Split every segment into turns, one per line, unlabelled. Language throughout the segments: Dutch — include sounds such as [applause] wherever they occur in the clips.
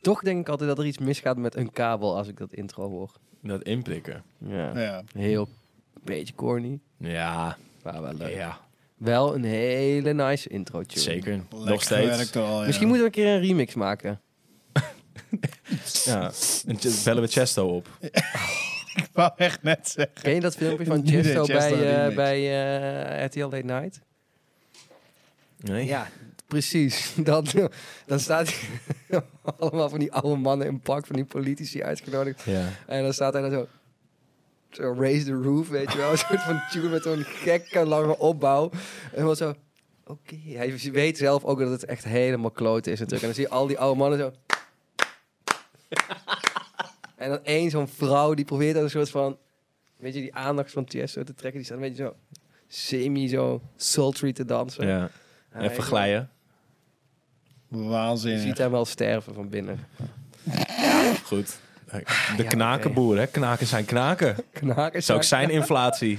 Toch denk ik altijd dat er iets misgaat met een kabel als ik dat intro hoor.
Dat inprikken.
Ja.
Ja.
Heel beetje corny,
Ja,
maar wel leuk.
ja
Wel een hele nice intro tune.
zeker. Nog
Lekker
steeds.
gewerkt al, ja.
Misschien moeten we een keer een remix maken.
Ja. En ch- bellen we Chesto op.
Ik [laughs] wou echt net zeggen.
Ken je dat filmpje van
[laughs] Nee,
Chesto
Chesto
bij, eh,
remix.
bij eh, RTL Late Night?
Nee?
Ja, precies. [laughs] Dat, dan staat hij [laughs] allemaal van die oude mannen in pak, van die politici uitgenodigd.
Ja.
En dan staat hij dan zo... zo raise the roof, weet je wel. [laughs] Een soort van tune met zo'n gekke lange opbouw. En dan zo... Oké. Hij weet zelf ook dat het echt helemaal kloten is natuurlijk. En dan zie je al die oude mannen zo...
[laughs]
en dan één zo'n vrouw die probeert dan een soort van... Weet je, die aandacht van Tiesto te trekken. Die staat een beetje zo... Semi zo sultry te dansen.
ja.
En hij-
Even glijden.
Je ziet
Waanzinnig.
hem wel sterven van binnen.
Goed. De
oké.
knakenboer, hè? Knaken zijn knaken.
Knaken
is ook
[laughs]
zijn inflatie.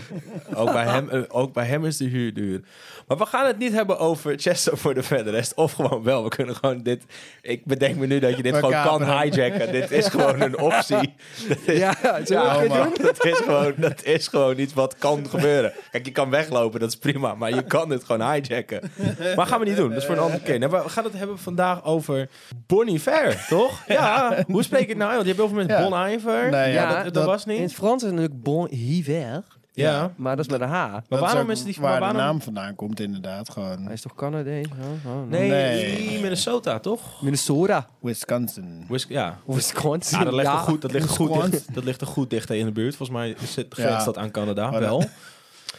ook, bij hem, eh, ook bij hem is de huur duur. Maar we gaan het niet hebben over Chester voor de verder rest. Of gewoon wel, we kunnen gewoon dit... Ik bedenk me nu dat je dit
We
gewoon kan
kaperen.
hijacken. Dit is gewoon
[laughs]
een optie. Dat is,
Ja, zullen we
Ja,
het
maar
doen?
[laughs] dat is, gewoon, dat is gewoon iets wat kan gebeuren. Kijk, je kan weglopen, dat is prima. Maar je kan dit gewoon hijacken. Maar gaan we niet doen, dat is voor een andere keer. Nee, maar we gaan het hebben vandaag over Bonnie Fair, toch? [laughs] Ja, hoe spreek je het nou uit? Want je hebt heel veel mensen
Ja.
Bon Iver.
Nee,
ja,
dat, dat
dat-
was niet.
In het Frans is het natuurlijk bon hiver,
ja.
maar dat is met een H.
Maar
Dat
waarom
ook
is die
waar
maar
de
waarom...
naam vandaan komt, inderdaad.
Hij
Gewoon
is toch Canadees? Oh, oh, nee.
Nee,
Nee.
Minnesota, toch?
Minnesota
Wisconsin.
Whis- ja.
of Wisconsin.
Ja, dat ligt,
Ja.
Er goed, dat, ligt er goed
Wisconsin.
dicht, dat ligt er goed dicht in de buurt. Volgens mij zit,
Ja.
grenst dat aan Canada
Maar
wel.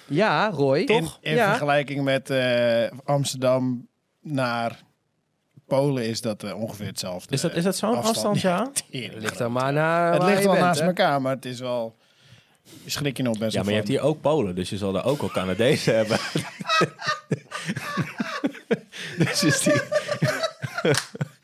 Ja, Roy.
In, in
Ja.
vergelijking met eh, Amsterdam naar Polen is dat eh, ongeveer hetzelfde.
Is dat, is dat zo'n
Afstand.
afstand, ja?
Tering.
Ligt er maar naar
Het
waar
ligt
je
wel
bent,
naast
hè.
elkaar, maar het is wel... Schrik je nog best
Ja,
wel
maar je hebt
van.
hier ook Polen, dus je zal daar ook al Canadezen hebben. [laughs] dus is die... [laughs]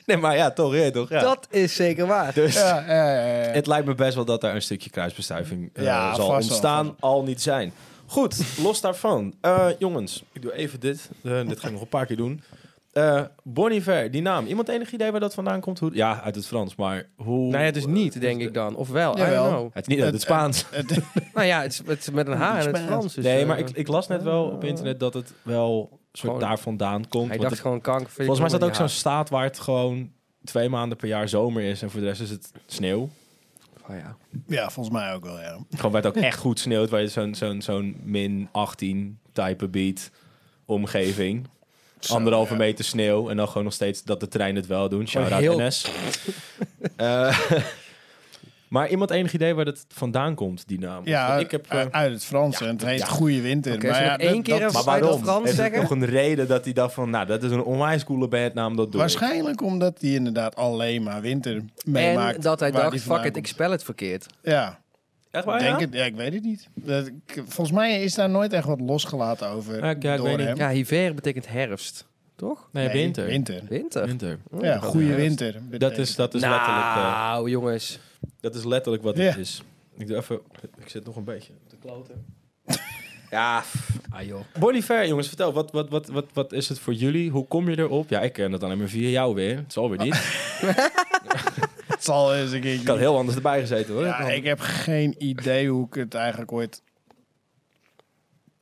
nee, maar ja, toch, ja, toch, ja.
Dat is zeker waar.
Dus
Ja, ja, ja, ja.
het lijkt me best wel dat daar een stukje kruisbestuiving eh,
Ja,
zal
vast wel,
ontstaan,
vast
al niet zijn. Goed, los daarvan. Eh, jongens, ik doe even dit. Eh, dit ga ik nog een paar keer doen. Eh bon Iver, die naam. Iemand enig idee waar dat vandaan komt? Hoe... Ja, uit het Frans, maar hoe...
Nee, het is Nou dus niet, denk ik dan. Of wel, I
Jawel.
don't know.
Het is niet uit het
Het-
Spaans.
Het-
Nou ja, het is, het is met een H en het
Spaans.
Frans. Dus,
nee,
eh,
maar ik, ik las net wel op internet dat het wel soort
Gewoon-
daar vandaan komt.
Hij
want
dacht
het-
gewoon kanker.
volgens mij is dat ook zo'n staat waar het gewoon twee maanden per jaar zomer is en voor de rest is het sneeuw.
Oh, ja.
ja, volgens mij ook wel, ja.
[laughs]
Gewoon waar het ook echt goed sneeuwt, waar je zo'n zo'n zo'n min 18 type beat omgeving.
Zo,
Anderhalve
ja.
meter sneeuw en dan gewoon nog steeds dat de treinen het wel doen. Shout out
Gewoon heel- [laughs]
NS. Eh, [laughs] maar iemand enig idee waar dat vandaan komt, die naam?
Ja,
Want ik heb, eh,
u- uit het Frans. en het heet
ja.
Goede Winter.
Oké,
maar
zullen
ja,
we nog één
dat-
keer
dat-
even
maar
Zou je dat
waarom?
Frans
Heeft het
zeggen?
nog een reden dat hij dacht van, nou, dat is een onwijs coole bandnaam, dat doe ik.
Waarschijnlijk omdat hij inderdaad alleen maar winter
En
meemaakt.
dat hij
waar
dacht,
die
fuck
vandaan
it, ik Oh spel het verkeerd.
komt. Ja,
Echt waar,
denk
ja?
het, ja, ik weet het niet. Dat, ik- volgens mij is daar nooit echt wat losgelaten over
Ja, ik- ja, ik
door
weet niet.
hem.
Ja, hiver betekent herfst. Toch?
Nee,
Nee,
winter.
Winter.
Winter. Oh,
Winter.
Ja, Goede Winter.
Dat
betekent-
is, dat is letterlijk... eh,
nou, jongens.
Dat is letterlijk wat
Ja.
het is. Ik doe even... Ik zit nog een beetje te kloten. [laughs] ja.
Ah, joh.
Bonifair, jongens, vertel. Wat, wat, wat, wat, wat is het voor jullie? Hoe kom je erop? Ja, ik ken het alleen maar via jou weer. Het zal weer niet.
[laughs] Het zal eens een keer.
Ik had heel anders erbij gezeten, hoor.
Ja, ik heb geen idee hoe ik het eigenlijk ooit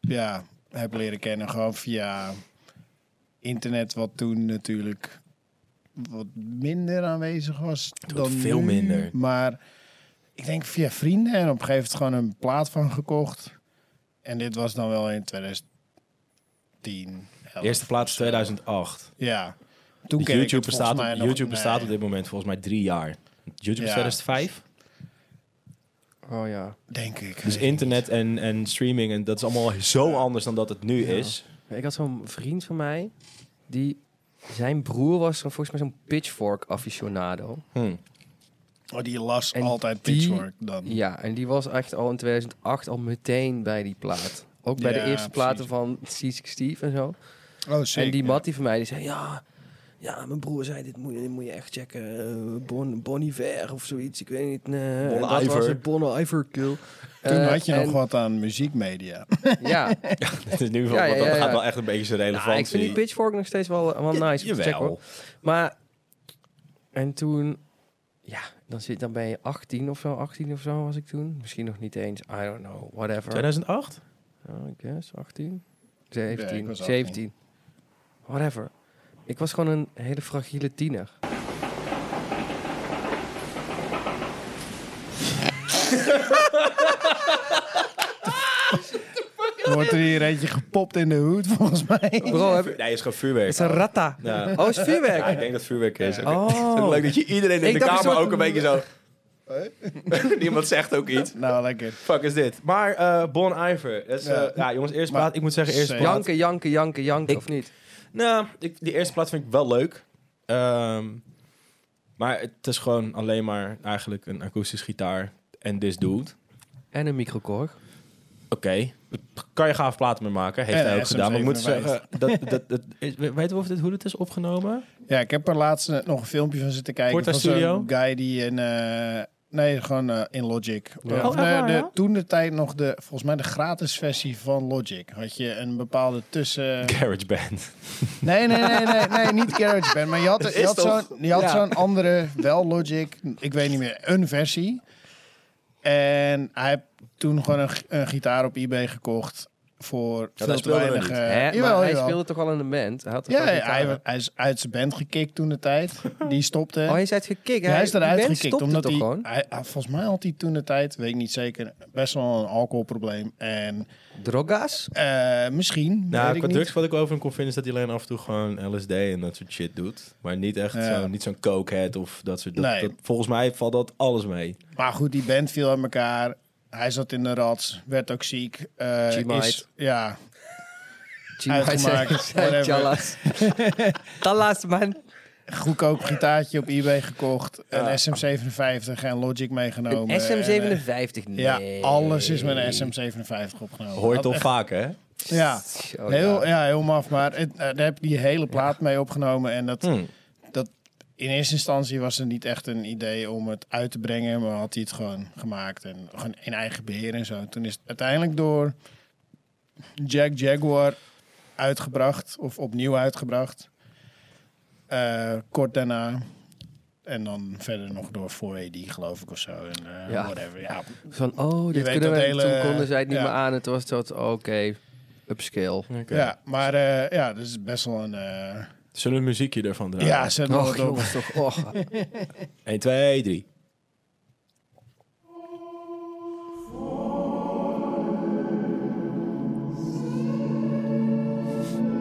ja, heb leren kennen. Gewoon via internet, wat toen natuurlijk wat minder aanwezig was dan
veel
nu.
minder.
Maar ik denk via vrienden en op een gegeven moment gewoon een plaat van gekocht. En dit was dan wel in 2010. 11.
Eerste plaats 2008.
Ja. Toen keek
Dus YouTube bestaat,
mij nog-
YouTube bestaat
nee.
op dit moment volgens mij drie jaar. YouTube is
Ja.
2005.
Oh ja.
Denk ik.
Dus internet en, en streaming, en dat is allemaal zo anders dan dat het nu is.
Ik had zo'n vriend van mij, die... Zijn broer was zo- volgens mij zo'n pitchfork aficionado.
Hm. [laughs]
Oh, die las
En
altijd
die-
Pitchfork dan.
Ja, en die was echt al in 2008 al meteen bij die plaat. Ook bij
Ja,
de eerste platen
precies.
van C6 Steve en zo.
Oh, zeker.
en die Mattie van mij, die zei... Ja, ja mijn broer zei, dit moet, je- dit moet je echt checken. eh, bon, bon Iver of zoiets, ik weet niet. nee.
Bon
En dat was
Iver.
het, Bon Iver Kill.
Toen
Eh,
had je
en-
nog wat aan
[laughs]
muziekmedia.
Ja,
Het is nu wel,
Ja, ja,
want dat
ja,
gaat
ja.
wel echt een beetje zijn relevantie.
Nou, ik vind die pitchfork nog steeds wel, wel nice. om te checken, hoor.
Jawel.
Maar, en toen Ja, dan, zit, dan ben je 18 of zo, 18 of zo was ik toen. Misschien nog niet eens, I don't know, whatever.
2008?
Oh, I guess, 18?
Ja, ik
17,
was
17. Whatever. Ik was gewoon een hele fragiele
[laughs]
tiener.
Wordt er hier eentje gepopt in de hoed, volgens mij.
[laughs] Bro, heb,
Nee,
het
is gewoon
is
vuurwerk.
een ratta.
Ja.
Oh, is het
Ja, ik
vuurwerk.
denk dat [laughs] het vuurwerk is. Oké.
[laughs]
Oh.
Leuk dat je iedereen in
Ik
de
dacht een
kamer
soort-
ook een beetje zo... [laughs] Niemand zegt ook
[laughs]
iets.
Nou, lekker.
Fuck is dit. Maar eh, Bon Iver. Dat is, eh, ja.
Ja.
jongens, eerst
Maar-
plaat. Ik moet zeggen, eerst
Zeker.
plaat.
Janken, janken, janken, janken,
Ik-
of niet?
Nou, ik, die eerste plaat vind ik wel leuk. Ehm, maar het is gewoon alleen maar eigenlijk een akoestisch gitaar en this dude.
En een microkorg.
Oké, kan je gaaf platen mee maken. Heeft
En
hij
een
ook gedaan. Maar ik moet
SM57.
zeggen, dat, dat, dat, is- we- weten we of dit, hoe dit is opgenomen?
Ja, ik heb er laatst net nog een filmpje van zitten kijken.
Porta
van
Studio?
zo'n guy die in... eh, nee, gewoon eh, in Logic.
Ja.
Of
Oh, echt
de-
waar,
de-
ja?
toen de tijd nog de, volgens mij de gratis versie van Logic. Had je een bepaalde tussen...
Garage Band.
Nee, nee, nee, nee, nee niet GarageBand. Maar je had,
Dat
je
is
had
toch-
zo'n je had
Ja.
zo'n andere, wel Logic, ik weet niet meer, een versie. En hij heeft toen gewoon een, g- een gitaar op eBay gekocht voor
Ja, dat
veel te
speelde hij
weinig.
niet.
eh,
Hè,
jawel,
maar hij
jawel.
speelde toch al in de band? Hij had toch
Ja,
al
hij,
gitaar?
hij- hij is uit zijn band gekikt toen de tijd. Die stopte.
Oh, hij is uitgekikt.
Ja, hij is
die
eruit
band
gekikt.
stopte
Omdat
toch
hij,
gewoon?
hij- hij- volgens mij had hij toen de tijd, weet ik niet zeker, best wel een alcoholprobleem. En
Droga's?
eh, misschien.
Nou,
weet ik
qua
niet.
drugs wat ik over hem kon vinden is dat hij alleen af en toe gewoon LSD en dat soort shit doet. Maar niet echt
Ja.
zo, niet zo'n cokehead of dat soort dat,
Nee.
dat- Volgens mij valt dat alles mee.
Maar goed, die band viel uit elkaar. Hij zat in de rats, werd ook ziek. eh,
G-Mite.
is- ja,
Chima
[laughs] Uitgemaakt, whatever.
Chalas. Talas, man.
goedkoop gitaartje op eBay gekocht.
Ja.
Een SM57 en Logic meegenomen.
Een
en, eh,
SM57, nee.
Oh, ja, alles is met een SM57 opgenomen.
Hoor je
Dat
toch
echt-
vaak, hè?
Ja,
Zo,
heel,
Oh, ja.
ja, heel maf. Maar het, eh, daar heb je die hele plaat mee opgenomen. En dat,
Hm.
in eerste instantie was er niet echt een idee om het uit te brengen, maar had hij het gewoon gemaakt en gewoon in eigen beheer en zo. Toen is het uiteindelijk door Jack Jaguar uitgebracht of opnieuw uitgebracht. Eh, kort daarna. En dan verder nog door 4AD, geloof ik, of zo. En, eh,
Ja.
whatever. Ja,
Van, oh, dit
weet
kunnen we.
dat
en
hele-
Toen konden zij het niet
ja.
meer aan. En toen was het zo, oké, upscale.
ja, maar eh, ja, dat is best wel een... eh,
Zullen we een muziekje ervan draaien?
ja, zet nog
Och,
wat op.
jongens, toch. Och. [laughs]
1, 2, 3.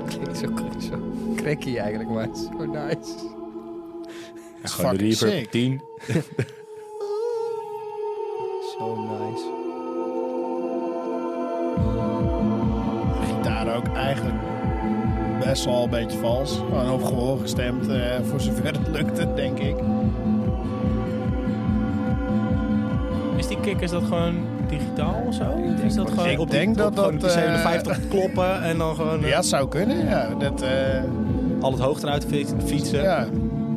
Klinkt zo, klinkt zo cracky eigenlijk, maar het is zo nice.
Gewoon de
fucking
reverb
sick.
op 10.
Zo nice.
gitaar ook eigenlijk best wel een beetje vals. Gewoon op gehoor gestemd, eh, voor zover het lukte, denk ik.
Is die kick, is dat gewoon digitaal of zo? Ik is dat
ik denk dat
gewoon
dat,
die
eh,
57
[laughs]
kloppen en dan gewoon eh,
Ja, het zou kunnen, ja. Dat, eh,
al het hoogte eruit fi- fietsen.
ja,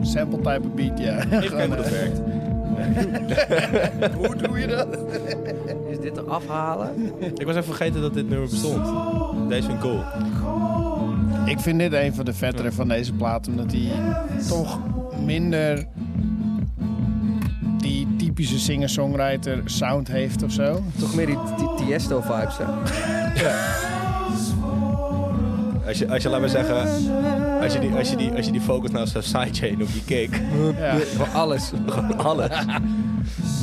sample type beat, ja.
Even kijken hoe dat werkt.
Hoe doe je dat?
Is dit er afhalen?
Ik was even vergeten dat dit nummer bestond. Deze vind ik cool.
Ik vind dit een van de vettere van deze plaat, omdat die toch minder die typische singer-songwriter sound heeft of zo.
Toch meer die, die Tiesto-vibes, hè? [laughs]
Als je, als je laat maar zeggen, als je die, als je die, als je die focus nou zou sidechain op die kick, [laughs]
Ja.
Voor alles.
gewoon alles.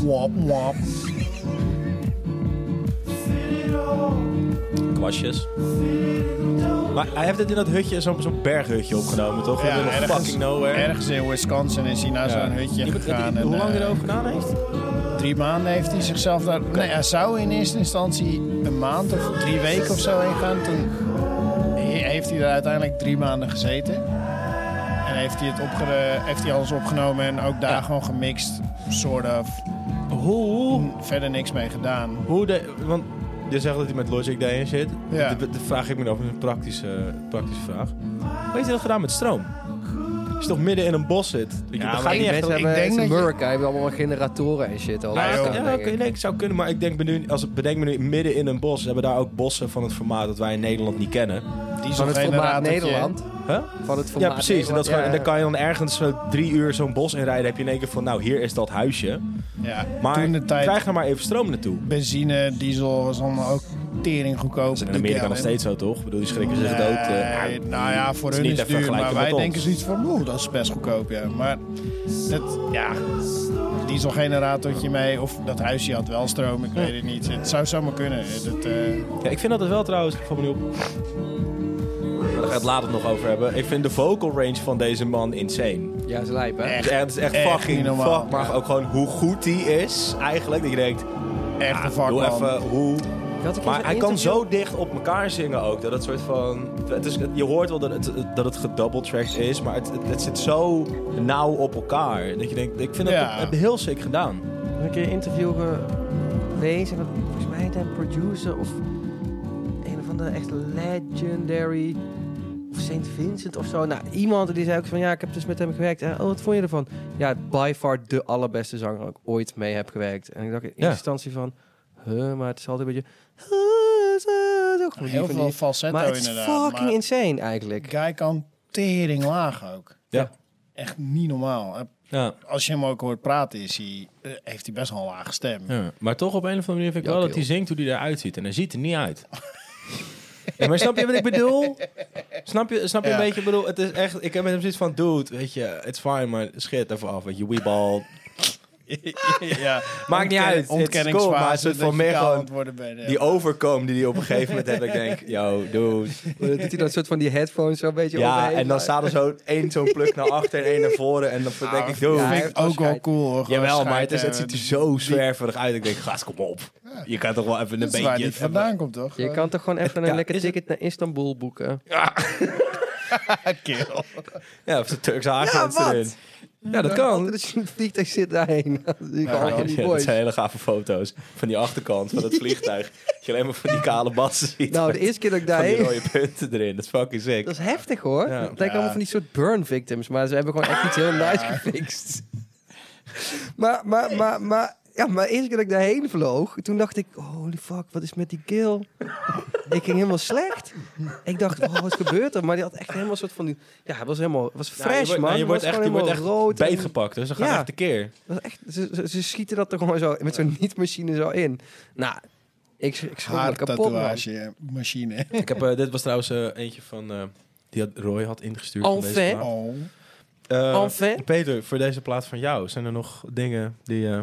Wap, wap.
Kwastjes. Maar hij heeft dit in dat hutje, zo'n zo'n berghutje opgenomen, toch? In the middle of fucking nowhere.
ergens in Wisconsin is hij naar
Ja.
zo'n hutje
Je moet-
gegaan. en,
Hoe lang hij
eh,
erover gedaan heeft?
Drie maanden heeft hij zichzelf daar. Nee, hij zou in eerste instantie een maand of drie weken of zo heen gaan. Toen he- heeft hij daar uiteindelijk drie maanden gezeten. En heeft hij, het opge- heeft hij alles opgenomen en ook daar gewoon gemixt. Soort of.
Hoe?
Verder niks mee gedaan.
Hoe de, want je zegt dat hij met Logic daarin zit.
Ja.
Dat, dat vraag ik me af, dat is een praktische, praktische vraag. Hoe heeft hij dat gedaan met stroom? Als je toch midden in een bos zit. Weet je,
Ja,
dat
maar
gaat
die
niet echt...
mensen
ik
hebben
denk
in
dat je-
Amerika hebben allemaal generatoren en shit. Al
Nou,
Ja,
staan,
ja,
denk
oké,
ik.
nee, ik zou kunnen, maar ik denk nu, als ik bedenk me nu midden in een bos, ze hebben daar ook bossen van het formaat dat wij in Nederland niet kennen.
Van het formaat
Dieselgeneratortje.
Nederland.
Huh?
Van het formaat
Ja, precies. En,
Nederland,
dat is gewoon, en
ja.
dan kan je dan ergens zo drie uur zo'n bos inrijden. Heb je in één keer van, nou, hier is dat huisje.
Ja,
Maar
toen de tijd
krijg er maar even stroom naartoe.
benzine, diesel was allemaal ook tering goedkoop.
Dat is in
per
Amerika nog
gallon.
steeds zo, toch? Ik bedoel, die schrikken zich dood. eh.
Nee, nou ja, voor
is
hun
niet
is
te
het duur, maar
vergelijken
wij
met ons.
denken zoiets van, oeh, dat is best goedkoop, ja. Maar het, ja, dieselgeneratortje mee, of dat huisje had wel stroom, ik weet het niet. Het zou zomaar kunnen. Dat, eh,
Ja, ik vind dat het wel trouwens, ik val me nu op. Daar gaan we het later nog over hebben. Ik vind de vocal range van deze man insane.
Ja, ze lijpen. hè?
Het
Echt.
is echt, het is echt,
echt
fucking
niet normaal.
fuck, maar ook gewoon hoe goed die is eigenlijk. Dat je denkt,
echt een
ah,
vakman.
doe even hoe...
Ik had een keer
Maar
zo'n
hij kan
interview-
zo dicht op elkaar zingen ook. Dat het soort van... Het is, je hoort wel dat het, dat het gedoubletracked is, maar het, het, het zit zo nauw op elkaar. Dat je denkt, ik vind dat
Ja.
dat- heel sick gedaan.
Ik had Een keer een interview gelezen. En dat- volgens mij heet hij een producer of een van de echt legendary. Of St. Vincent of zo. Nou, iemand die zei ook van ja, ik heb dus met hem gewerkt. En, oh, wat vond je ervan? Ja, by far de allerbeste zanger waar ik ooit mee heb gewerkt. En ik dacht in eerste
Ja.
instantie van, huh, maar het is altijd een beetje. huh, zo, zo, gewoon die
Heel
van
veel
die-
falsetto
Maar het is
inderdaad.
fucking
maar
insane eigenlijk.
guy kan tering laag ook.
Ja.
Echt niet normaal. Eh,
Ja.
Als je hem ook hoort praten, is hij, eh, heeft hij best wel een lage stem.
Ja, maar toch op een of andere manier vind ik
Ja,
wel
oké,
dat hij zingt hoe hij eruit ziet. En hij ziet er niet uit. Ja, maar snap je wat ik bedoel? Snap je, snap je
Ja.
een beetje? Ik bedoel, het is echt... Ik heb met hem zoiets van... Dude, weet je, it's fine, maar schit even af. Weet je, weeball.
ja.
[laughs] Maakt niet uit. It's
Ontken-
cool, maar het
ontkenningsfase
is
dat
voor
je
mij
kaal aan
gewoon...
het worden bent.
Die overkomen die hij op een gegeven moment heeft. dat Ik denk, yo,
[laughs]
dude.
Dat hij dan een soort van die headphones zo een beetje
Ja,
overheen
en dan
laat.
staat er zo één zo'n pluk naar achter en één naar voren. En dan denk ik, dude.
Ja,
Dat
hij
vind
heeft
ik
wel
ook wel
scheid.
cool hoor. Gewoon
Jawel, maar het,
scheid
is, het ziet er
hebben.
zo zwerverig uit. Ik denk, gast, kom op. Je kan toch wel even een
Dat is waar die
beetje...
vandaan komt toch?
Je kan toch gewoon even een
Ja,
lekker
is het-
ticket naar Istanbul boeken.
[laughs]
kerel.
Ja, of de Turkse haargrens
Ja, wat?
erin. Ja, dat kan.
Dat is een vliegtuig zit [laughs] daarheen. Dat zie ik
Ja,
al
Ja,
van die
dat
boys.
zijn hele gave foto's van die achterkant
[laughs]
van het vliegtuig. dat je alleen maar van die kale bassen ziet.
Nou, de
met
eerste keer dat ik
van die
daarheen...
rode punten erin. Dat is fucking sick.
Dat is heftig hoor.
Ja.
Het lijkt allemaal van die soort burn victims. Maar ze hebben gewoon echt iets heel nice gefixt. maar, maar, maar, maar... Ja, maar de eerste keer dat ik daarheen vloog... Toen dacht ik... Holy fuck, wat is met die keel? ik ging helemaal slecht. Ik dacht, oh, wat gebeurt er? Maar die had echt helemaal een soort van... die- Ja, hij was helemaal... was
Nou,
fresh,
je
man.
wordt, nou, je
Hij
wordt
was
echt, je
gewoon
wordt echt
helemaal rood. en-
beetgepakt. Dus dan gaat
Ja.
echt de
[laughs]
keer.
Dat is echt, ze, ze, ze schieten dat er gewoon zo met zo'n niet-machine zo in. Nou, ik, sch- ik schrok me
Haar
kapot, man.
tatoeage machine.
Ik heb, eh, dit was trouwens eh, eentje van... eh, die had Roy had ingestuurd. van deze
Enfin.
plaat.
Oh.
Eh,
Enfin.
Peter, voor deze plaat van jou. Zijn er nog dingen die... eh,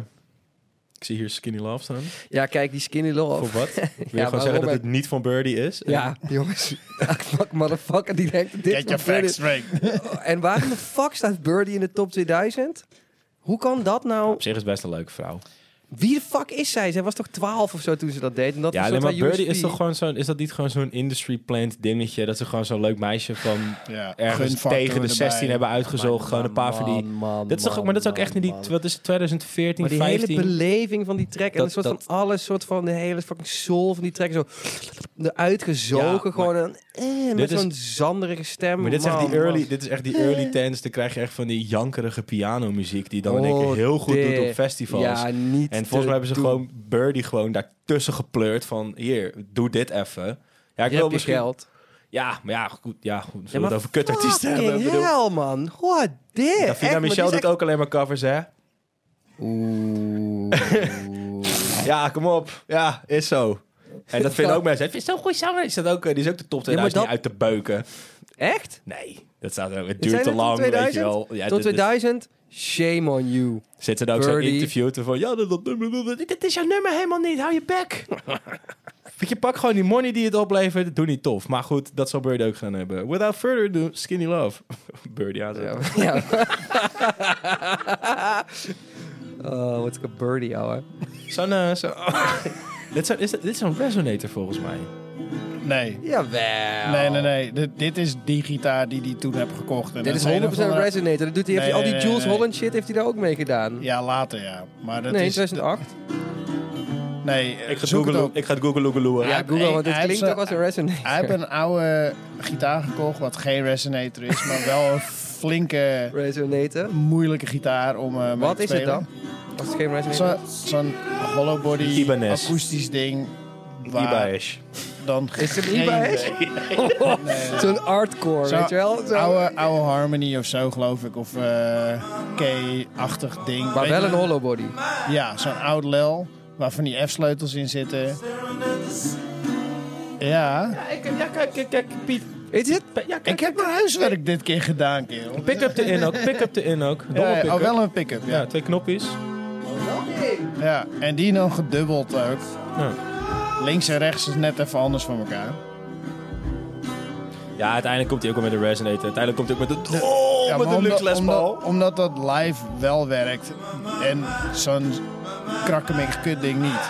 ik zie hier Skinny Love staan.
Ja, kijk, die skinny
Voor
love. [laughs]
wat? Wil je
maar
gewoon zeggen dat
Robert-
het niet van Birdie is?
Ja, [laughs] jongens. fuck, motherfucker, die denkt dit
Get your
is wat
facts
Birdie-
straight.
[laughs] En waarom de fuck staat Birdie in de top 2000? Hoe kan dat nou?
Op zich is best een leuke vrouw.
Wie de fuck is zij? Zij was toch 12 of zo toen ze dat deed? En dat
Ja,
was
nee,
een soort
maar
van
Birdie is
USP.
toch gewoon zo'n... Is dat niet gewoon zo'n industry plant dingetje? Dat ze gewoon zo'n leuk meisje van
Ja,
ergens
gunfactor
tegen de
erbij.
16 hebben uitgezocht. gewoon een paar van die...
Man, man,
dit is toch ook, maar dat is ook
man,
echt in die...
man.
Wat is het? 2014,
Maar die
15?
hele beleving van die track en
Dat-
een soort
dat-
van alles, soort van de hele fucking soul van die track zo eruit gezogen,
Ja, maar-
gewoon een, eh, met
Dit is-
zo'n zanderige stem.
maar dit is, echt
Man,
die early,
man.
dit is echt die early tens. Dan krijg je echt van die jankerige pianomuziek... die dan in één
Oh,
keer heel goed
dit.
doet op festivals.
Ja, eh, niet.
en
te
volgens mij hebben ze
doen.
gewoon Birdie gewoon daartussen gepleurd van... hier, doe dit even. Ja, ik
Je
wil
hebt je
misschien...
geld.
Ja, maar ja, goed. Ja, goed. Zullen we
maar
het over kutartiesten hebben? Ik
Fucking
bedoel,
hell, man. What dit? Echt,
Davina
maar
Michel
dit
doet
is
ook alleen maar covers, hè?
echt- Oeh.
Ja, kom op. Ja, is zo. En dat vinden ook mensen. Het is zo'n goede zanger. Is dat ook, eh, die is ook de top 2000
dat-
niet uit te beuken.
[laughs] echt?
Nee, dat staat er. Het
Zijn
duurt
er
te
tot
lang, weet je
2000?
wel. Ja,
Tot
dit- dit-
2000? Shame on
[laughs]
you. [laughs]
Zit er dan ook zo'n
Birdie.
interview te van... Ja, dat, dat nummer... dat- dat- dit is jouw nummer helemaal niet. Hou je bek. [laughs] Weet je, pak gewoon die money die het oplevert. Doe niet tof. Maar goed, dat zal Birdie ook gaan hebben. Without further ado, Skinny Love. [laughs] Birdie aanzetten.
Ja. ja. oh, wat een birdie, ouwe.
Zo'n... eh, zo- [laughs] dit, zou- is, dit is zo'n resonator volgens mij.
Nee.
Jawel.
Nee, nee, nee. Dit, dit is die gitaar die hij toen heb gekocht. En
Dit is 100%
een of andere-
Resonator. Dat doet hij, heeft hij
Nee,
al die
nee,
Jules
nee, nee.
Holland shit heeft hij daar ook mee gedaan.
Ja, later ja. Maar dat
nee, in
is...
2008.
Nee, eh,
Ik ga
zoek het
googlen-
op.
ik ga het googlen, googlen.
ja,
hij-
Google, want
hij-
het
hij
klinkt
heeft
ook als een
Hij
Resonator.
heeft een oude gitaar gekocht wat geen resonator is, maar wel een flinke,
Resonator.
moeilijke gitaar om eh, mee
Wat
te
is het
spelen.
dan? Dat is geen Resonator.
Zo- Zo'n hollow body
Ibanez.
akoestisch ding. Waar
Ibaesh.
dan
Is het een
geen-
Ibanez? [laughs] Zo'n hardcore,
Zo'n
weet je wel? Zo-
Oude, oude Harmony of zo, geloof ik. Of eh K-achtig ding.
Maar
Weet
wel
je-
een hollow body.
Ja, zo'n oud lel. Waar van die F-sleutels in zitten. Ja.
Ja, kijk, kijk, kijk, Piet.
Is het?
Ik heb mijn huiswerk dit keer gedaan, kerel.
Pick-up de in ook, pick-up de in ook. Domme
Ja,
pick-up.
oh, wel een pick-up,
Ja,
ja.
twee knopjes.
ja. En die dan gedubbeld ook.
Ja.
Links en rechts is net even anders van elkaar.
Ja, uiteindelijk komt hij ook wel met een resonator. Uiteindelijk komt hij ook met een... Oh,
ja,
met
maar
een
omdat,
luxe Les Paul.
omdat, omdat dat live wel werkt en zo'n krakkemig kutding niet.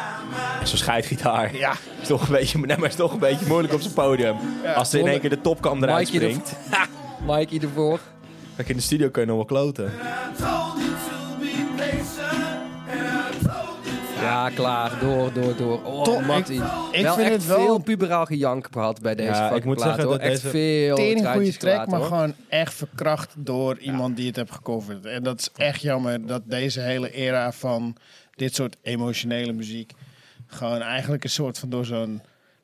Zo'n scheidgitaar.
Ja,
Is toch een beetje, nee, maar is toch een beetje moeilijk op zijn podium. Als ze in één keer de topkam eruit
Mike
springt.
[laughs] Mikey ervoor.
Dan in de studio kun je nog wel kloten.
Ja, klaar. Door, door, door. Oh,
Toch,
Matty.
ik- ik
wel
vind
echt
het wel-
veel puberaal gejank gehad bij deze
Ja, ik
fucking
moet
plaat,
zeggen
hoor.
dat
Echt
deze-
veel
tering goede
truitjes
track,
gelaten,
maar
hoor.
gewoon echt verkracht door iemand die het heeft gecoverd. En dat is echt jammer dat deze hele era van dit soort emotionele muziek gewoon eigenlijk een soort van door zo'n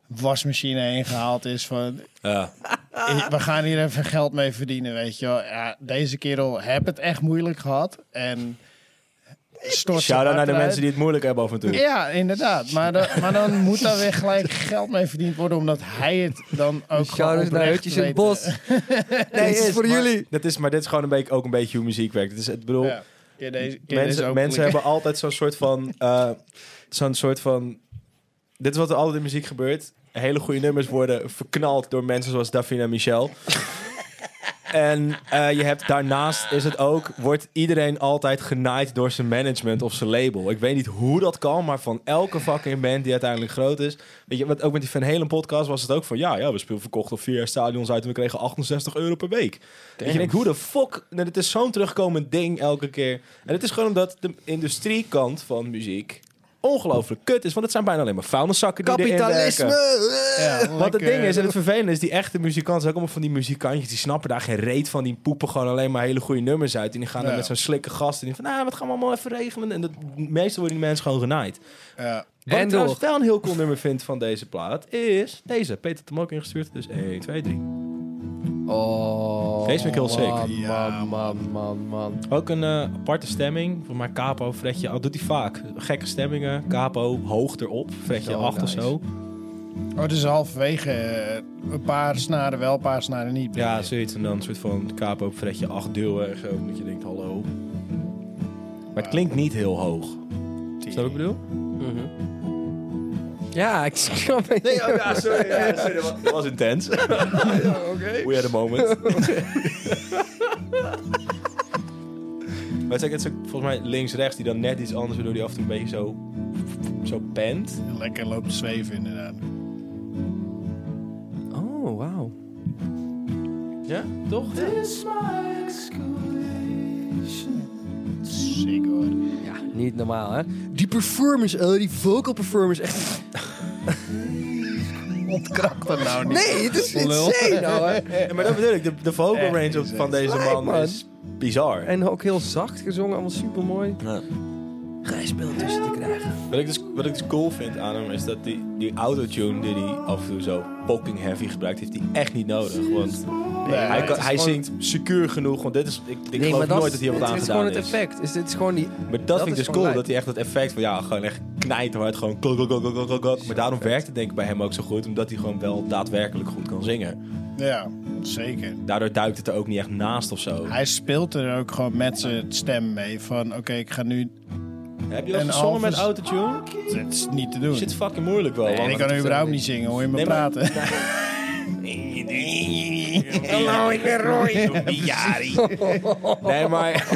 wasmachine heen gehaald is van
Ja. Ah.
Eh, we gaan hier even geld mee verdienen, weet je wel. Ja, deze kerel heb het echt moeilijk gehad. En stort zijn
Shout-out naar
hart
de
eruit.
mensen die het moeilijk hebben af en toe.
Ja, inderdaad. Maar, dan- maar dan moet daar weer gelijk geld mee verdiend worden, omdat hij het dan ook gewoon
Shout-out naar
oprecht
Hutjes in het
weet. [laughs]
bos. nee,
Dit
is voor
maar-
jullie.
Dat is, maar dit is gewoon een beetje, ook een beetje hoe muziek werkt. Het is, ik bedoel,
Ja. Keer deze, keer deze
mensen,
ook
mensen
klikken.
hebben altijd zo'n soort van... eh, zo'n soort van... Dit is wat er altijd in muziek gebeurt. Hele goede nummers worden verknald door mensen zoals Davina Michel. en eh, je hebt daarnaast is het ook... Wordt iedereen altijd genaaid door zijn management of zijn label. Ik weet niet hoe dat kan, maar van elke fucking band die uiteindelijk groot is... Weet je, wat ook met die Van Helen podcast was het ook van... Ja, ja we speelden verkocht op vier jaar stadions uit en we kregen 68 euro per week. Weet je, ik denk, hoe de fuck... Nou, dit is zo'n terugkomend ding elke keer. En het is gewoon omdat de industriekant van muziek ongelooflijk kut is. Want het zijn bijna alleen maar vuilniszakken die erin werken.
Ja,
Wat het
lekker.
ding is, en het vervelende is, die echte muzikanten zijn ook allemaal van die muzikantjes. Die snappen daar geen reet van. Die poepen gewoon alleen maar hele goede nummers uit. En die gaan dan
Ja.
met zo'n slikke gast. En die van, nou, wat gaan we allemaal even regelen? En dat, meestal worden die mensen gewoon genaaid.
Ja.
Wat
En
ik trouwens
door.
wel een heel cool nummer vind van deze plaat, is deze. Peter heeft hem ook ingestuurd, dus 1, 2, 3.
Oh,
Deze vind ik heel sick.
Man, man,
Ja,
Oh, man, man, man.
Ook een eh, aparte stemming. Voor mijn capo, Fredje. Al doet hij vaak. Gekke stemmingen. Capo hoog erop. Fredje
Oh,
acht
nice.
of zo.
Oh, dus halverwege eh, een paar snaren wel, een paar snaren niet.
Ja, zoiets. En dan een soort van capo, Fredje acht duwen. En zo. Dat je denkt, hallo. Maar het klinkt niet heel hoog. Snap je wat ik bedoel?
Mhm.
Ja, ik snap het.
Nee, oh, ja, sorry. Ja, sorry, dat was- dat was intens. Oké. We had a moment. Maar het is ook- het is ook volgens mij links-rechts die dan net iets anders... waardoor die af en toe een beetje zo, zo bent.
Lekker loopt te zweven, inderdaad.
Oh, wauw.
Ja, toch?
Sick hoor.
Ja, niet normaal, hè? Die performance, oh, die vocal performance, echt...
Ontkracht dat nou niet.
Nee, het is insane, nou, hè?
[laughs]
Ja, maar dat bedoel ik. De, de vocal
Echt
range op-
insane.
van deze
Lijp,
man
man.
is bizar.
En ook heel zacht gezongen, allemaal supermooi.
Ja.
Gij speelt tussen te krijgen.
Wat, ik dus, wat ik dus cool vind aan hem is dat die, die autotune die hij af en toe zo fucking heavy gebruikt, heeft hij echt niet nodig. Want hij,
het
kan,
is
hij
gewoon-
zingt secuur genoeg, want dit is, ik, ik
maar
geloof nooit dat hij
dit
wat aan
is gewoon
gedaan
het
is.
effect. Is dit is gewoon die...
Maar dat,
Dat
vind
is
ik dus
gewoon
cool,
lijp.
dat hij echt dat effect van ja, gewoon echt knijterhard, gewoon klok, klok, klok, klok, klok, klok. Maar daarom werkt het denk ik bij hem ook zo goed, omdat hij gewoon wel daadwerkelijk goed kan zingen.
Ja, zeker.
Daardoor duikt het er ook niet echt naast of zo.
Hij speelt er ook gewoon met zijn stem mee. Van oké, ik ga nu.
Heb je al
en
gezongen met
Alves-
autotune?
Het is niet te doen.
Shit fucking moeilijk wel.
en
want-
ik kan überhaupt niet zingen, hoor je me
Nee, maar-
praten. [laughs]
[laughs] Hallo, ik ben Roy. Jari. Nee, maar...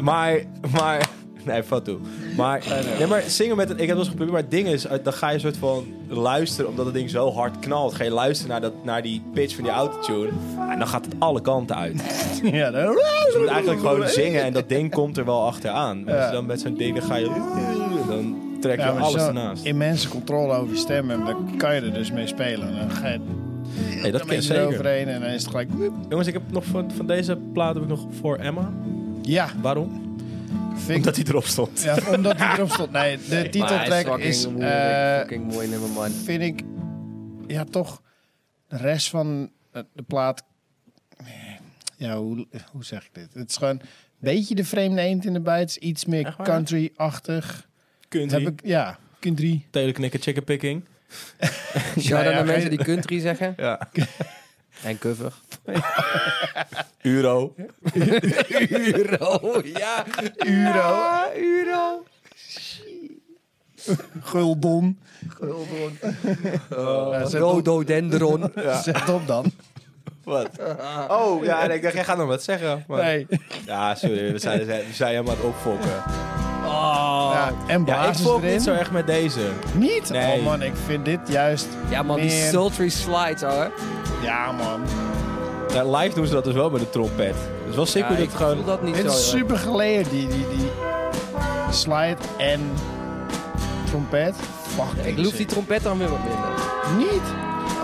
maar, maar... Nee, vat toe. Maar, nee, maar zingen met een... Ik heb wel eens geprobeerd, maar het ding is... Dan ga je een soort van luisteren, omdat het ding zo hard knalt. Ga je luisteren naar, dat, naar die pitch van die autotune. En dan gaat het alle kanten uit. Dus
ja, dan...
je moet eigenlijk gewoon zingen en dat ding komt er wel achteraan. Maar als je dan met zo'n ding dan ga je... Dan trek je
Ja, maar
alles
zo
ernaast.
Nou, immense controle over je stem hebben, dan kan je er dus mee spelen. Dan ga je...
Nee, dat
Dan
ken ik
ben je
zeker.
eroverheen en dan is het gelijk... woep.
Jongens, ik heb nog van, van deze plaat heb ik nog voor Emma.
Ja,
Waarom?
vind ik...
Omdat hij erop stond.
Ja, omdat die erop stond. Nee, de titeltrack is... eh,
fucking mooi nummer, man.
vind ik... Ja, toch... De rest van eh, de plaat... eh, Ja, hoe, hoe zeg ik dit? Het is gewoon een beetje de vreemde eend in de bijt. Het is Iets meer
Echt waar?
country-achtig.
Kunt
Heb ik... Ja, country.
Teleknikken, chicken picking.
Shout-out
[laughs] Nou ja,
naar
geen-
mensen die country zeggen.
Ja.
En cover.
Euro.
Euro, ja.
Euro.
Ja, euro.
Guldon.
Guldron.
Oh,
Ja, zet, op,
Rhododendron.
zet op dan.
Wat? Oh, ja, en ik dacht, jij gaat nog wat zeggen. Maar...
Nee.
Ja, sorry, we zijn, we zijn helemaal aan het opfokken.
Oh.
Ja, en
Ja, ik
blazers
volg
erin.
niet zo erg met deze.
Niet?
Nee.
Oh man, ik vind dit juist...
[laughs] Ja man, die
meer-
sultry slides, hoor.
Ja man.
Ja, live doen ze dat dus wel met een trompet. Het is wel sick
Ja,
hoe
ik
dat gewoon...
voel dat niet
Het
zo.
is
joh.
super geleden, die, die, die slide en trompet. Fuck,
Ik loef die trompet dan weer wat minder.
niet.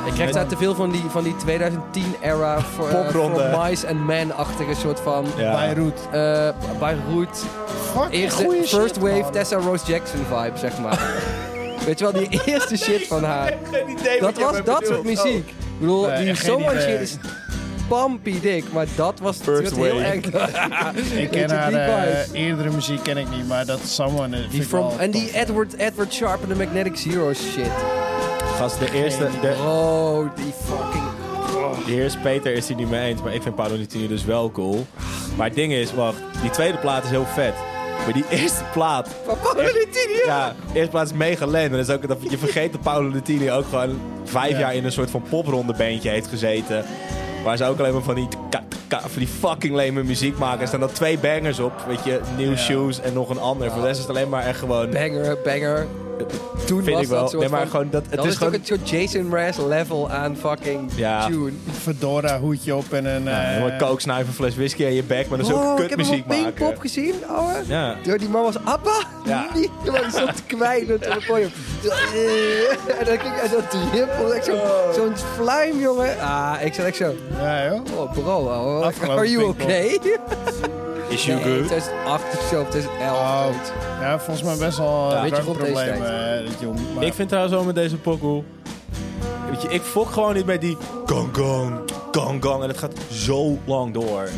Ik krijg daar te veel van die, van die 2010-era voor, eh,
Popronde.
voor Mice and Men-achtige soort van...
Ja.
Beirut.
eh Beirut,
Fuck,
eerste
goeie
first
shit,
wave
man.
Tessa Rose Jackson vibe, zeg maar. Weet je wel, die eerste shit van haar.
Geen
Dat
idee wat je
was
hebt
dat
bedoeld.
soort muziek. Ik bedoel,
Nee,
die
geen
zomaar
idee.
shit is pampie dik, maar dat was
First
het werd heel
wave.
erg.
Ik
Weet
ken
je,
haar
die
eh,
vibe.
eerdere muziek ken ik niet, maar dat Someone eh, vind
Die
ik
from,
wel
en die
tof.
Edward, Edward Sharp en de Magnetic Zero shit.
Oh, Gast, de eerste... De,
Oh, die fucking...
de heer Peter is hier niet mee eens, maar ik vind Paolonitini dus wel cool. Maar het ding is, wacht, die tweede plaat is heel vet. Maar die eerste plaat...
Van Paolo Nutini, ja.
Ja, de eerste plaat is mega lame. En dat is ook dat je vergeet dat Paolo Nutini ook gewoon vijf
Ja.
jaar in een soort van popronde bandje heeft gezeten. Waar ze ook alleen maar van die, tka- tka- van die fucking lame muziek maken. Er staan dan twee bangers op. Weet je, New
Ja.
Shoes en nog een ander. Voor de rest is het alleen maar echt gewoon...
Banger, banger. Toen
Vind
was
ik wel.
dat soort
Nee, maar
van-
gewoon dat- het
dat
is
is
gewoon-
ook een soort Jason Mraz level aan fucking
Ja.
tune.
Fedora hoedje op en een...
Ja,
eh,
helemaal kook, snuiven, een fles whisky aan je bek, maar dan zulke
Oh, ik heb hem
kutmuziek
op Pinkpop
maken.
gezien, ouwe.
Ja.
Yo, die man was Abba. [laughs]
Ja.
Niet gewoon zo te kwijlen op het podium. Zo, eh, En dan kijk en dat drippel, echt zo'n
Oh.
zo'n vlijm, jongen. Ah, ik zat echt zo,
ja, joh.
oh bro, ouwe.
Afgelopen
are you
Pinkpop.
okay?
Is
Nee,
you good?
2008 of zo, 2011.
Oh,
zoiets.
ja, volgens mij best wel
Ja,
een
weet je,
ja,
rond deze
probleem.
tijd.
eh, dat jong, maar-
Ik vind trouwens wel met deze pokoe... Weet je, ik fok gewoon niet met die gong gong, gong gong. En het gaat zo lang door.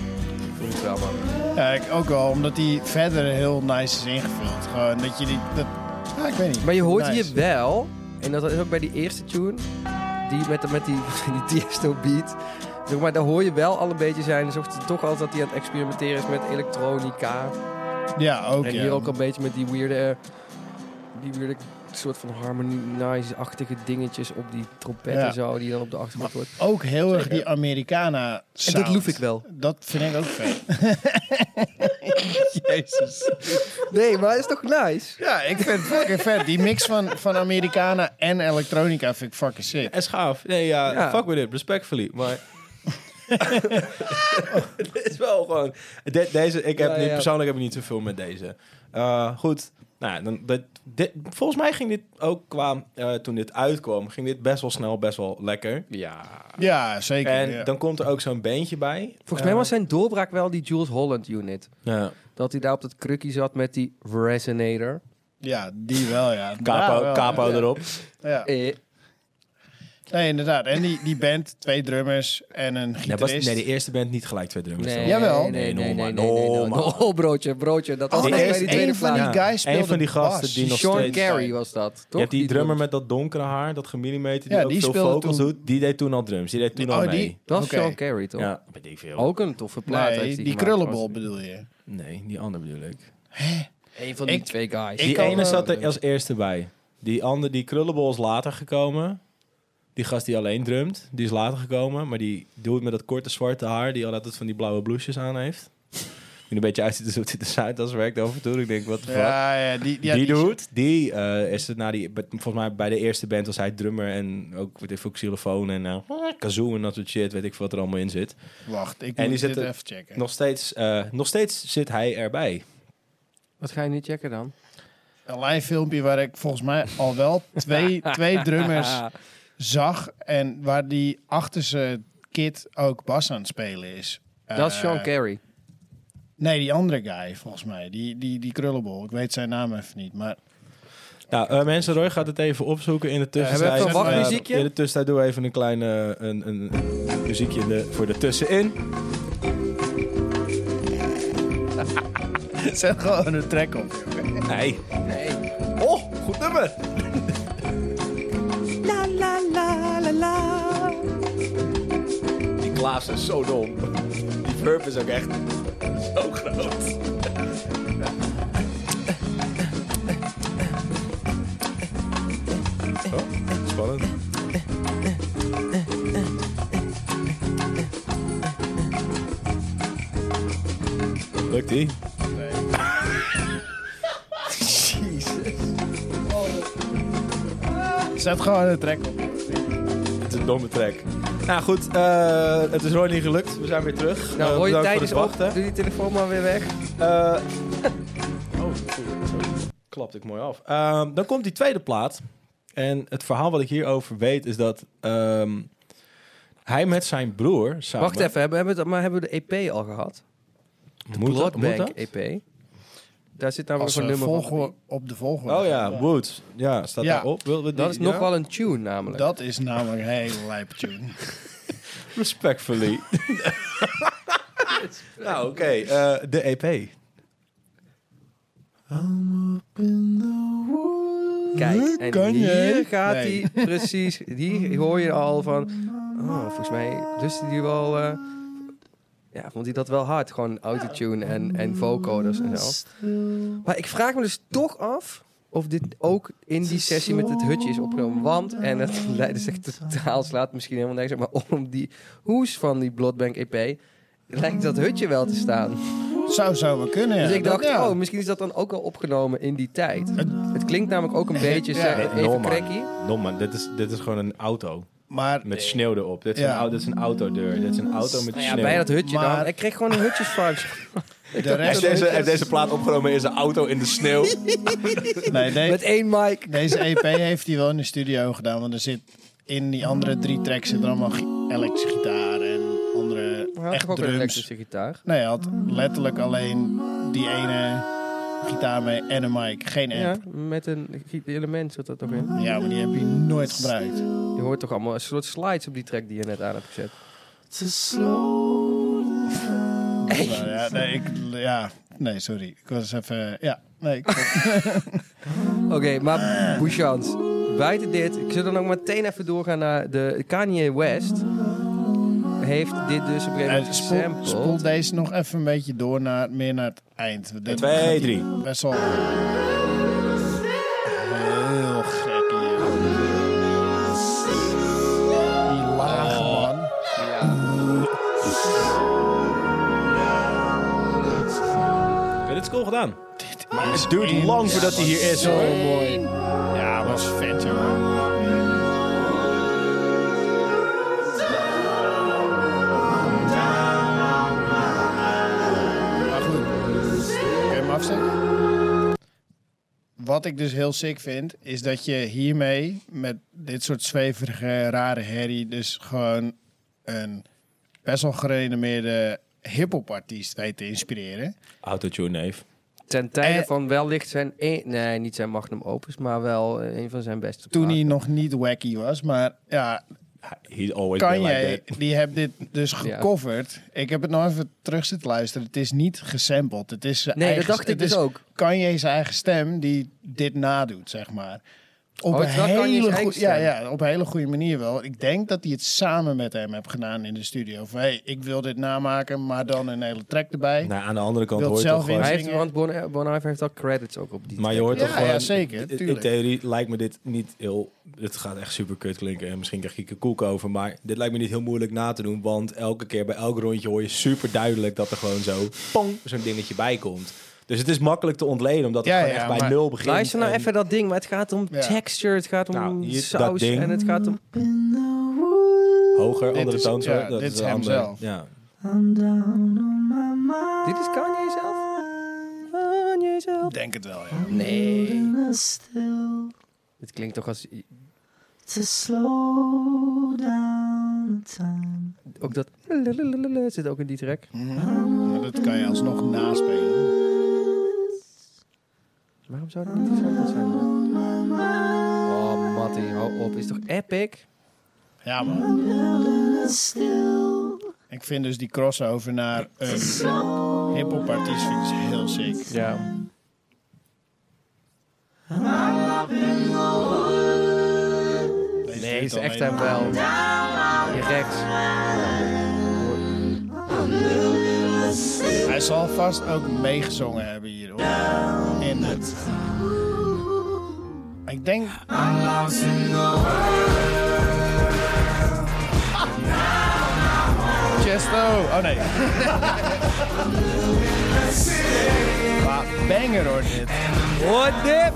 Ja, ik ook wel, omdat die verder heel nice is ingevuld. Gewoon dat je die... Dat, ja, ik weet niet.
Maar je hoort
Nice.
hier wel, en dat is ook bij die eerste tune, die met, met die, [laughs] die Tiesto beat. Zeg maar, daar hoor je wel al een beetje zijn, alsof het toch altijd dat hij aan het experimenteren is met elektronica.
Ja, ook.
En
ja.
hier ook een beetje met die weirde, eh, die weirde soort van harmonize-achtige dingetjes op die trompet
Ja.
en zo, die dan op de achtergrond wordt.
Ook heel erg die Americana sound.
En dat loef ik wel.
Dat vind ik ook vet.
Nee, maar is toch nice?
[laughs] ja, ik vind het fucking vet. Die mix van, van Americana en elektronica vind ik fucking sick.
En schaaf. Nee, ja,
Ja.
fuck with it. Respectfully. [laughs] Maar... Het Oh, is wel gewoon... De- deze, ik heb
Ja,
niet,
ja.
Persoonlijk heb ik niet zoveel met deze. Eh, goed. Nou, ja, dan, dat, dit- volgens mij ging dit ook qua... eh, toen dit uitkwam, ging dit best wel snel, best wel lekker.
Ja.
Ja, zeker.
En
ja.
dan komt er ook zo'n beentje bij.
Volgens mij was zijn doorbraak wel die Jules Holland unit.
Ja.
Dat hij daar op dat krukje zat met die resonator.
ja, die wel, ja.
Capo,
Ja, wel,
capo
ja.
erop.
Ja.
Eh,
Nee, inderdaad. En die, die band, twee drummers en een
Nee, was,
gitarist.
nee, de eerste band niet gelijk twee drummers.
Nee,
toch?
Jawel.
Nee, nee,
Nee,
nee, nee,
normaal,
nee, nee, nee,
normaal.
Oh, broodje, broodje. Dat was
Oh,
Die
bij
nee,
eerste-
die
een
tweede
van die
plaat.
Ja, een
guys speelde
van die gasten
bas.
die nog
Sean
steeds-
Carey was dat, toch?
Je hebt die drummer
doet-
met dat donkere haar, dat gemillimeter, die
Ja,
ook
die
veel
speelde
vocals
toen-
doet. Die deed toen al drums, die deed toen
Oh,
al
die-
mee.
Dat was
Oké.
Sean Carey, toch?
Ja, weet ik veel.
Ook een toffe plaat heeft
Nee,
hij
die
gemaakt,
krullenbol
was-
bedoel je.
Nee, die ander bedoel ik.
Een van die
Ik-
twee guys.
die
kan,
ene
eh,
zat er als eerste bij. Die andere, die krullenbol is later gekomen. Die gast die alleen drumt, die is later gekomen. Maar die doet met dat korte zwarte haar, die al altijd van die blauwe blouses aan heeft. Die een beetje uitziet alsof hij de Zuidas werkt af en toe. Ik denk, wat de fuck.
Ja, ja, die, ja,
die doet, die eh, is het na die, bij- volgens mij bij de eerste band was hij drummer en ook weet ik veel xylofoon en eh kazoo en dat soort shit, weet ik veel wat er allemaal in zit.
Wacht, ik
En die
moet
zit
dit
er-
even checken.
Nog steeds, eh, nog steeds zit hij erbij.
Wat ga je nu checken dan?
Een live filmpje waar ik volgens mij al wel twee, twee drummers zag en waar die achter zijn kid ook bas aan het spelen is.
Dat is
Eh,
Sean Carey.
Nee, die andere guy volgens mij. Die, die, die krullenbol. Ik weet zijn naam even niet, maar
Nou, eh, mensen, Roy gaat het even opzoeken in de
hebben
tussentijd.
we even een
Eh,
wachtmuziekje?
in de tussentijd doen we even een klein eh, een, een, een muziekje in de, voor de tussenin.
zet gewoon een trek op.
Nee. Oh, goed nummer.
La la la la la.
Die Klaas is zo dom. Die verb is ook echt zo groot. Oh, spannend. Lukt die?
Zet gewoon een trek op.
Het is een domme track. Nou goed, eh, het is Roy niet gelukt. We zijn weer terug.
Nou,
Eh,
hoor je
bedankt
tijdens
voor het
op.
wachten.
Doe die telefoon maar weer weg.
Eh, [laughs] oh, klapt ik mooi af. Ehm, dan komt die tweede plaat. En het verhaal wat ik hierover weet is dat ehm, hij met zijn broer samen...
Wacht even, hebben, hebben, we het- maar hebben we de EP al gehad?
Moet dat- moet
Bloodbank
dat? eh,
EP. Daar zit namelijk
Als
zo'n
we
nummer van.
volgen op de volgorde.
Oh ja, Woods. Ja, staat
Ja.
daarop. Wil we die-
Dat is nog
ja?
wel een tune namelijk.
Dat is namelijk een hele lijpe tune.
Respectfully.
[laughs]
[laughs] nou, oké. eh, de EP.
Kijk, en
Kan
hier
jij?
gaat hij
Nee.
precies. Die hoor je al van. Oh, volgens mij lustte die wel. eh, ja, vond hij dat wel hard. Gewoon autotune en, en vocoders en zo. Maar ik vraag me dus toch af of dit ook in die sessie met het hutje is opgenomen. Want, en het [laughs] leidt dus echt totaal slaat misschien helemaal niks op, maar om die hoes van die Bloodbank EP lijkt dat hutje wel te staan.
Zou zou wel kunnen. ja.
Dus ik dacht,
Dat- ja.
oh, misschien is dat dan ook al opgenomen in die tijd. Het klinkt namelijk ook een beetje
Ja.
zeg,
Nee,
even
Norman.
cracky.
Norman, dit is, dit is gewoon een auto
Maar
met sneeuw erop. Dit is,
Ja.
een, au- dit is een autodeur. Dit is een auto met
Nou ja,
sneeuw.
bij dat hutje
Maar-
dan. Ik kreeg gewoon een hutjes
[laughs]
vibes.
de
Hij heeft
rest...
deze, hij heeft deze plaat opgenomen in zijn auto in de [laughs] sneeuw.
[laughs] Nee, de-
Met één mic.
deze EP heeft hij wel in de studio gedaan. Want er zit in die andere drie tracks zit er allemaal gi- elektrische gitaar en andere
Hij had toch
echt
ook een
drums.
elektrische gitaar.
Nee, hij had letterlijk alleen die ene gitaar mee en een mic. Geen
Ja,
amp.
met een gi- element zat dat toch in.
Ja, maar die heb je nooit gebruikt.
Je hoort toch allemaal een soort slides op die track die je net aan hebt gezet.
Maar ja, nee, ik, ja, nee, sorry. Ik was even... Ja, nee. Ik,
Oké, maar Bouchans. Buiten dit, ik zal dan ook meteen even doorgaan naar de Kanye West. Heeft dit dus op een gegeven moment
Eh, spoel, spoel
gesampled.
deze nog even een beetje door naar, meer naar het eind. Want dit
Twee,
gaat
drie.
Best wel... Heel gek hier. Die lage man.
Ja, dit is cool gedaan.
Maar
Het duurt lang voordat hij hier is,
Zo
hoor.
mooi. Ja, was vet, jongen. Maar goed. Kun je hem afzetten? Wat ik dus heel sick vind, is dat je hiermee met dit soort zweverige, rare herrie, dus gewoon een best wel gerenommeerde hip-hop-artiest weet te inspireren.
Autotune, neef.
Ten tijde
Eh.
van wellicht zijn... e- nee, niet zijn magnum opus, maar wel eh, een van zijn beste
Toen hij
platen.
nog niet wacky was, maar ja,
He's always
Kan
been
jij,
like
die hebt dit
[laughs]
dus gecoverd. Ik heb het nog even terug zitten luisteren. Het is niet gesampled. Het is zijn
Nee,
eigen,
dat dacht ik
het
dus
is
ook.
Kanye zijn eigen stem die dit nadoet, zeg maar. Op
Oh,
een
het is wel Kanye's
hele
eigen
goe- ja,
stem.
ja, op een hele goede manier wel. Ik denk dat hij het samen met hem heeft gedaan in de studio. Van, hey, ik wil dit namaken, maar dan een hele track erbij.
that. Nou, aan de andere kant
Wilt
hoor je
zelf
toch gewoon...
weer-
Hij heeft,
zingen.
want Bon, bon Iver heeft al credits ook op die
Maar je hoort
Ja,
toch gewoon...
ja, zeker,
in- In
tuurlijk.
theorie lijkt me dit niet heel... Het gaat echt super kut klinken. En misschien krijg ik een koek over. Maar dit lijkt me niet heel moeilijk na te doen. Want elke keer bij elk rondje hoor je super duidelijk... dat er gewoon zo... pong, zo'n dingetje bij komt. Dus het is makkelijk te ontleden. Omdat het
Ja,
gewoon
ja,
echt bij
maar-
nul begint.
Luister nou
en-
even dat ding, maar het gaat om
Ja.
texture, het gaat om
Nou, hier- dat
saus
ding.
en het gaat om...
Hoger, andere
is-
toon.
ja, dit is hem zelf.
Ja.
I'm down on my mind.
Dit is Kanye zelf? Kanye zelf?
Ik denk het wel, ja.
Nee.
Still,
Dit klinkt toch als
to slow down the time.
Ook dat zit ook in die track.
Maar dat kan je alsnog naspelen.
Waarom zou dat niet interessant zijn? Oh, Matty, hou op. Is toch epic?
Ja, man.
Still
Ik vind dus die crossover naar een
slow
hip-hop artiest vind ik dus heel sick.
Ja.
Deze
Nee,
doet
is echt
alleen
hem wel. Je rechts. eh,
maar- Hij zal vast ook meegezongen hebben hier, hoor. In het... Ik denk... Chesto! Oh nee. [laughs] Maar banger hoor dit.
Hoor dit!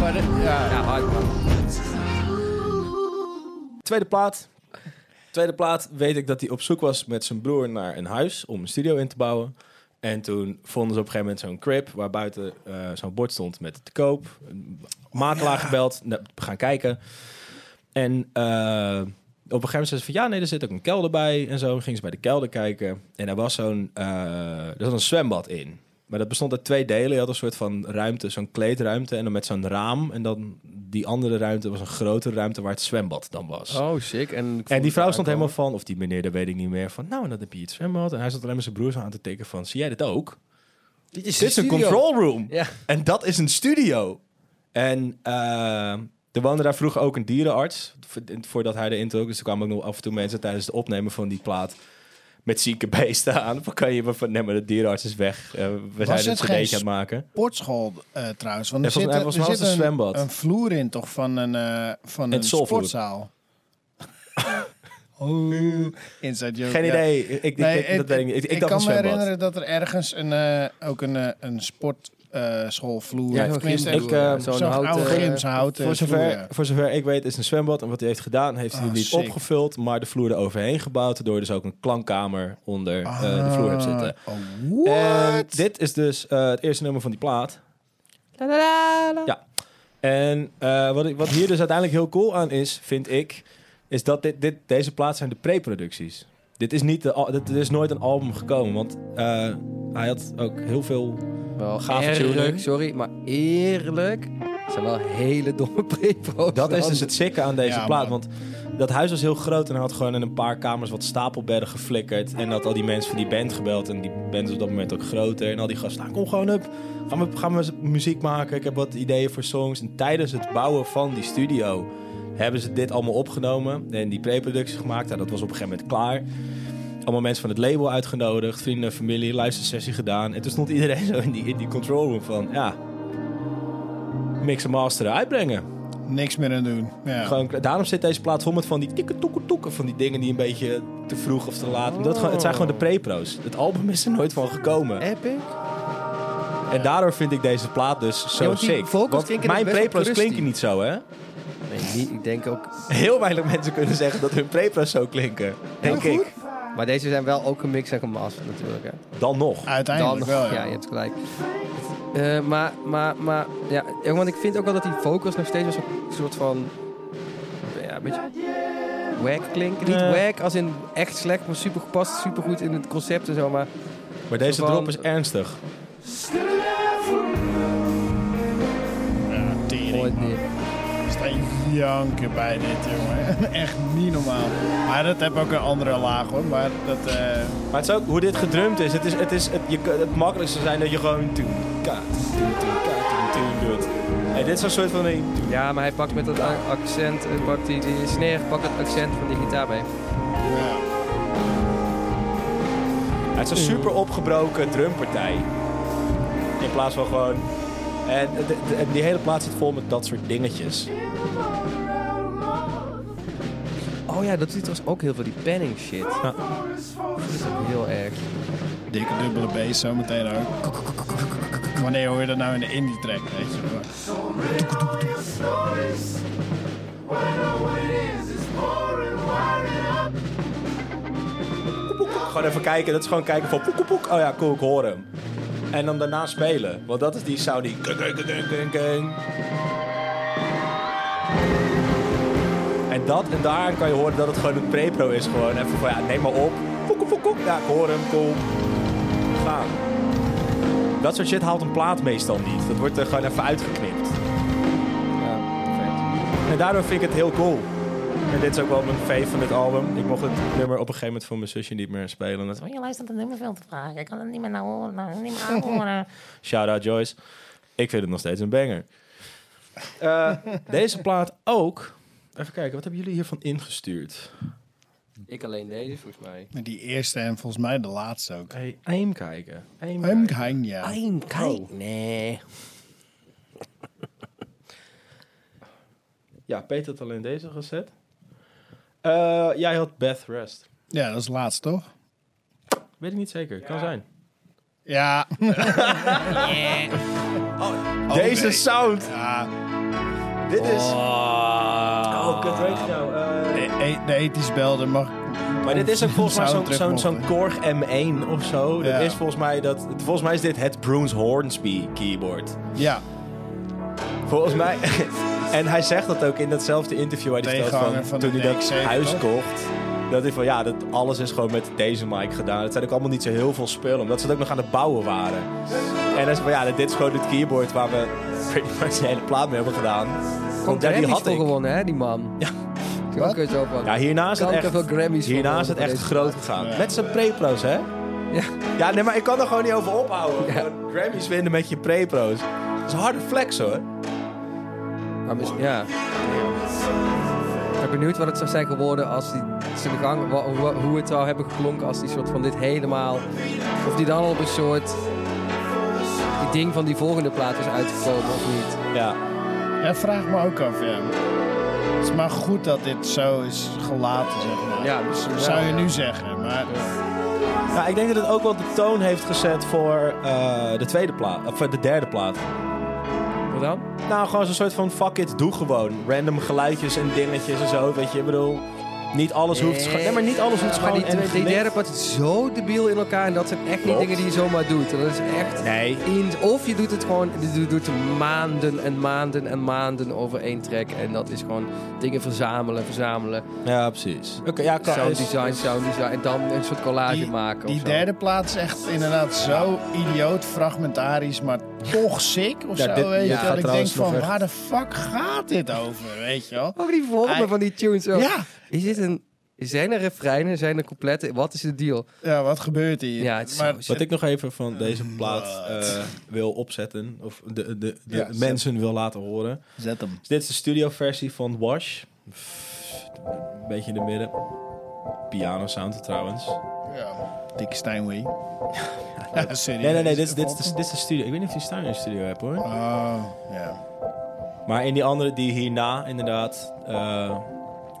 Maar dit- ja.
Ja, hard man.
Tweede plaat. Tweede plaat weet ik dat hij op zoek was met zijn broer naar een huis om een studio in te bouwen. En toen vonden ze op een gegeven moment zo'n crib waar buiten eh, zo'n bord stond met te koop. Een Makelaar gebeld, nou, we gaan kijken. En eh, op een gegeven moment zei ze van ja, nee, er zit ook een kelder bij en zo. Ging ze bij de kelder kijken en er was zo'n eh, er was een zwembad in. Maar dat bestond uit twee delen. Je had een soort van ruimte, zo'n kleedruimte en dan met zo'n raam. En dan die andere ruimte was een grotere ruimte waar het zwembad dan was.
Oh, sick. En,
En die vrouw stond helemaal van, of die meneer, dat weet ik niet meer, van nou, en dat heb je iets zwembad. En hij zat alleen maar zijn broer zo aan te tikken van, zie jij dit ook?
Dit is,
Dit is een control room.
Ja.
En dat is een studio. En eh, er woonde daar vroeger ook een dierenarts, vo- voordat hij erin trok. Dus er kwamen ook nog af en toe mensen tijdens het opnemen van die plaat met zieke beesten aan. Dan kan je maar van, nee, maar de dierenarts is weg. Eh, we zijn
het
het
geen
gedetje aan het maken.
sportschool eh, trouwens. Want
Ja,
er
volgens
zit,
mij-
er
volgens mij
zit
was het
een,
zwembad.
een vloer in toch van een, eh, van
Het
een
soulvloer. [laughs]
sportzaal. oh, inside joke.
Geen
ja.
idee. Ik, ik,
Nee,
ik-
het-
dat weet ik niet. Ik, ik
ik
dacht
kan
een
me
zwembad.
herinneren dat er ergens een, eh, ook een, eh, een sportschoolvloer...
Ja,
of tenminste,
ik,
echt
eh,
zo'n
zo'n
houten-
oude gymse houten
Voor zover,
vloer, Nou, ja.
voor zover ik weet is een zwembad. En wat hij heeft gedaan, heeft hij
Ah,
die niet
sick.
opgevuld, maar de vloer eroverheen gebouwd. Waardoor je dus ook een klankkamer onder eh, de vloer hebt zitten.
Ah,
En
what?
dit is dus eh, het eerste nummer van die plaat. Ja. En eh, wat, ik- wat hier dus uiteindelijk heel cool aan is, vind ik, is dat dit, dit, deze plaat zijn de pre-producties. Dit is, niet de, al- dit, dit is nooit een album gekomen, want eh, hij had ook heel veel...
Wel
Gave
eerlijk,
tuning.
sorry, maar eerlijk. Het zijn wel hele domme [laughs] pre-pro's.
Dat is dus het sikke aan deze
Ja,
plaat.
man.
Want dat huis was heel groot en hij had gewoon in een paar kamers wat stapelbedden geflikkerd. En had al die mensen van die band gebeld. En die band is op dat moment ook groter. En al die gasten, "Ah, kom gewoon op. Gaan we, gaan we muziek maken. Ik heb wat ideeën voor songs. En tijdens het bouwen van die studio hebben ze dit allemaal opgenomen. En die pre-productie gemaakt. Nou, dat was op een gegeven moment klaar. Allemaal mensen van het label uitgenodigd. Vrienden, familie, luistersessie gedaan. En toen stond iedereen zo in die, in die control room van... Ja, mix en masteren, uitbrengen.
Niks meer aan doen. Ja.
Eh, Gewoon, daarom zit deze plaat vol met van die tikke toeke toeke van die dingen die een beetje te vroeg of te laat. Omdat het, gewoon, het zijn gewoon de pre-pro's. Het album is er nooit van gekomen.
Epic.
En daardoor vind ik deze plaat dus zo
want die
sick.
vocals
Want
klinken
mijn
dus best wel
pre-pro's
crusty.
klinken niet zo, hè?
Nee, niet, ik denk ook...
Heel weinig mensen kunnen zeggen dat hun pre-pro's zo klinken. Denk ik.
Maar deze zijn wel ook gemixed en gemasterd natuurlijk, hè.
Dan nog.
Uiteindelijk wel, ja.
Ja, je hebt gelijk. Eh, maar, maar, maar, ja, ja, want ik vind ook wel dat die vocals nog steeds wel zo'n soort van, ja, een beetje wack klinken. Niet
Ja.
wack als in echt slecht, maar super gepast, super goed in het concept en zo, maar
Maar deze
Van-
drop is ernstig.
Ja, tering,
nooit
man.
meer.
Ik sta janken bij dit, jongen. [laughs] Echt niet normaal. Maar dat heb ook een andere laag, hoor. Maar dat... eh,
Maar het is ook hoe dit gedrumd is. Het, is, het, is, het, je, kan- het makkelijkste zijn dat je gewoon... Toen, ka, toen, toen, ka, toen, toen doet. En dit is een soort van... een-
Ja, maar hij pakt met dat a- accent, eh, pakt die, die snare, pakt het accent van die gitaar mee.
ja.
Het is een super opgebroken drumpartij. In plaats van gewoon. En de- de- en die hele plaat zit vol met dat soort dingetjes.
Oh ja, dat ziet trouwens ook heel veel, die panning shit. Dat is ook heel erg.
Dikke dubbele bass zo meteen ook. Wanneer hoor je dat nou in de indie track, weet je wel.
Poek, poek, poek. Gewoon even kijken. Dat is gewoon kijken van poek, poek, poek. Oh ja, cool, ik hoor hem. En dan daarna spelen. Want dat is die sound die... gung, gung, gung, gung, gung. En dat en daar kan je horen dat het gewoon een pre-pro is. Gewoon even van ja, neem maar op. Poek, poek, poek, poek. Ja, ik hoor hem, cool. Gaan. Dat soort shit haalt een plaat meestal niet. Dat wordt er gewoon even uitgeknipt. En daardoor vind ik het heel cool. En dit is ook wel mijn fave van dit album. Ik mocht het nummer op een gegeven moment van mijn zusje niet meer spelen. Dat...
Maar je luistert het nummer veel te vaak. Ik kan het niet meer naar horen. nou, Niet meer aanhoren.
Shout out Joyce. Ik vind het nog steeds een banger. Eh, deze plaat ook. Even kijken, wat hebben jullie hiervan ingestuurd?
Ik alleen deze, volgens mij.
Die eerste en volgens mij de laatste ook.
Hey, aim kijken. Aim
Hem
kijken.
hang ja.
Een kijk. Nee.
Ja, Peter had alleen deze gezet. Eh, jij had Beth Rest.
Ja, dat is laatst toch?
Weet ik niet zeker, kan zijn.
Ja.
deze
Oh, nee.
sound.
ja.
Dit is. Oh, kut radio. Eh,
De, e- de ethisch belde mag.
Maar dit is
[laughs]
ook volgens mij zo'n
Soundtrack
zo'n
mochten.
zo'n Korg M1 of zo.
Ja.
Dat is volgens mij dat. Volgens mij is dit het Bruce Hornsby keyboard.
Ja,
Volgens mij. [laughs] en hij zegt dat ook in datzelfde interview. Hij die stelt
Tegenhanger
van,
van de
toen hij dat
DX7,
huis
toch?
kocht. Dat hij van ja, dat alles is gewoon met deze mic gedaan. Het zijn ook allemaal niet zo heel veel spullen, omdat ze het ook nog aan het bouwen waren. En hij zei van ja, dit is gewoon het keyboard waar we [laughs] pretty much de hele plaat mee hebben gedaan. Want
Komt er
die
Grammys
had
voor
ik.
gewonnen, hè, die man. Ja. Ook eens op,
Ja, hierna is het
Kanker
echt,
veel Grammys voor
hierna is het
gewonnen
echt
voor
groot
deze
gegaan.
Ja.
Met zijn pre-pro's, hè?
ja.
Ja, nee, maar ik kan er gewoon niet over ophouden.
Ja.
Gewoon Grammys winnen met je pre-pro's. Dat is een harde flex, hoor.
Maar misschien, ja. Ik ben benieuwd wat het zou zijn geworden als die zijn gang, wa- wa- hoe het zou hebben geklonken als die soort van dit helemaal, of die dan op een soort die ding van die volgende plaat is uitgekomen of niet.
Ja.
ja, vraag me ook af, ja. Het is maar goed dat dit zo is gelaten, zeg maar.
Ja, misschien wel,
zou je
ja.
nu zeggen, maar...
Nou, ik denk dat het ook wel de toon heeft gezet voor eh, de tweede plaat. Of voor de derde plaat.
Wat dan?
Nou, gewoon zo'n soort van fuck it, doe gewoon. Random geluidjes en dingetjes en zo, weet je. Ik bedoel, niet alles hoeft... scho- Nee, maar niet alles hoeft
Ja,
gewoon...
Maar die,
en
twee- die
gemixt.
derde part is zo debiel in elkaar. En dat zijn echt niet
Klopt.
dingen die je zomaar doet. Dat is echt...
Nee.
in- of je doet het gewoon... Je doet maanden en maanden en maanden over één track. En dat is gewoon dingen verzamelen, verzamelen.
Ja, precies. Oké, ja, kan.
sound design, sound design. En dan een soort collage
Die,
maken
die
of zo.
derde plaats is echt inderdaad zo idioot, fragmentarisch, maar toch sick of
Ja,
zo.
dit-
weet
dit
je,
gaat
dat ik denk
trouwens nog
van,
echt-
waar de fuck gaat dit over, weet je wel?
Ook Oh, die vormen
Hij-
van die tunes. ook.
Ja.
Is dit een... Zijn er refreinen? Zijn er coupletten? Wat is de deal?
Ja, wat gebeurt hier?
Ja, het is
maar,
zo-
Wat ik nog even van deze plaat eh, wil opzetten, of de, de, de, de
Ja, zet-
mensen wil laten horen.
Zet hem.
Dus dit is de studioversie van Wash. Pff, Een beetje in de midden. Piano sound trouwens.
Ja. Dick Steinway. Ja, serieus.
Nee, nee, nee, dit is, dit, is de, dit is de studio. Ik weet niet of je Stein in de studio hebt hoor.
Oh, ja.
Maar in die andere, die hierna inderdaad. eh,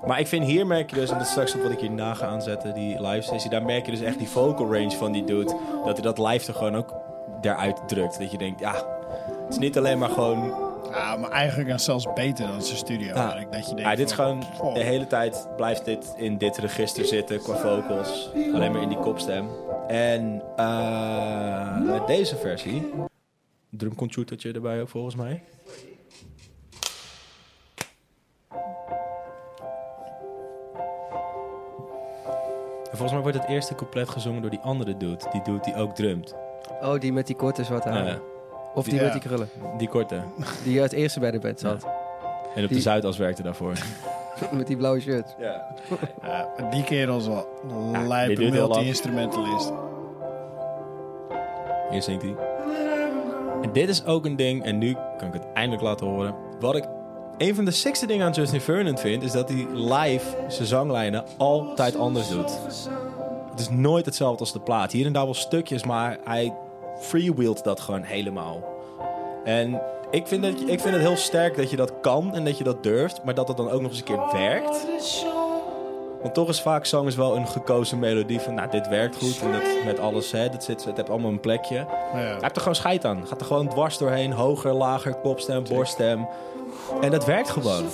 maar ik vind hier merk je dus, en dat is straks op wat ik hierna ga aanzetten, die live sessie, daar merk je dus echt die vocal range van die dude. Dat hij dat live er gewoon ook eruit drukt. Dat je denkt, ja, het is niet alleen maar gewoon
Ah, maar eigenlijk dan zelfs beter dan zijn studio.
Ja.
werk, Dat je denkt
Ja, Ah. dit is
van,
gewoon
oh.
de hele tijd blijft dit in dit register zitten qua vocals. Alleen maar in die kopstem. En eh, met deze versie, drumcomputertje erbij ook volgens mij. En volgens mij wordt het eerste couplet gezongen door die andere dude. Die dude die ook drumt.
Oh, die met die korte zwarte
Nou
haren.
ja,
Of die
Ja.
met die krullen.
die korte.
Die het eerste bij de bed zat.
En op de
Die-
Zuidas werkte daarvoor.
[laughs] Met die blauwe shirt.
Ja.
Ja, maar die kerel is wel een
dit
lijpe
duurt heel lang.
multi-instrumentalist.
Hier zingt hij. En dit is ook een ding, en nu kan ik het eindelijk laten horen. Wat ik een van de sixte dingen aan Justin Vernon vind, is dat hij live zijn zanglijnen altijd anders doet. Het is nooit hetzelfde als de plaat. Hier en daar wel stukjes, maar hij freewheelt dat gewoon helemaal. En ik vind, dat, ik vind het heel sterk dat je dat kan en dat je dat durft, maar dat het dan ook nog eens een keer werkt. Want toch is vaak zangers wel een gekozen melodie van, nou, dit werkt goed en dat met alles, hè, dat zit, het heeft allemaal een plekje.
Ja.
Hij heeft er gewoon scheid aan. Gaat er gewoon dwars doorheen. Hoger, lager, kopstem, borststem. En dat werkt gewoon.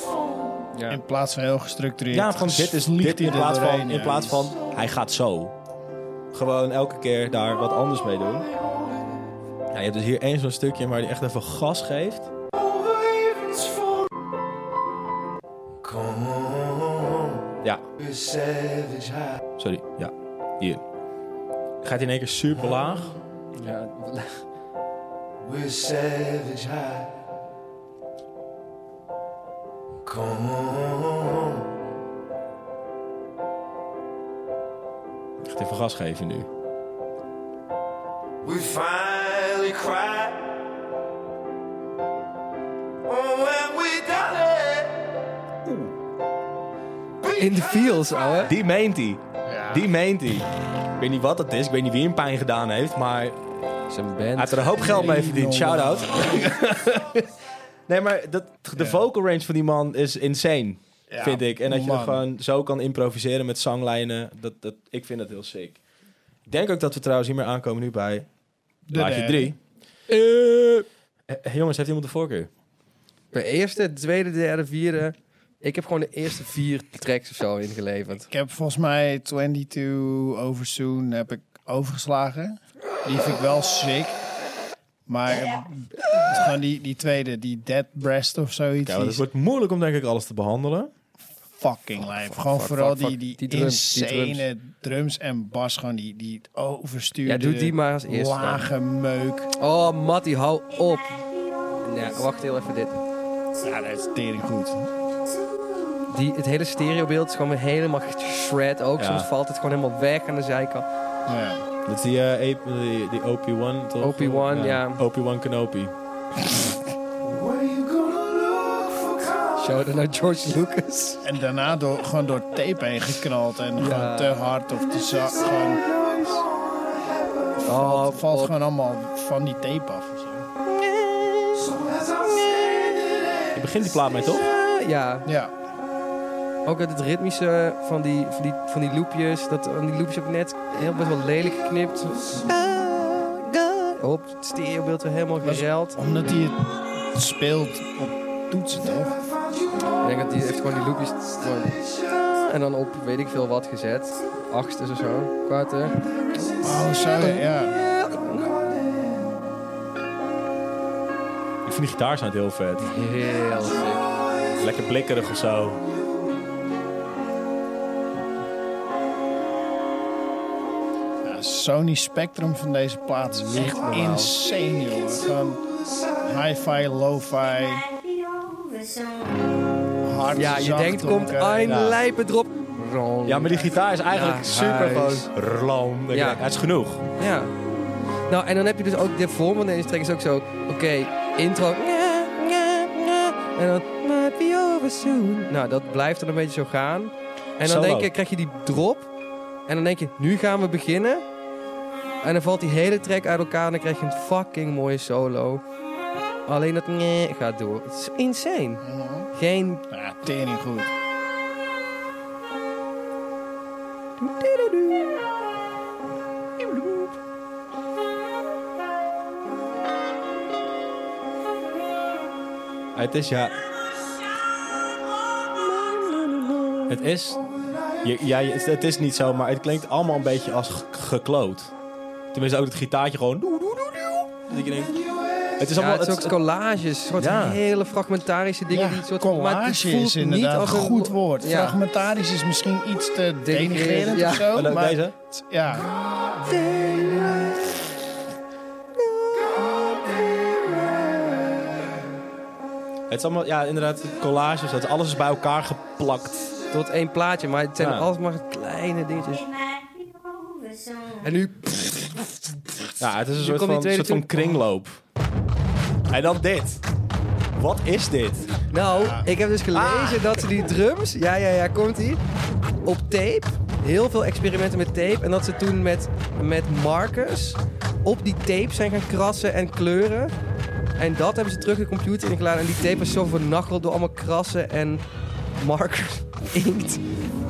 Ja.
In plaats van heel gestructureerd.
Ja, gewoon dit is
vliegt
dit in
hij
plaats
er
van,
doorheen,
in
ja.
plaats van hij gaat zo. Gewoon elke keer daar wat anders mee doen. Ja, je hebt dus hier één zo'n stukje waar hij echt even gas geeft. Ja. Sorry, ja. Hier. Gaat hij in één keer super laag.
Ja,
Echt even gas geven nu.
We finally cried. Oh, when we done it.
in de feels, ouwe.
Die meent hij. Die meent hij. Ik weet niet wat dat is. Ik weet niet wie hem pijn gedaan heeft. Maar
Zijn
Hij heeft
band.
er een hoop geld mee verdiend. Shout-out. nee, maar dat, de vocal range van die man is insane,
Ja,
vind ik. En dat je er
man.
gewoon zo kan improviseren met zanglijnen. Dat, dat, ik vind dat heel sick. Ik denk ook dat we trouwens hiermee aankomen nu bij
De
laagje
derde.
3. Eh. jongens, heeft iemand de voorkeur?
De eerste, tweede, derde, vierde. Ik heb gewoon de eerste vier tracks of zo ingeleverd.
Ik heb volgens mij 22 over Soon heb ik overgeslagen. Die vind ik wel sick. Maar eh, gewoon die, die tweede, die Dead Breast of zoiets.
Ja,
die
want
is
het wordt moeilijk om denk ik alles te behandelen.
fucking lijp. Gewoon
fuck,
vooral
fuck,
die,
fuck.
die,
Die drums, die
insane drums. en bas. Gewoon die, die overstuurde
Ja, doe die maar als eerste.
lage meuk.
Oh, Matty, hou op. Ja, wacht heel even dit.
Ja, dat is tering goed.
Die, het hele stereobeeld is gewoon weer helemaal shred ook.
Ja.
Soms valt het gewoon helemaal weg aan de zijkant.
Ja.
Dat is die, eh, Ape- die, die OP1, toch?
OP1, ja.
OP1 Kenopi.
Where you gonna look for calm?
Shout out naar George Lucas.
En daarna door, gewoon door tape heen geknald. En
Ja.
gewoon te hard of te zacht. Gewoon,
Oh,
[laughs] valt
op.
gewoon allemaal van die tape af. of zo.
So as I'm standing there,
Je begint die plaat mee, toch?
Ah, Ja,
Ja.
ook uit het ritmische van die, van die, van die loopjes. Dat, van die loopjes heb ik net heel best wel lelijk geknipt. Op het stereobeeld weer helemaal gereld.
Omdat hij het speelt op toetsen, toch?
I found you
Ik denk dat die heeft gewoon die loopjes gewoon, en dan op weet ik veel wat gezet. Achtste of zo, kwarte.
Oh, zo, ja.
Ik vind die gitaarsound heel vet.
Heel sick.
Lekker blikkerig of zo.
Ja, Sony Spectrum van deze plaat is echt insane, joh. Gewoon hi-fi, lo-fi, hard,
Ja, je
zacht,
denkt, komt
donker.
een
Ja.
lijpe drop.
Ja, maar die gitaar is eigenlijk
Ja,
super
huis.
gewoon. Rlam.
Ja.
Ja. Het is genoeg.
Ja. Nou, en dan heb je dus ook de vorm van deze track is ook zo. Oké, intro. Nya, nya, nya. En dan might be over soon. Nou, dat blijft dan een beetje zo gaan. En dan
Solo.
denk je, krijg je die drop. En dan denk je, nu gaan we beginnen. En dan valt die hele track uit elkaar en dan krijg je een fucking mooie solo. Alleen dat nee gaat door. Het is insane. Geen...
Ja, tering goed.
Het is ja. Het is. je- ja, je- het- het is niet zo, maar het klinkt allemaal een beetje als g- gekloot. Tenminste, ook het gitaartje gewoon. doe, doe, doe, doe. Dat ik denk, het is
Ja,
allemaal.
het is ook collages. Soort
Ja.
hele fragmentarische dingen.
Ja,
die soort, maar het
collage
voelt
is inderdaad
niet als
een goed
een-
woord.
Ja.
Fragmentarisch is misschien iets te denigrerend
ja.
of zo.
en ook
maar,
deze.
Ja,
Het is allemaal, ja, inderdaad, collages. Dat alles is bij elkaar geplakt.
Tot één plaatje, maar het zijn
Ja.
alsmaar kleine dingetjes. En nu,
Ja, het is een
Nu komt die
soort van,
tweede
soort van
tune.
kringloop. En dan dit. Wat is dit?
nou, ik heb dus gelezen dat ze die drums, ja, ja, ja, komt ie, op tape, heel veel experimenten met tape, en dat ze toen met, met markers op die tape zijn gaan krassen en kleuren. En dat hebben ze terug de computer ingeladen en die tape is zo vernachteld door allemaal krassen en markers [laughs] inkt.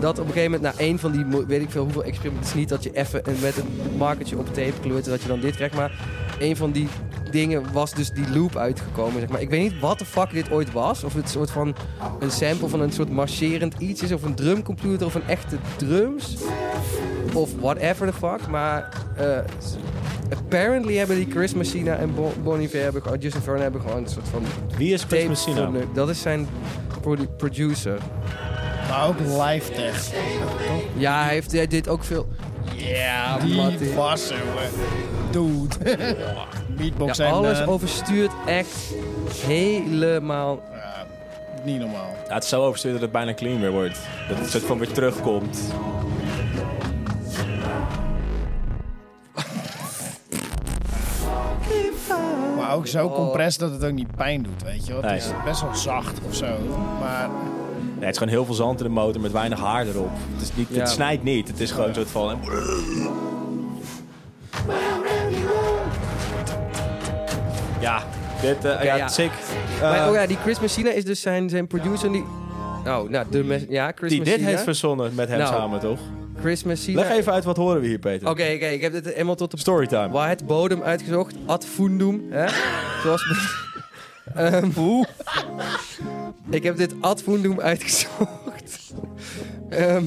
Dat op een gegeven moment, na één van die, mo- weet ik veel hoeveel experimenten, het is niet dat je even een- met een markertje op tape kleurt en dat je dan dit krijgt, maar een van die dingen was dus die loop uitgekomen. Zeg maar. Ik weet niet wat de fuck dit ooit was. Of het soort van een sample van een soort marcherend iets is. Of een drumcomputer of een echte drums. Of whatever the fuck. Maar eh, apparently hebben die Chris Messina en Bo- Bon Iver hebben, gewoon- Justin Vernon hebben gewoon een soort van
Wie is Chris
tape.
Messina?
voor- Dat is zijn produ- producer.
Maar ook live tech.
Ja, hij heeft hij deed ook veel.
Ja,
Mattie.
die was er, hoor. Dude. [laughs] Beatbox
Ja,
en...
alles
eh,
overstuurt echt helemaal.
Eh,
ja, eh, niet normaal.
Ja, het is zo overstuurd dat het bijna clean weer wordt. Dat het soort van weer terugkomt.
Maar ook zo
Oh.
compress dat het ook niet pijn doet, weet je wel. Het
Nee.
is best wel zacht of zo. Maar
Nee, het is gewoon heel veel zand in de motor met weinig haar erop. Het, is niet,
Ja.
het snijdt niet. Het is gewoon een soort van... Ja, dit... eh ja,
ja.
sick.
maar
Eh,
oh ja, die Chris Messina is dus zijn, zijn producer. en Die, oh, nou, de mes- ja, Chris
die dit
Messina.
heeft verzonnen met hem
Nou.
samen, toch?
Chris Messina.
Leg even uit wat horen we hier, Peter.
Oké, oké, ik heb dit helemaal tot de
Storytime.
waar het bodem uitgezocht. Ad fundum, hè? Zoals. Ehm, Ik heb dit ad fundum uitgezocht. Ehm,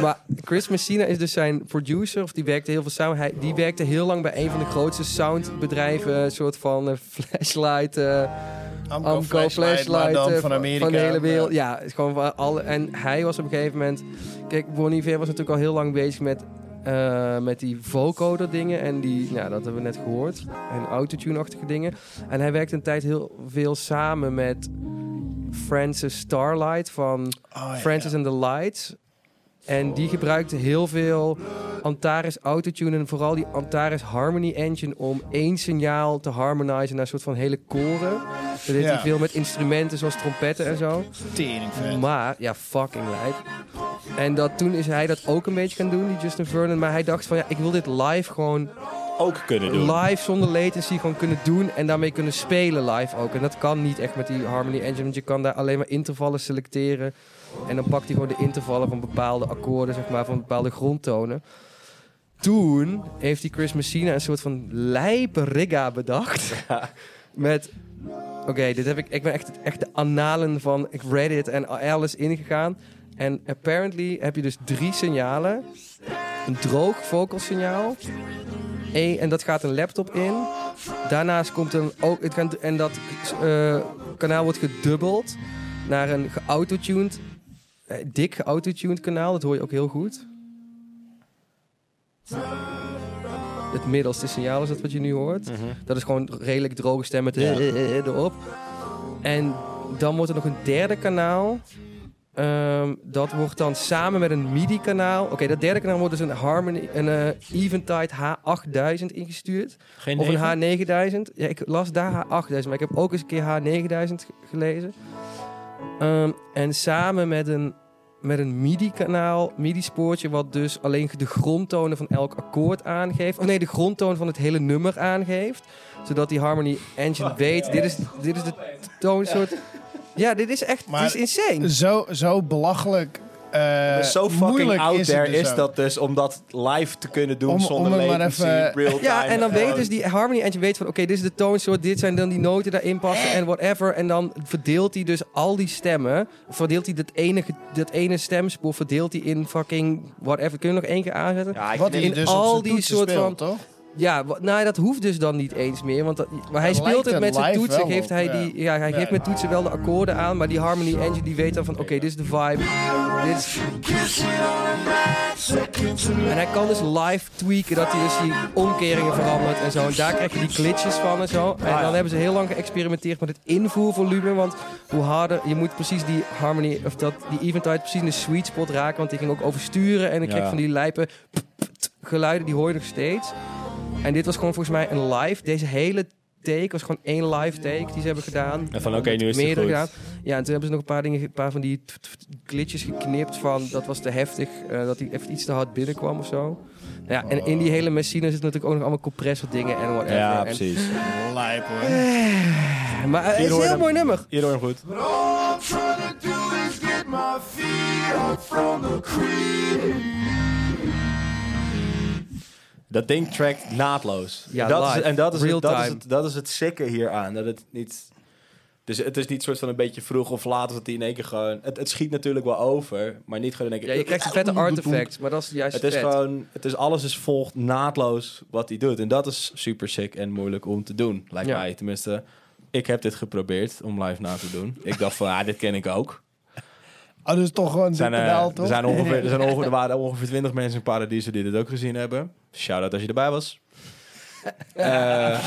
Maar Chris Messina is dus zijn producer, of die werkte heel veel samen. Hij, die werkte heel lang bij een van de grootste soundbedrijven, een soort van eh, flashlight. eh,
Amco,
Amco
flashlight, maar
flashlight
dan
eh,
van Amerika.
Van de hele wereld. Ja, het is gewoon van alle. En hij was op een gegeven moment. Kijk, Bon Iver was natuurlijk al heel lang bezig met. eh, met die vocoder dingen en die, nou dat hebben we net gehoord, en autotune-achtige dingen. En hij werkte een tijd heel veel samen met Francis Starlight van
Oh, ja,
Francis
ja.
and the Lights. En die gebruikte heel veel Antares autotune en vooral die Antares Harmony Engine om één signaal te harmonizen naar een soort van hele koren. Dat deed hij
Ja.
veel met instrumenten zoals trompetten en zo.
Tering vet.
Maar, ja, fucking lijp. En dat, toen is hij dat ook een beetje gaan doen, die Justin Vernon. Maar hij dacht van, ja, ik wil dit live gewoon
Ook kunnen doen.
live zonder latency gewoon kunnen doen en daarmee kunnen spelen live ook. En dat kan niet echt met die Harmony Engine, want je kan daar alleen maar intervallen selecteren. En dan pakt hij gewoon de intervallen van bepaalde akkoorden, zeg maar, van bepaalde grondtonen. Toen heeft die Chris Messina een soort van lijpe rigga bedacht.
[laughs]
Met, oké, dit heb ik, ik ben echt, echt de analen van Reddit en alles ingegaan. En apparently heb je dus drie signalen. Een droog vocal signaal. E- en dat gaat een laptop in. Daarnaast komt een ook het gaat, en dat eh, kanaal wordt gedubbeld naar een geautotuned, eh, dik geautotuned kanaal. Dat hoor je ook heel goed. Het middelste signaal is dat wat je nu hoort. Dat is gewoon redelijk droge stem met eh, eh, eh, erop. En dan wordt er nog een derde kanaal. Ehm, dat wordt dan samen met een MIDI-kanaal. Oké, dat derde kanaal wordt dus een Harmony, een eh, Eventide H8000 ingestuurd.
Geen
Of
negen?
een H9000. Ja, ik las daar H8000, maar ik heb ook eens een keer H9000 ge- gelezen. Ehm, en samen met een, met een MIDI-kanaal, MIDI-spoortje, wat dus alleen de grondtonen van elk akkoord aangeeft. Of nee, de grondtoon van het hele nummer aangeeft. Zodat die Harmony Engine weet, dit is, dit is de toonsoort. Ja, dit is echt
Maar-
dit is insane.
Zo, zo belachelijk eh,
zo fucking
moeilijk
out
is
there
het dus
is
ook.
dat dus om dat live te kunnen doen
Om-
zonder
om het maar
latency,
even-
real-time.
Ja, en dan weet
gewoon-
dus die Harmony Engine weet van... oké, dit is de toonsoort, dit zijn dan die noten daarin passen en whatever. En dan verdeelt hij dus al die stemmen. Verdeelt hij dat ene, dat ene stemspoor, verdeelt hij in fucking whatever. Kun je nog één keer aanzetten? Ja,
Ja, ik
Wat
denk-
hij
in
dus
al
op zijn
die
toetsen
soort
speelt, toch?
wa- nou, dat hoeft dus dan niet eens meer. Want dat, maar hij
Dat
speelt
lijkt
het
er
met zijn
live
toetsen.
wel
Geeft
op,
hij,
ja.
die, ja, hij
Ja.
geeft met toetsen wel de akkoorden aan. Maar die Harmony Engine die weet dan van... oké, dit is de vibe. Dit is... En hij kan dus live tweaken dat hij dus die omkeringen verandert en zo. En daar krijg je die glitches van en zo.
Ah,
En dan hebben ze heel lang geëxperimenteerd met het invoervolume. Want hoe harder, je moet precies die harmony, of dat, die eventide precies in de sweet spot raken. Want die ging ook oversturen en dan kreeg
Ja.
je van die lijpen geluiden, die hoor je nog steeds. En dit was gewoon volgens mij een live, deze hele take was gewoon één live take die ze hebben gedaan.
En van oké, nu is het
Meerdere
goed.
gedaan. Ja, en toen hebben ze nog een paar dingen, ge- een paar van die t- t- glitches geknipt van dat was te heftig, eh, dat hij even iets te hard binnenkwam of zo. Nou ja, en in die hele machine zitten natuurlijk ook nog allemaal compressor dingen en whatever.
Ja,
En-
precies.
Lijp, hoor.
maar eh, het is een
hoor je
heel
hem.
mooi nummer.
Hier hoor je hem goed.
All I'm trying to do is get my feet up from the creek.
Dat ding trackt naadloos.
Ja,
dat
live,
is, en dat is,
real
het, dat, is
time.
het, dat is het sikke hieraan. Dat het niet... Dus het is niet soort van een beetje vroeg of laat, of dat die in één keer gewoon... Het, het schiet natuurlijk wel over, maar niet gewoon in één
Ja,
keer...
je krijgt een vette artifact, maar dat is juist
Het is
vet.
gewoon, het is alles is volgt naadloos wat hij doet. En dat is super sick en moeilijk om te doen, lijkt
Ja.
mij. Tenminste, ik heb dit geprobeerd om live na te doen. ik dacht van, [laughs] ah, dit ken ik ook.
Oh, dus toch gewoon
Er
zijn,
zijn, eh,
pedaal, toch?
er, zijn ongeveer, er, zijn ongeveer, er waren ongeveer 20 mensen in Paradiso die dit ook gezien hebben. Shout-out als je erbij was. Eh,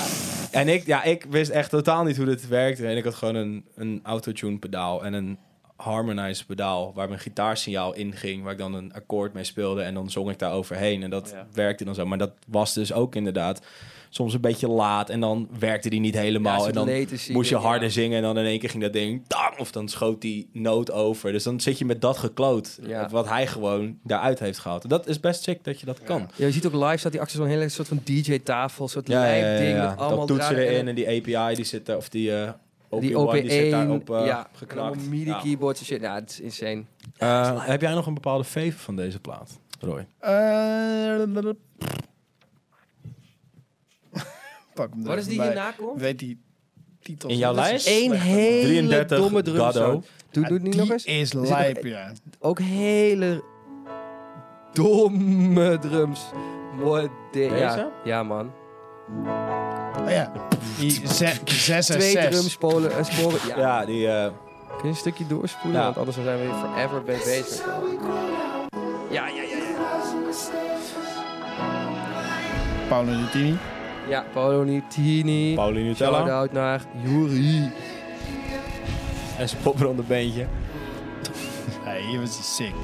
en ik, ja, ik wist echt totaal niet hoe dit werkte. En ik had gewoon een, een autotune pedaal en een harmonize pedaal... waar mijn gitaarsignaal in ging, waar ik dan een akkoord mee speelde... en dan zong ik daar overheen en dat
Oh ja.
werkte dan zo. Maar dat was dus ook inderdaad soms een beetje laat... en dan werkte die niet helemaal.
Ja,
en
een
dan
soort latency
moest je
ding,
harder
ja.
zingen en dan in één keer ging dat ding... Tang, of dan schoot die noot over. Dus dan zit je met dat gekloot.
Ja.
Wat hij gewoon daaruit heeft gehaald. En dat is best sick dat je dat kan.
Ja, je ziet ook live staat die achter zo'n hele soort van DJ-tafel, soort
Ja, ja, ja,
lijpding
ja.
met allemaal
Dat toetsen
draden-
erin en die API die zit daar, of die eh OP1
die
die zit
OP1,
daarop eh,
ja, en
geknakt.
allemaal MIDI
Ja.
keyboards en shit. Ja, het is insane.
Eh, heb jij nog een bepaalde fave van deze plaat, Roy?
Eh, [laughs] Pak hem er
Wat is
even
die
bij.
hierna komt?
Weet die titel.
In jouw
niet. Dat is
lijst?
een
Eén
slechte-
hele
33
domme
Gaddo.
drumsolo. Doe,
Ja,
doe het niet
die
nog eens.
is
nog
lijp,
een-
ja.
Ook hele domme drums. Mooi ding.
Deze?
Ja, ja, man.
Oh, ja. Die ze- zes en
Twee
zes.
drumspolen en sporen. Ja.
Ja, die... eh,
Kun je een stukje doorspoelen?
Ja.
Want anders zijn we hier forever mee bezig. Ja, ja, ja. ja.
Paolo Nutini.
Ja, Paolo Nutini.
Pauli Nutella
Shout-out naar Juri.
en zijn popronde beentje.
Nee, hier was hij sick.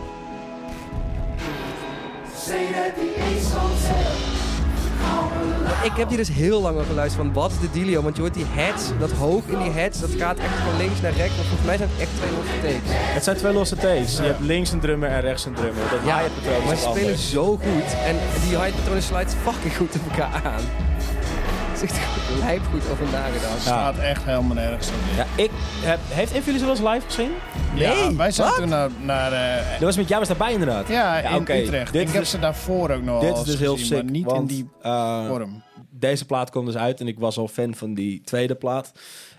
Ik heb die dus heel lang al geluisterd van wat is de dealio? Want je hoort die heads, dat hoog in die heads, dat gaat echt van links naar rechts. Maar volgens mij zijn het echt twee losse takes.
Het zijn twee losse T's. Je hebt links een drummer en rechts een drummer. Dat ja, patroon
maar
is
ze
wat
spelen
anders.
zo goed. En die high patronen slijt fucking goed op elkaar aan. Het is echt lijp goed over nagedacht.
Ja.
Staat echt helemaal nergens op.
Ja, ik heb, heeft een van jullie ze wel eens live gezien?
ja, wij zijn
wat?
toen naar... naar eh,
Dat was met jou was daarbij inderdaad.
ja, in
oké.
Utrecht.
Dit
ik
is
heb
dus-
ze daarvoor ook nog
Dit
wel
is
eens
dus heel
gezien,
sick.
maar niet in
want,
die
eh,
vorm.
deze plaat kwam dus uit en ik was al fan van die tweede plaat.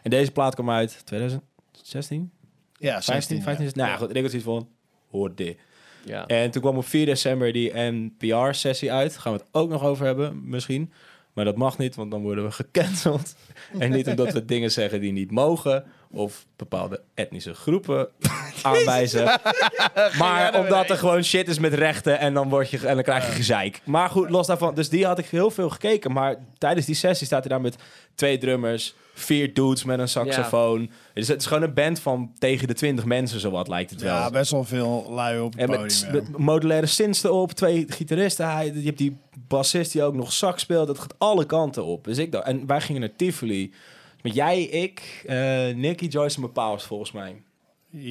En deze plaat kwam uit 2016?
Ja,
15?
16.
15 is- Nou ja, goed. En ik had iets van, hoor dit.
Ja.
En toen kwam op 4 december die NPR-sessie uit. Daar gaan we het ook nog over hebben, misschien. Maar dat mag niet, want dan worden we gecanceld. en niet omdat we dingen zeggen die niet mogen... of bepaalde etnische groepen aanwijzen. maar omdat er gewoon shit is met rechten... en dan, word je, en dan krijg je gezeik. Maar goed, los daarvan. Dus die had ik heel veel gekeken. Maar tijdens die sessie staat hij daar met twee drummers... vier dudes met een saxofoon. Dus het is gewoon een band van tegen de twintig mensen... zowat lijkt het wel.
Ja, best wel veel lui op het
En
podium.
met,
ja.
met modulaire synths erop, twee gitaristen. Hij, je hebt die bassist die ook nog sax speelt. Dat gaat alle kanten op. Dus ik dacht, en wij gingen naar Tivoli. Met jij, ik, eh Nicky, Joyce en mijn paus volgens mij.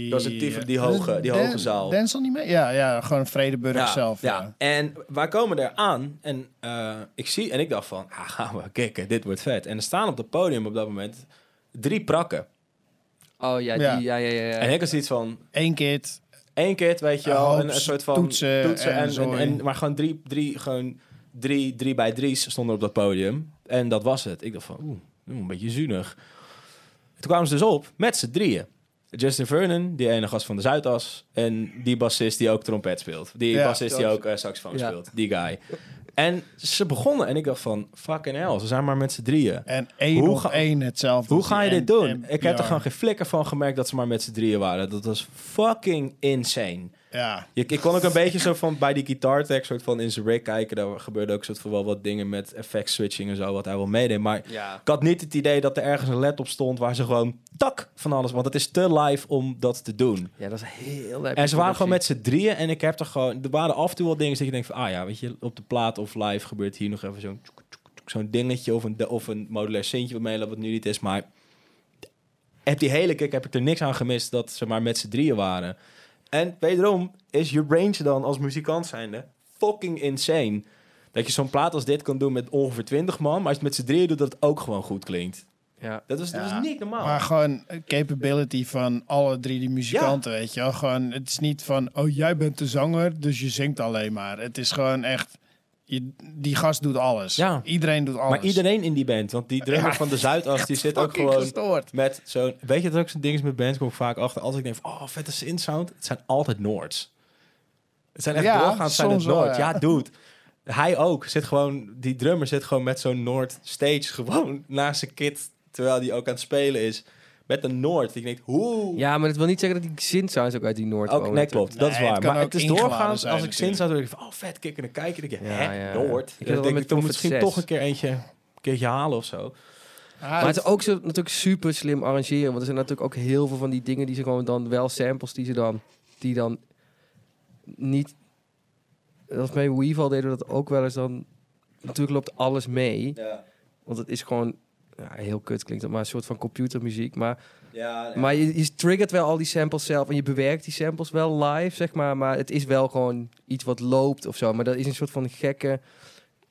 Dat is een tief- die hoge- die
Dan-
hoge zaal.
Denzel niet mee? Ja, ja gewoon Vredeburg zelf. Ja.
ja. En wij komen daar aan en eh, ik zie en ik dacht van, ah, gaan we kicken, dit wordt vet. En er staan op het podium op dat moment drie prakken.
Oh ja, die, ja,
Ja.
ja, ja. ja.
En ik had iets van,
Eén kid.
Eén kit, weet je
Een
wel.
hoop
Een, een soort van
toetsen en
en, en,
zooi.
en- maar gewoon drie, drie, gewoon drie, drie bij drie's stonden op dat podium. En dat was het. Ik dacht van, oeh, oeh, een beetje zuinig. Toen kwamen ze dus op met z'n drieën. Justin Vernon, die ene gast van de Zuidas. En die bassist die ook trompet speelt. Die
Ja,
bassist die
dat-
ook eh, saxofoon
Ja.
speelt. Die guy. En ze begonnen en ik dacht van, fucking hell, ze zijn maar met z'n drieën.
En één
Hoe
op
ga-
één hetzelfde.
Hoe
als
ga je
die
dit
en-
doen?
en
ik heb er
PR.
gewoon geen flikker van gemerkt dat ze maar met z'n drieën waren. Dat was fucking insane.
Ja.
Je, ik kon ook een beetje zo van bij die gitaartek soort van in zijn rig kijken. Daar gebeurde ook soort van wel wat dingen met effect switching en zo, wat hij wel meedeed. Maar
ja.
ik had niet het idee dat er ergens een led op stond waar ze gewoon tak van alles. Want het is te live om dat te doen.
ja, dat is heel lijp.
En ze waren gewoon met z'n drieën en ik heb er gewoon. Er waren af en toe wel dingen dat je denkt van, ah ja, weet je, op de plaat of live gebeurt hier nog even zo'n tjoek, tjoek, tjoek, zo'n dingetje of een, de- of een modulair sintje wat meeloopt, wat nu niet is. Maar heb die hele kick heb ik er niks aan gemist dat ze maar met z'n drieën waren. En wederom is je range dan als muzikant zijnde fucking insane. Dat je zo'n plaat als dit kan doen met ongeveer 20 man, maar als je het met z'n drieën doet, dat het ook gewoon goed klinkt.
Ja.
Dat was, dat
Ja.
was niet normaal.
Maar gewoon capability van alle drie die muzikanten, weet je wel. Gewoon, het is niet van, oh, jij bent de zanger, dus je zingt alleen maar. Het is gewoon echt, Je, die gast doet alles.
Ja.
Iedereen doet alles.
Maar iedereen in die band, want die drummer
[laughs] Ja.
van de Zuidas, die zit ook
Fucking
gewoon
gestoord.
met zo'n... Weet je dat ook zo'n ding is met bands, kom ik vaak achter. Als ik denk van, oh, vette synth-sound. Het zijn altijd Noords. Het zijn echt
Ja,
doorgaans zijn het
soms wel,
Noords. Ja.
ja.
dude. Hij ook. Zit gewoon, die drummer zit gewoon met zo'n Noord stage [laughs] gewoon naast zijn kit, terwijl die ook aan het spelen is. Met een Noord. Ik denk, hoe...
Ja, maar dat wil niet zeggen dat die synthsounds ook uit die Noord
Ook,
komen.
nee, klopt. dat is
Nee, het
waar.
kan
Maar
ook
het is
ingeladen
doorgaans,
zijn
als ik zin
natuurlijk.
zou doen, denk ik van, oh vet, kikken en kijken. Dan denk ik,
Ja,
hè,
ja.
Noord.
Ik heb dat
Dan
wel
denk
met
ik, dan
Comfort
misschien
Zes.
toch een keer eentje, een keertje halen of zo.
Ah,
Maar het is ook zo, natuurlijk super slim arrangeren. Want er zijn natuurlijk ook heel veel van die dingen die ze gewoon dan wel samples die ze dan, die dan niet. Dat bij Weeval deden we dat ook wel eens dan. Natuurlijk loopt alles mee.
Ja,
Want het is gewoon ja, heel kut klinkt dat, maar een soort van computermuziek. Maar,
ja.
maar je, je triggert wel al die samples zelf en je bewerkt die samples wel live, zeg maar. Maar het is wel gewoon iets wat loopt of zo. Maar dat is een soort van gekke,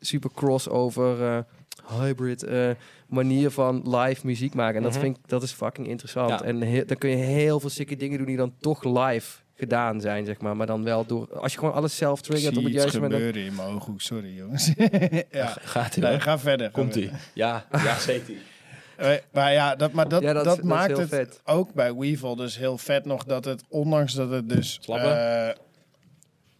super crossover, eh, hybrid eh, manier van live muziek maken. En
Mhm.
dat vind ik, dat is fucking interessant.
Ja.
En he- dan kun je heel veel sikke dingen doen die dan toch live gedaan zijn, zeg maar. Maar dan wel door, als je gewoon alles zelf
ik
triggert
zie
op het
iets
juiste moment. dan-
gebeuren in mijn ooghoek. Sorry, jongens. [laughs] ja.
Gaat hij
Nee, ga verder.
Komt hij? Ja, ja zeker.
hij. Eh, Maar ja, dat, maar dat,
Ja, dat
dat,
is- dat is
maakt
heel
het
vet.
ook bij Weevil dus heel vet nog dat het, ondanks dat het dus
Slappen.
eh,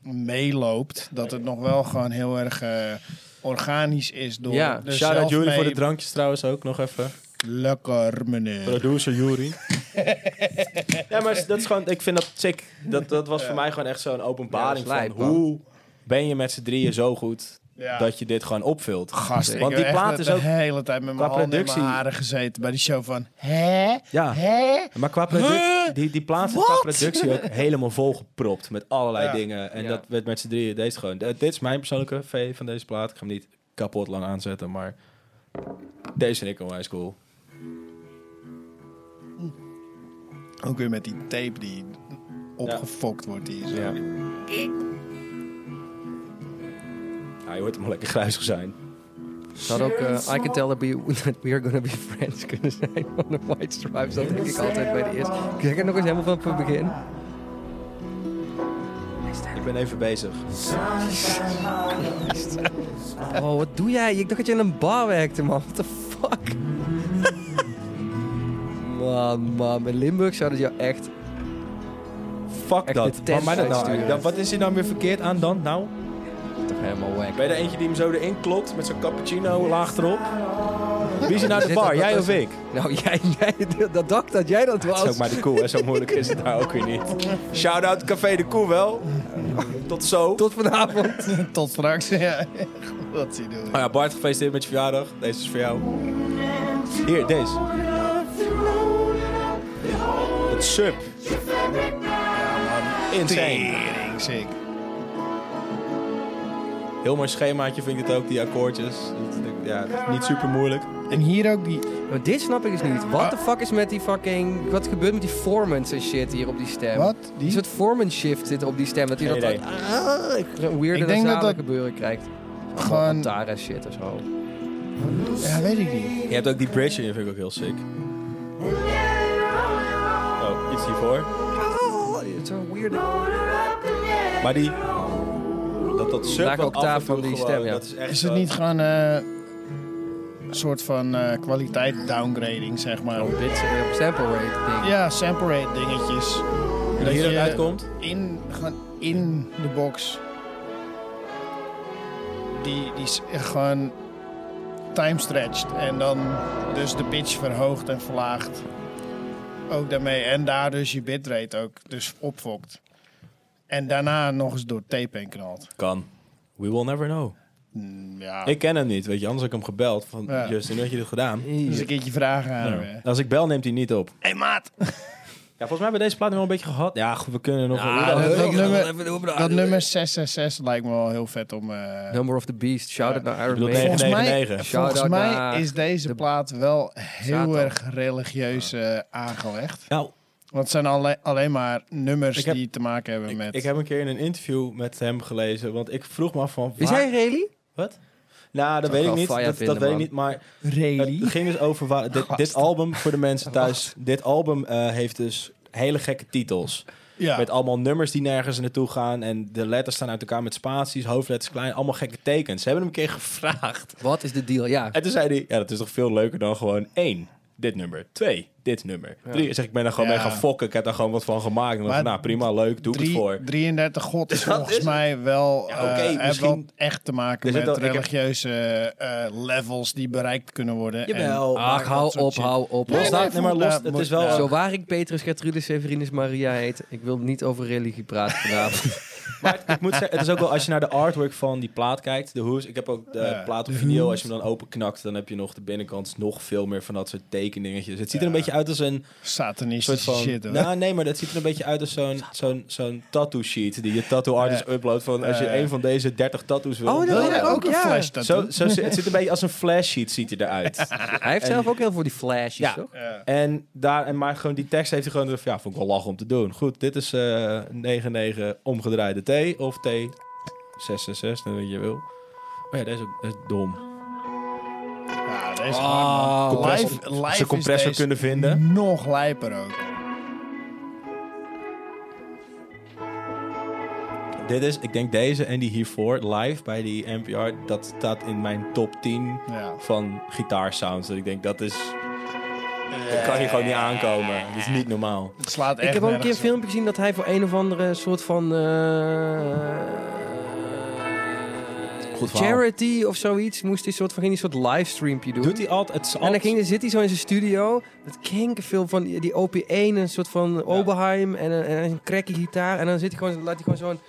meeloopt, dat het nog wel gewoon heel erg eh, organisch is door
Ja,
de
Shout out Jury voor de
zelfmade-
drankjes trouwens ook nog even.
Lekker, meneer.
Producer [laughs] Jury. ja, maar dat is gewoon, ik vind dat sick. Dat, dat was voor mij gewoon echt zo'n openbaring
Ja, dat is lijp,
van
man.
hoe ben je met z'n drieën zo goed
Ja.
dat je dit gewoon opvult.
Gast, ik
Want die
heb
plaat
echt
is
de
ook...
hele tijd met mijn
qua
handen in mijn
productie-
haren gezeten bij die show van... Hè?
Ja.
Hè?
Maar qua productie, die, die plaat is qua
Wat?
productie [laughs] ook helemaal volgepropt met allerlei
Ja.
dingen. En
Ja.
dat werd met z'n drieën deze gewoon. Eh, Dit is mijn persoonlijke V van deze plaat. Ik ga hem niet kapot lang aanzetten, maar deze vind ik onwijs cool.
Ook weer met die tape die opgefokt wordt hier. Zo.
Ja. Ja, je hoort hem wel lekker gruisig zijn.
Ze had ook eh, I Can Tell Her Be- [laughs] That We're Gonna Be Friends kunnen zijn [laughs] van de White Stripes. Dat denk ik altijd bij de eerste. Kijk het nog eens helemaal vanaf het begin.
Ik ben even bezig.
Oh, wat doe jij? Ik dacht dat je in een bar werkte, man. What the
[laughs]
fuck? man, man. Bij Limburg zouden ze jou echt...
Fuck
Echt de
dat.
tent
Wat, mij dat nou,
uitsturen.
dan, wat is hier nou weer verkeerd aan dan? Nou,
Toch helemaal wack.
ben je er eentje die hem zo erin klopt met zo'n cappuccino laag erop? Wie is er nou de
Zit
bar?
dat
Jij of
tussen?
ik?
Nou, [laughs] jij, jij dat dacht dat jij dat was.
Dat is ook maar de koe, hè? Zo moeilijk is het nou ook weer niet. Shout-out Café de Koe wel. Tot zo.
Tot
[laughs]
vanavond.
Tot straks. Ja. Wat zie doen.
Oh ja, Bart, gefeliciteerd met je verjaardag. Deze is voor jou. Hier, deze. Het sub. Insane.
Tering, sick.
Heel mooi schemaatje vind ik het ook, die akkoordjes. Dat- dat- Ja, dat is niet super moeilijk.
En hier ook die...
Maar dit snap ik dus niet. What the
Ah.
fuck is met die fucking... Wat gebeurt met die formants en shit hier op die stem?
Wat? Die?
Een soort formant shift zit op die stem. Dat hij
Geen
dat
idee.
ah, ik- zo'n weirde
Ik denk dat
nasale
dat-
gebeuren krijgt.
Gewoon-
Gewoon... Tara shit of zo.
Ja, weet ik niet.
Je hebt ook die bridge, die vind ik ook heel sick. Oh, iets hiervoor.
Ah, Zo'n weirde...
Maar die... Dat dat sub
Lage
wat af en
octaaf
toe
van die
gewoon,
stem, ja.
dat is echt
Is het
zo-
niet gewoon eh, een soort van eh, kwaliteit downgrading, zeg maar?
Oh, dit is weer op sample rate ding.
Ja, sample rate dingetjes.
eh, Dat hier ook uitkomt?
In, gewoon in de box. Die, die is echt gewoon time stretched. En dan dus de pitch verhoogt en verlaagt. Ook daarmee. En daar dus je bitrate ook dus opfokt. En daarna nog eens door tape heen knalt.
Kan. We will never know.
Mm, Ja.
Ik ken hem niet, weet je. Anders had ik hem gebeld. Van,
Ja.
Justin, weet je dit gedaan?
Dus een keertje vragen aan hem. hè.
Als ik bel, neemt hij niet op.
Hey maat!
[laughs] Ja, volgens mij hebben we deze plaat nu wel een beetje gehad. Ja, goed, we kunnen nog wel...
Ah,
dat- dat
ik-
nummer-
even doen, maar-
Dat nummer 666 lijkt me wel heel vet om... eh,
Number of the Beast. Shout out naar Iron
bedoel,
Maiden.
Volgens mij,
999.
volgens
Shout-out
mij
naar
is deze
de-
plaat wel heel
Satan. Ah.
erg religieus eh, aangelegd.
Nou,
Want het zijn alle, alleen maar nummers
Ik heb-
die te maken hebben met...
ik heb een keer in een interview met hem gelezen, want ik vroeg me af van...
Is
waar-
hij really?
Wat? Nou, dat
zou
weet
ik
ik
wel
niet.
fire
Dat, dat
vinden,
weet ik
man.
niet, maar
Really?
het ging dus over...
[laughs]
Waar, dit, dit album, voor de mensen thuis, dit album eh, heeft dus hele gekke titels.
Ja.
Met allemaal nummers die nergens naartoe gaan. En de letters staan uit elkaar met spaties, hoofdletters klein. Allemaal gekke tekens. Ze hebben hem een keer gevraagd. [laughs]
Wat is de deal? Ja.
En toen zei hij, ja, dat is toch veel leuker dan gewoon één. Dit nummer. Twee. Dit nummer. Drie. Zeg, ik ben er gewoon
Ja.
mee gaan fokken. Ik heb daar gewoon wat van gemaakt. En dan
Maar
van, nou, prima, leuk, doe ik het
Drie-
voor.
33 God is
[laughs] Dat
volgens
is het.
mij wel,
Ja, oké,
eh, heeft
misschien-
wel echt te maken
Er zit
met
wel- ik heb-
religieuze eh, levels die bereikt kunnen worden. en-
Jawel.
Ach, Ah, hou
dat soort
op,
shit.
hou op.
Nee,
Los
Los
daar-
nee,
nee, maar
voel-
los,
daar
het
moet-
is wel...
ja.
Zo waar ik Petrus Gertrudis Severinus Maria heet, ik wil niet over religie praten
[laughs]
vanavond.
Maar ik moet zeggen, het is ook wel als je naar de artwork van die plaat kijkt, de hoes. Ik heb ook de
Ja.
plaat op video. Als je hem dan openknakt, dan heb je nog de binnenkant nog veel meer van dat soort tekeningetjes. Het ziet er
Ja.
een beetje uit als een soort
Satanistische
van.
shit. hoor.
nou, nee, maar dat ziet er een beetje uit als zo'n zo'n zo'n tattoo sheet die je tattoo artist
Ja.
uploadt van als je
Ja.
een van deze 30 tattoos wil.
Oh, dat
dan-
Wil
Ja,
jij ook
ook,
een
ja.
flash tattoo?
zo, zo, zi- het ziet een beetje als een flash sheet ziet hij
[laughs]
eruit.
Hij heeft zelf ook heel voor die flashes,
Ja.
toch?
Ja.
En, daar, en maar gewoon die tekst heeft hij gewoon... van, Ja, vond ik wel lachen om te doen. Goed, dit is eh 99 omgedraaide T of T 666, net wat je wil. Maar ja, deze is, ook- dat is dom.
Ja, deze is
Oh,
hard, man.
compressor-
Live-
als
live
ze
is
compressor
deze
kunnen vinden.
Nog lijper ook.
Dit is, ik denk deze en die hiervoor, live bij die NPR. Dat staat in mijn top 10
Ja.
van gitaarsounds. Dat ik denk, dat is...
Eh.
Dat kan hier gewoon niet aankomen. Dat is niet normaal.
Het slaat echt
Ik heb ook een keer een
nergens op.
filmpje gezien dat hij voor een of andere soort van eh,
Goed verhaal.
charity of zoiets moest hij soort van ging hij een soort livestreampje doen.
Doet hij altijd... Het is
en dan
altijd-
ging, dan zit hij zo in zijn studio met kinkerveel van die, die OP1, een soort van Oberheim en een, en een cracky gitaar. En dan zit hij gewoon, laat hij gewoon zo'n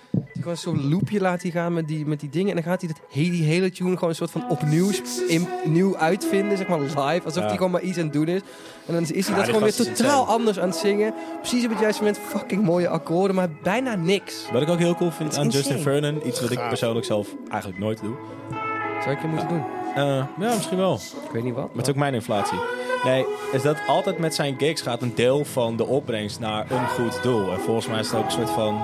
gewoon zo'n loopje laat hij gaan met die, met die dingen. En dan gaat hij dat, he- die hele tune gewoon een soort van opnieuw sp- in- nieuw uitvinden, zeg maar live. Alsof
Ja.
hij gewoon maar iets aan het doen is. En dan is hij
Ja,
dat
die
gewoon weer
gast is
totaal
insane.
anders aan het zingen. Precies op het juiste moment, fucking mooie akkoorden, maar bijna niks.
Wat ik ook heel cool vind
Het is
aan Justin
insane.
Vernon, iets wat ik
Gaaf.
persoonlijk zelf eigenlijk nooit doe.
Zou ik je moeten doen?
Eh, ja, misschien wel.
Ik weet niet wat.
Maar het is ook mijn inflatie. Nee, is dat altijd met zijn gigs gaat een deel van de opbrengst naar een goed doel. En volgens mij is het ook een soort van...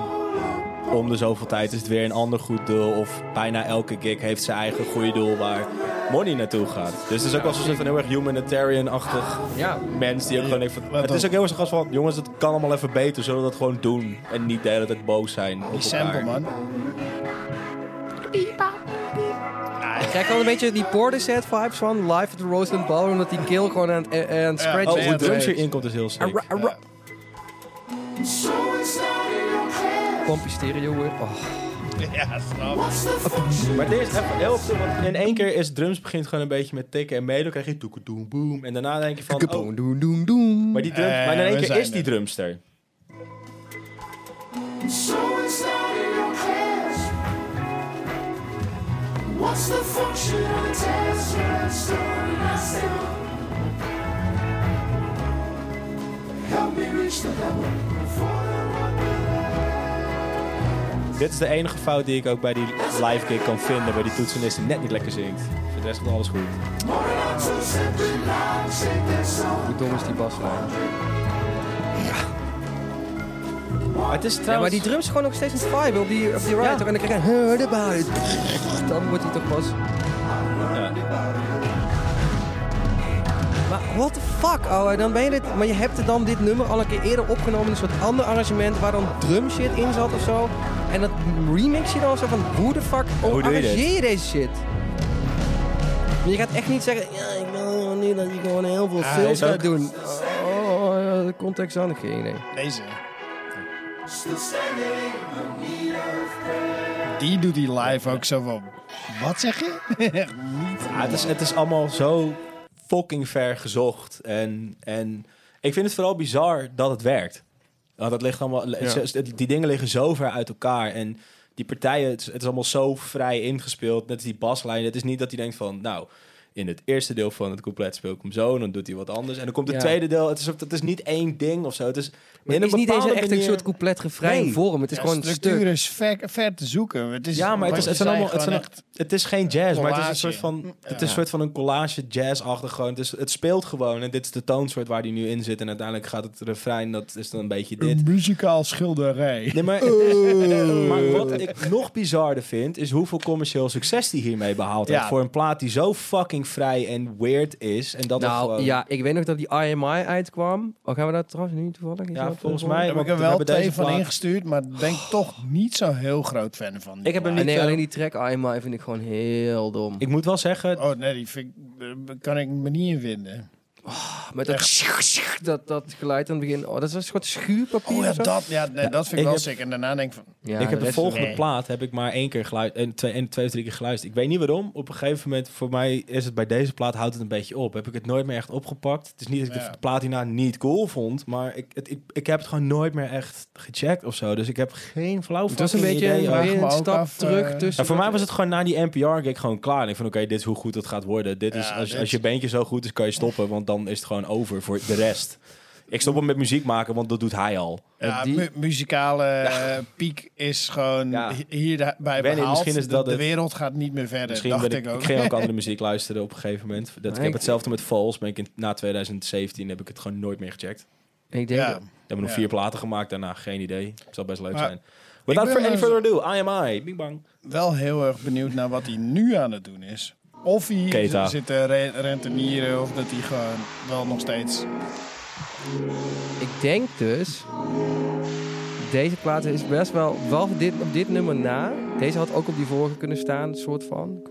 Om de zoveel tijd is het weer een ander goed doel. Of bijna elke gig heeft zijn eigen goede doel waar money naartoe gaat. Dus het is ook wel zo'n soort van heel erg humanitarian-achtig
Ja.
mens. Die ook gewoon denkt van...
Wat
Het is
dan?
ook heel erg zo'n gast van... Jongens, het kan allemaal even beter. Zullen we dat gewoon doen? En niet de hele tijd boos zijn op
Die sample,
elkaar.
man.
Ik krijg al een beetje die Portishead vibes van Live at the Roseland Ballroom, omdat die kill gewoon aan het, eh, eh, aan het
Ja.
scratchen
Oh,
is.
hoe
Ja,
drums
weet.
hierin komt is heel sick.
Arra, arra.
Ja.
So it's not in your head.
Pompie stereo weer. Oh.
Ja, snap.
What's the function?
Maar dit is even heel opnieuw, want in één keer is drums begint gewoon een beetje met tikken en meedoen. krijg je toekedoem boom. En daarna denk je van, oh,
doen, doen, doen.
maar, die drum,
Eh,
maar in één
we
keer
zijn
is die
er.
drumster.
So Oh, it's not in your head. What's the function of attention? So myself. Help me reach the level. For the one
Dit is de enige fout die ik ook bij die live gig kan vinden, waar die toetsenist net niet lekker zingt. Voor de rest gaat alles goed.
more than I'm too simple. I'll take that song.
Hoe dom is die nou? baslijn?
Maar het is
Ja, maar
trouwens...
die drums gewoon nog steeds een vibe op die, op die ride. toch? En dan krijg je heard about it. Dan wordt hij toch pas...
Ja.
Maar what the fuck, ouwe. Dan ben je dit... Maar je hebt er dan dit nummer al een keer eerder opgenomen in een soort ander arrangement waar dan drum shit in zat of zo. En dat remix je dan zo van, hoe de fuck
hoe doe je dit?
arrangeer je deze shit? Maar je gaat echt niet zeggen, ja, ik wil nu dat je gewoon heel veel
hij
films
is
gaat
ook-
doen. Oh, ja, de context aan, ik geen idee.
Deze.
Still standing in need of
Die doet hij live ook zo van... Wat zeg je? Echt niet.
Ja, het, is, het is allemaal zo fucking ver gezocht. En, en ik vind het vooral bizar dat het werkt. Want dat ligt allemaal, het- het- die dingen liggen zo ver uit elkaar. En die partijen, het is, het is allemaal zo vrij ingespeeld. Net als die baslijn. Het is niet dat hij denkt van, nou, in het eerste deel van het couplet speel ik hem zo. En dan doet hij wat anders. En dan komt het
Ja.
tweede deel. Het is, het is niet één ding of zo. Het is,
Maar het
in
is
een
niet eens
bepaalde
echt een
manier-
soort couplet refrein
Nee.
vorm. Het is
Ja,
gewoon een
structuur
stuk.
is ver, ver te zoeken. Het is,
Ja, maar het
wat
is,
je
het, zijn
zei,
allemaal, het,
gewoon
zijn- het is geen jazz, maar het is een
collage.
soort van, het is
Ja.
een soort van een collage jazz-achtig gewoon. Het, is, het speelt gewoon en dit is de toonsoort waar die nu in zit. En uiteindelijk gaat het refrein, dat is dan een beetje dit.
Een muzikaal schilderij.
Nee, maar, [laughs] maar wat ik nog bizarder vind, is hoeveel commercieel succes die hiermee behaald
Ja.
heeft. Voor een plaat die zo fucking dingvrij en weird is. En dat het
nou
gewoon-
ja, ik weet nog dat die IMI uitkwam. Oh, gaan we dat trouwens nu toevallig? Is
Ja,
dat
volgens
toevallig?
mij.
Daar heb
want
ik er
we
wel
hebben
twee
deze
van
plaat- Oh.
ingestuurd, maar ben ik toch niet zo heel groot fan van. die
Ik heb hem
plaat.
Ah,
niet,
nee,
eh,
alleen die track IMI vind ik gewoon heel dom.
Ik moet wel zeggen,
Oh nee, die vind ik, daar kan ik me niet in vinden.
Met dat, dat, dat geluid aan het begin. Oh, dat is een soort schuurpapier.
Oh ja,
of zo.
dat, ja, nee, dat vind
ik
ik wel
heb-
sick. En daarna denk ik van,
Ja,
ik heb de
rest-
volgende
nee.
plaat heb ik maar één keer geluisterd. En twee, en twee of drie keer geluisterd. Ik weet niet waarom. Op een gegeven moment, voor mij is het bij deze plaat, houdt het een beetje op. Heb ik het nooit meer echt opgepakt. Het is niet dat ik de
Ja.
v- plaat hierna niet cool vond. Maar ik, het, ik, ik heb het gewoon nooit meer echt gecheckt of zo. Dus ik heb geen flauw
Het was een
fucking
beetje
idee
vraag
weer
me
een
ook
stap
af, eh,
terug tussen...
Ja, voor mij was het gewoon na die NPR gig gewoon klaar. En ik van oké, dit is hoe goed het gaat worden. Dit is,
Ja,
als,
dit-
als je beentje zo goed is, kan je stoppen. Want dan is het gewoon over voor de rest. Ik stop hem met muziek maken, want dat doet hij al.
ja,
die-
mu- muzikale eh, piek is gewoon
Ja.
hi- hierbij
Wenny,
behaald.
misschien is
De-
dat
de,
het.
wereld gaat niet meer verder,
Misschien
Eh, dacht
ben
ik,
ik,
ook.
ik
[laughs]
ging ook andere muziek luisteren op een gegeven moment. Dat, ik
Nee,
heb
ik-
hetzelfde met Falls. Ben ik in, na 2017 heb ik het gewoon nooit meer gecheckt.
Ik denk...
ja.
We hebben nog
Ja.
vier platen gemaakt daarna. Geen idee. Zal best leuk
Maar
zijn. Without
ben
for any
wel
further ado, I am I. Bing bang.
Wel heel erg benieuwd naar wat hij nu aan het doen is. Of hij
Keta.
zit te re- rentenieren of dat hij gewoon wel nog steeds...
Ik denk dus... Deze plaat is best wel... Wel dit, op dit nummer na. Deze had ook op die vorige kunnen staan, soort van.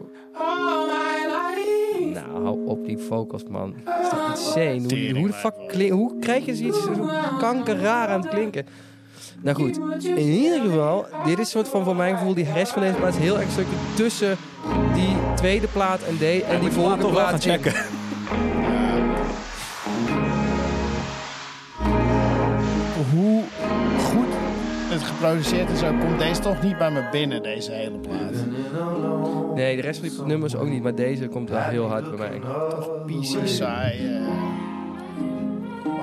Nou, hou op die vocals, man. Dat is toch insane? Hoe, hoe, de fuck klink- hoe krijg je zoiets zo kankerraar aan het klinken? Nou goed, in ieder geval, dit is soort van voor mijn gevoel, die rest van deze plaat is heel erg stukje tussen die tweede plaat en, de, en die
Laat
volgende
toch wel gaan
plaat. in.
checken.
Hoe goed het geproduceerd is ook, komt deze toch niet bij me binnen, deze hele plaat.
Nee, de rest van die nummers ook niet, maar deze komt wel heel hard bij mij.
PC, saai... eh,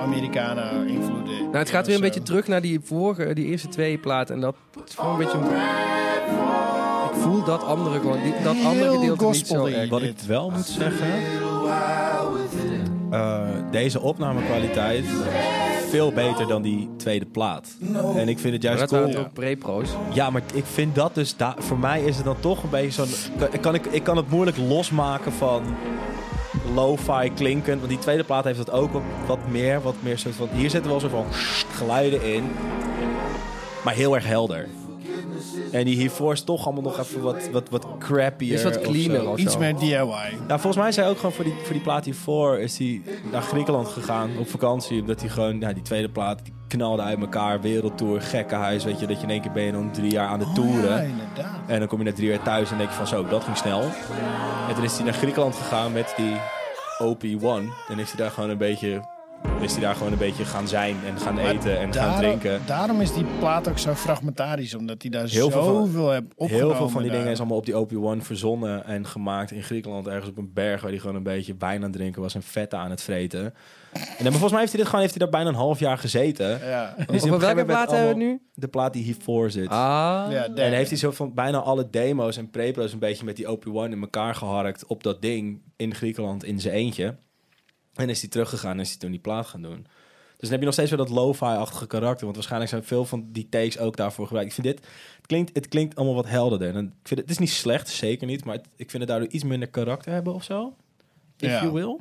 Americana invloeden. eh,
Nou, het gaat weer een beetje terug naar die vorige, die eerste twee platen en dat is gewoon een beetje... Ik voel dat andere gewoon, die- dat andere
Heel
gedeelte niet zo
gospel-y.
erg.
Wat ik
Dit.
wel moet zeggen. eh, deze opnamekwaliteit veel beter dan die tweede plaat. En ik vind het
Maar
juist
dat
cool.
waren ook pre-pro's.
Ja, maar ik vind dat dus... da- voor mij is het dan toch een beetje zo'n... Kan, kan ik, ik kan het moeilijk losmaken van lo-fi klinkend. Want die tweede plaat heeft dat ook wat, wat meer. Wat meer soort van, hier zitten wel soort van geluiden in. Maar heel erg helder. En die hiervoor is toch allemaal nog even wat, wat, wat crappier.
Is wat
of zo.
cleaner of
Iets
zo.
meer DIY.
Nou, volgens mij is hij ook gewoon voor die, voor die plaat hiervoor is hij naar Griekenland gegaan op vakantie. Omdat hij gewoon, nou, die tweede plaat die knalde uit elkaar. Wereldtour, gekkenhuis, weet je. Dat je in één keer ben je dan drie jaar aan de
Oh, Ja,
toeren.
inderdaad.
En dan kom je na drie jaar thuis en denk je van zo, dat ging snel. En toen is hij naar Griekenland gegaan met die OP1. En is hij daar gewoon een beetje, is hij daar gewoon een beetje gaan zijn en gaan
Maar
eten en gaan
daarom-
drinken.
Daarom is die plaat ook zo fragmentarisch, omdat hij daar
Heel veel van-
zoveel heb opgenomen.
Heel veel van die dingen is
daar.
allemaal op die OP1 verzonnen en gemaakt in Griekenland. Ergens op een berg waar hij gewoon een beetje wijn aan het drinken was en vet aan het vreten. En dan, maar volgens mij heeft hij dit gewoon heeft hij daar bijna een half jaar gezeten. En
Ja,
is hij
Over
op een gegeven
welke
moment
plaat hebben we
allemaal-
nu?
De plaat die hiervoor zit.
Ah.
ja
En heeft hij zo van bijna alle demo's en prepro's een beetje met die OP1 in elkaar geharkt op dat ding in Griekenland in zijn eentje. En is hij teruggegaan en is hij toen die plaat gaan doen. Dus dan heb je nog steeds weer dat lo-fi-achtige karakter. Want waarschijnlijk zijn veel van die takes ook daarvoor gebruikt. Ik vind dit, het klinkt, het klinkt allemaal wat helderder. En ik vind het, het is niet slecht, zeker niet. Maar het- ik vind het daardoor iets minder karakter hebben of zo. If
Ja.
you will.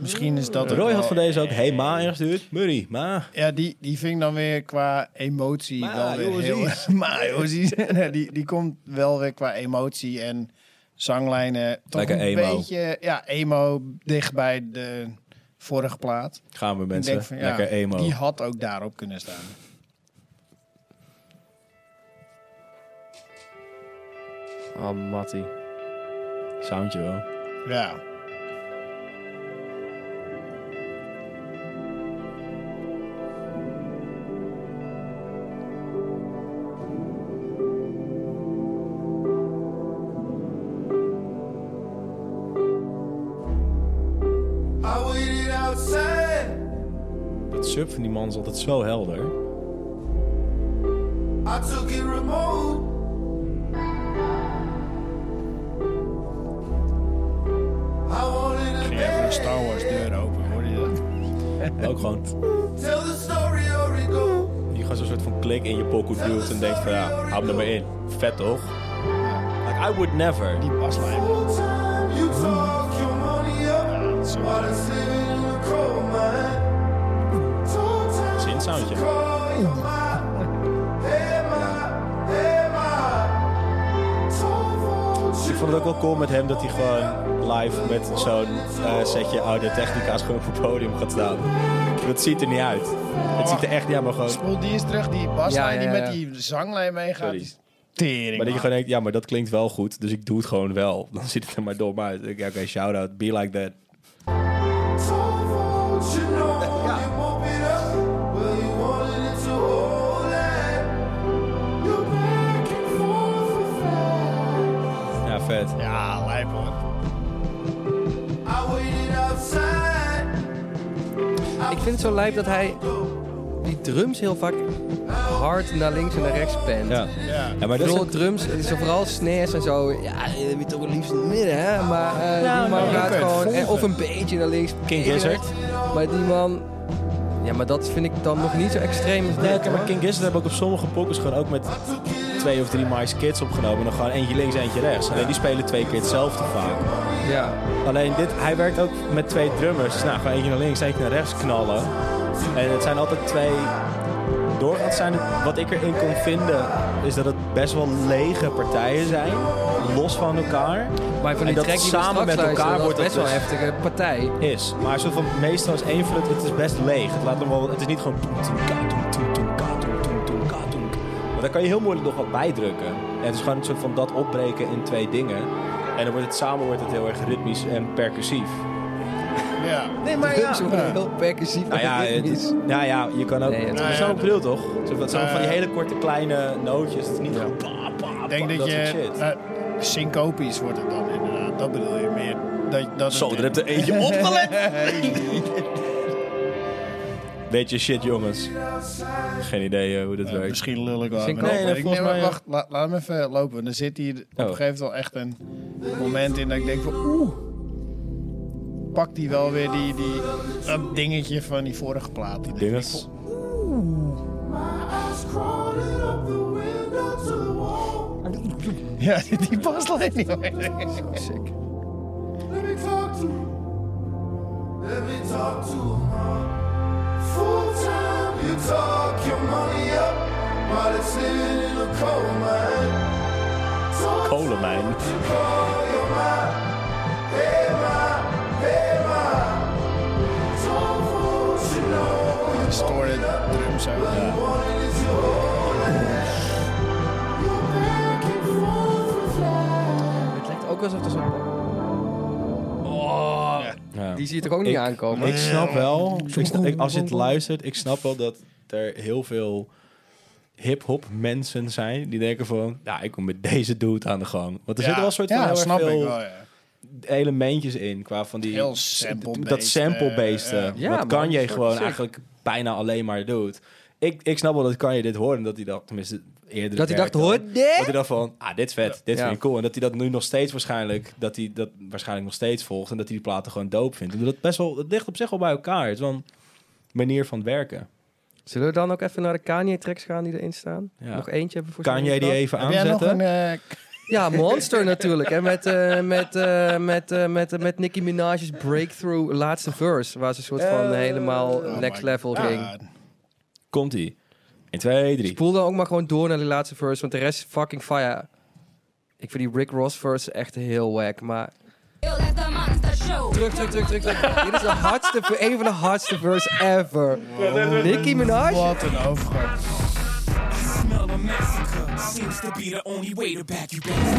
Misschien is dat. ook
Roy
wel-
had voor deze ook, hey ma, ingestuurd. Murray, ma.
Ja, die, die ving dan weer qua emotie
Maar,
wel weer
joh,
heel. [laughs] maar joh, zie je. Nee, die, die komt wel weer qua emotie en zanglijnen toch
Lekker
een
emo.
beetje ja emo dicht bij de vorige plaat. Ik
Gaan we
denk
mensen,
van, ja,
lekker emo.
Die had ook daarop kunnen staan.
Oh, Mattie.
Soundje wel.
Ja.
I waited outside.
Dat sub van die man is altijd zo helder.
I took it remote. I wanted to
Ging even een Star Wars deur open, hoorde je dat?
Ook gewoon
tell the story or it go.
Die gewoon zo'n soort van klik in je pocket duwt en denkt van ja, hou me er maar in. Vet toch? Like, I would never.
Die paslijn.
Full time, you talk your money While it's living in a coal mine. Sometimes
Zin soundje.
you call your ma. Hey, ma. Hey, ma. Told what
Dus Ik
you
vond het ook wel cool met hem dat hij gewoon live met zo'n eh, setje oude technica's gewoon op het podium gaat staan. Dat ziet er niet uit. Het ziet er echt niet uit, maar gewoon...
Spoel die eens terug, die baslijn
Ja, ja,
die
ja.
met die zanglijn meegaat.
Sorry. Maar
Tering.
dat je
man.
gewoon denkt, ja, maar dat klinkt wel goed, dus ik doe het gewoon wel. Dan ziet het er maar dom uit. Ik denk, Ja, oké, shout-out, be like that.
Told what you know. You won't beat up. Well, you wanted it to hold it. You're back and forth with that.
Ja, vet.
Ja, lijp hoor.
I waited outside.
Ik vind het zo lijp dat hij die drums heel vaak hard naar links en naar rechts pent.
Ja.
Ja.
Ja,
Ik
maar dat is
bedoel, drums, het is vooral snares en zo. Ja, je moet toch het liefst in het midden, hè? Maar eh, die man
nee, je
gaat
kunt
gewoon...
volgen.
eh, of een beetje naar links.
King
eh,
Gizzard.
Maar die man... Ja, maar dat vind ik dan nog niet zo extreem als dit,
Nee, oké, maar
hoor.
King Gizzard hebben ook op sommige pokkers gewoon ook met twee of drie Mice Kids opgenomen. En dan gewoon eentje links, eentje rechts. Alleen die spelen twee keer hetzelfde vaak.
Ja.
Alleen dit, hij werkt ook met twee drummers. Nou, gewoon eentje naar links, eentje naar rechts knallen. En het zijn altijd twee... Doorgaans zijn het, wat ik erin kon vinden, is dat het best wel lege partijen zijn. Los van elkaar.
Maar van die
En dat
track die we
samen
straks
met
luisteren, dat
elkaar
is
wordt het
best wel een
dus-
heftige partij.
is. Maar zo van, meestal is één flut, het is best leeg. Het, laat hem wel, het is niet gewoon... toem, toem, ka, toem, toem, toem, ka, toem, toem, toem, ka, toem. Maar daar kan je heel moeilijk nog wat bijdrukken. En het is gewoon een soort van dat opbreken in twee dingen. En dan wordt het samen wordt het heel erg ritmisch en percussief.
Ja.
Nee, [laughs] maar
ja.
heel percussief.
Nou ja, het is- nou ja je kan ook...
Nee, het
het
is-
is zo bedoeld, toch? Zo, dat zijn
Eh,
van die hele korte kleine nootjes. Het is niet gewoon... pa, pa, pa,
Ik denk dat,
soort
je...
shit.
eh, syncopisch wordt het dan inderdaad. Dat bedoel je meer. Dat, dat
Zo,
het-
er hebt er
[laughs]
eentje opgelet. Weet je shit, jongens. Geen idee eh, hoe dat
Eh,
werkt.
misschien lul ik wel.
Syncope.
maar
Nee,
weet
nee,
ik
volgens
niet, maar
mij,
wacht, la- laat hem even lopen. want Er zit hier op een
Oh.
gegeven moment wel echt een moment in dat ik denk van oeh. Pakt hij wel weer die, die, dat dingetje van die vorige plaat. Die
Dinges.
Eyes crawling up the window to the wall.
[laughs] Ja, die paslijn niet meer.
Sick.
Let me talk to him. Let me talk to him, huh? Full time, you talk your money up while it's living in a coal mine. Talk to
Kolenmijn.
you call your ma. Hey, ma. Hey, ma. Talk what you know. You
Distorted drums uit.
want it, it's your own land. You're back and forth with that.
Het lijkt ook alsof er zo'n...
Ja.
Die zie je toch ook niet
Ik-
aankomen?
Ik snap wel, ik snap- ik- als je het luistert, ik snap wel dat er heel veel hip-hop mensen zijn die denken van, ja, ik kom met deze dude aan de gang. Want er zitten wel een soort van
ja,
heel erg
snap
veel
ik wel, ja.
elementjes in qua van die
Heel sample-based,
dat sample-based.
eh,
eh,
ja.
wat
Ja, maar
Kanye
dat is
gewoon
sick.
eigenlijk bijna alleen maar doet. Ik, ik snap wel dat Kanye dit hoorde en dat hij dacht, tenminste eerder
Dat hij dacht,
werk dan,
hoor dit?
Dat hij dacht van, ah, dit is vet, dit
Ja.
vind ik cool. En dat hij dat nu nog steeds waarschijnlijk, dat hij dat waarschijnlijk nog steeds volgt en dat hij die platen gewoon doop vindt. Omdat het best wel, het ligt op zich wel bij elkaar. Het is wel een manier van werken.
Zullen we dan ook even naar de Kanye-tracks gaan die erin staan?
Ja.
Nog eentje hebben we voor
Kan jij die
zondag?
even
Heb jij nog
aanzetten?
een... eh, k-
Ja, Monster [laughs] natuurlijk. En met, eh, met, eh, met, eh, met, eh, met Nicki Minaj's Breakthrough laatste verse. Waar ze een soort
Eh,
van helemaal
oh
next
my
level
God.
ging.
Komt ie. 1, 2, 3.
Spoel dan ook maar gewoon door naar die laatste verse. Want de rest is fucking fire. Ik vind die Rick Ross verse echt heel wack. Maar terug, terug, terug, terug. terug. Dit is de hardste, ver- een van de hardste verse ever. Nicki Minaj.
Ah, Wat een overgang.
smell of massacre seems to be the only way to back you back.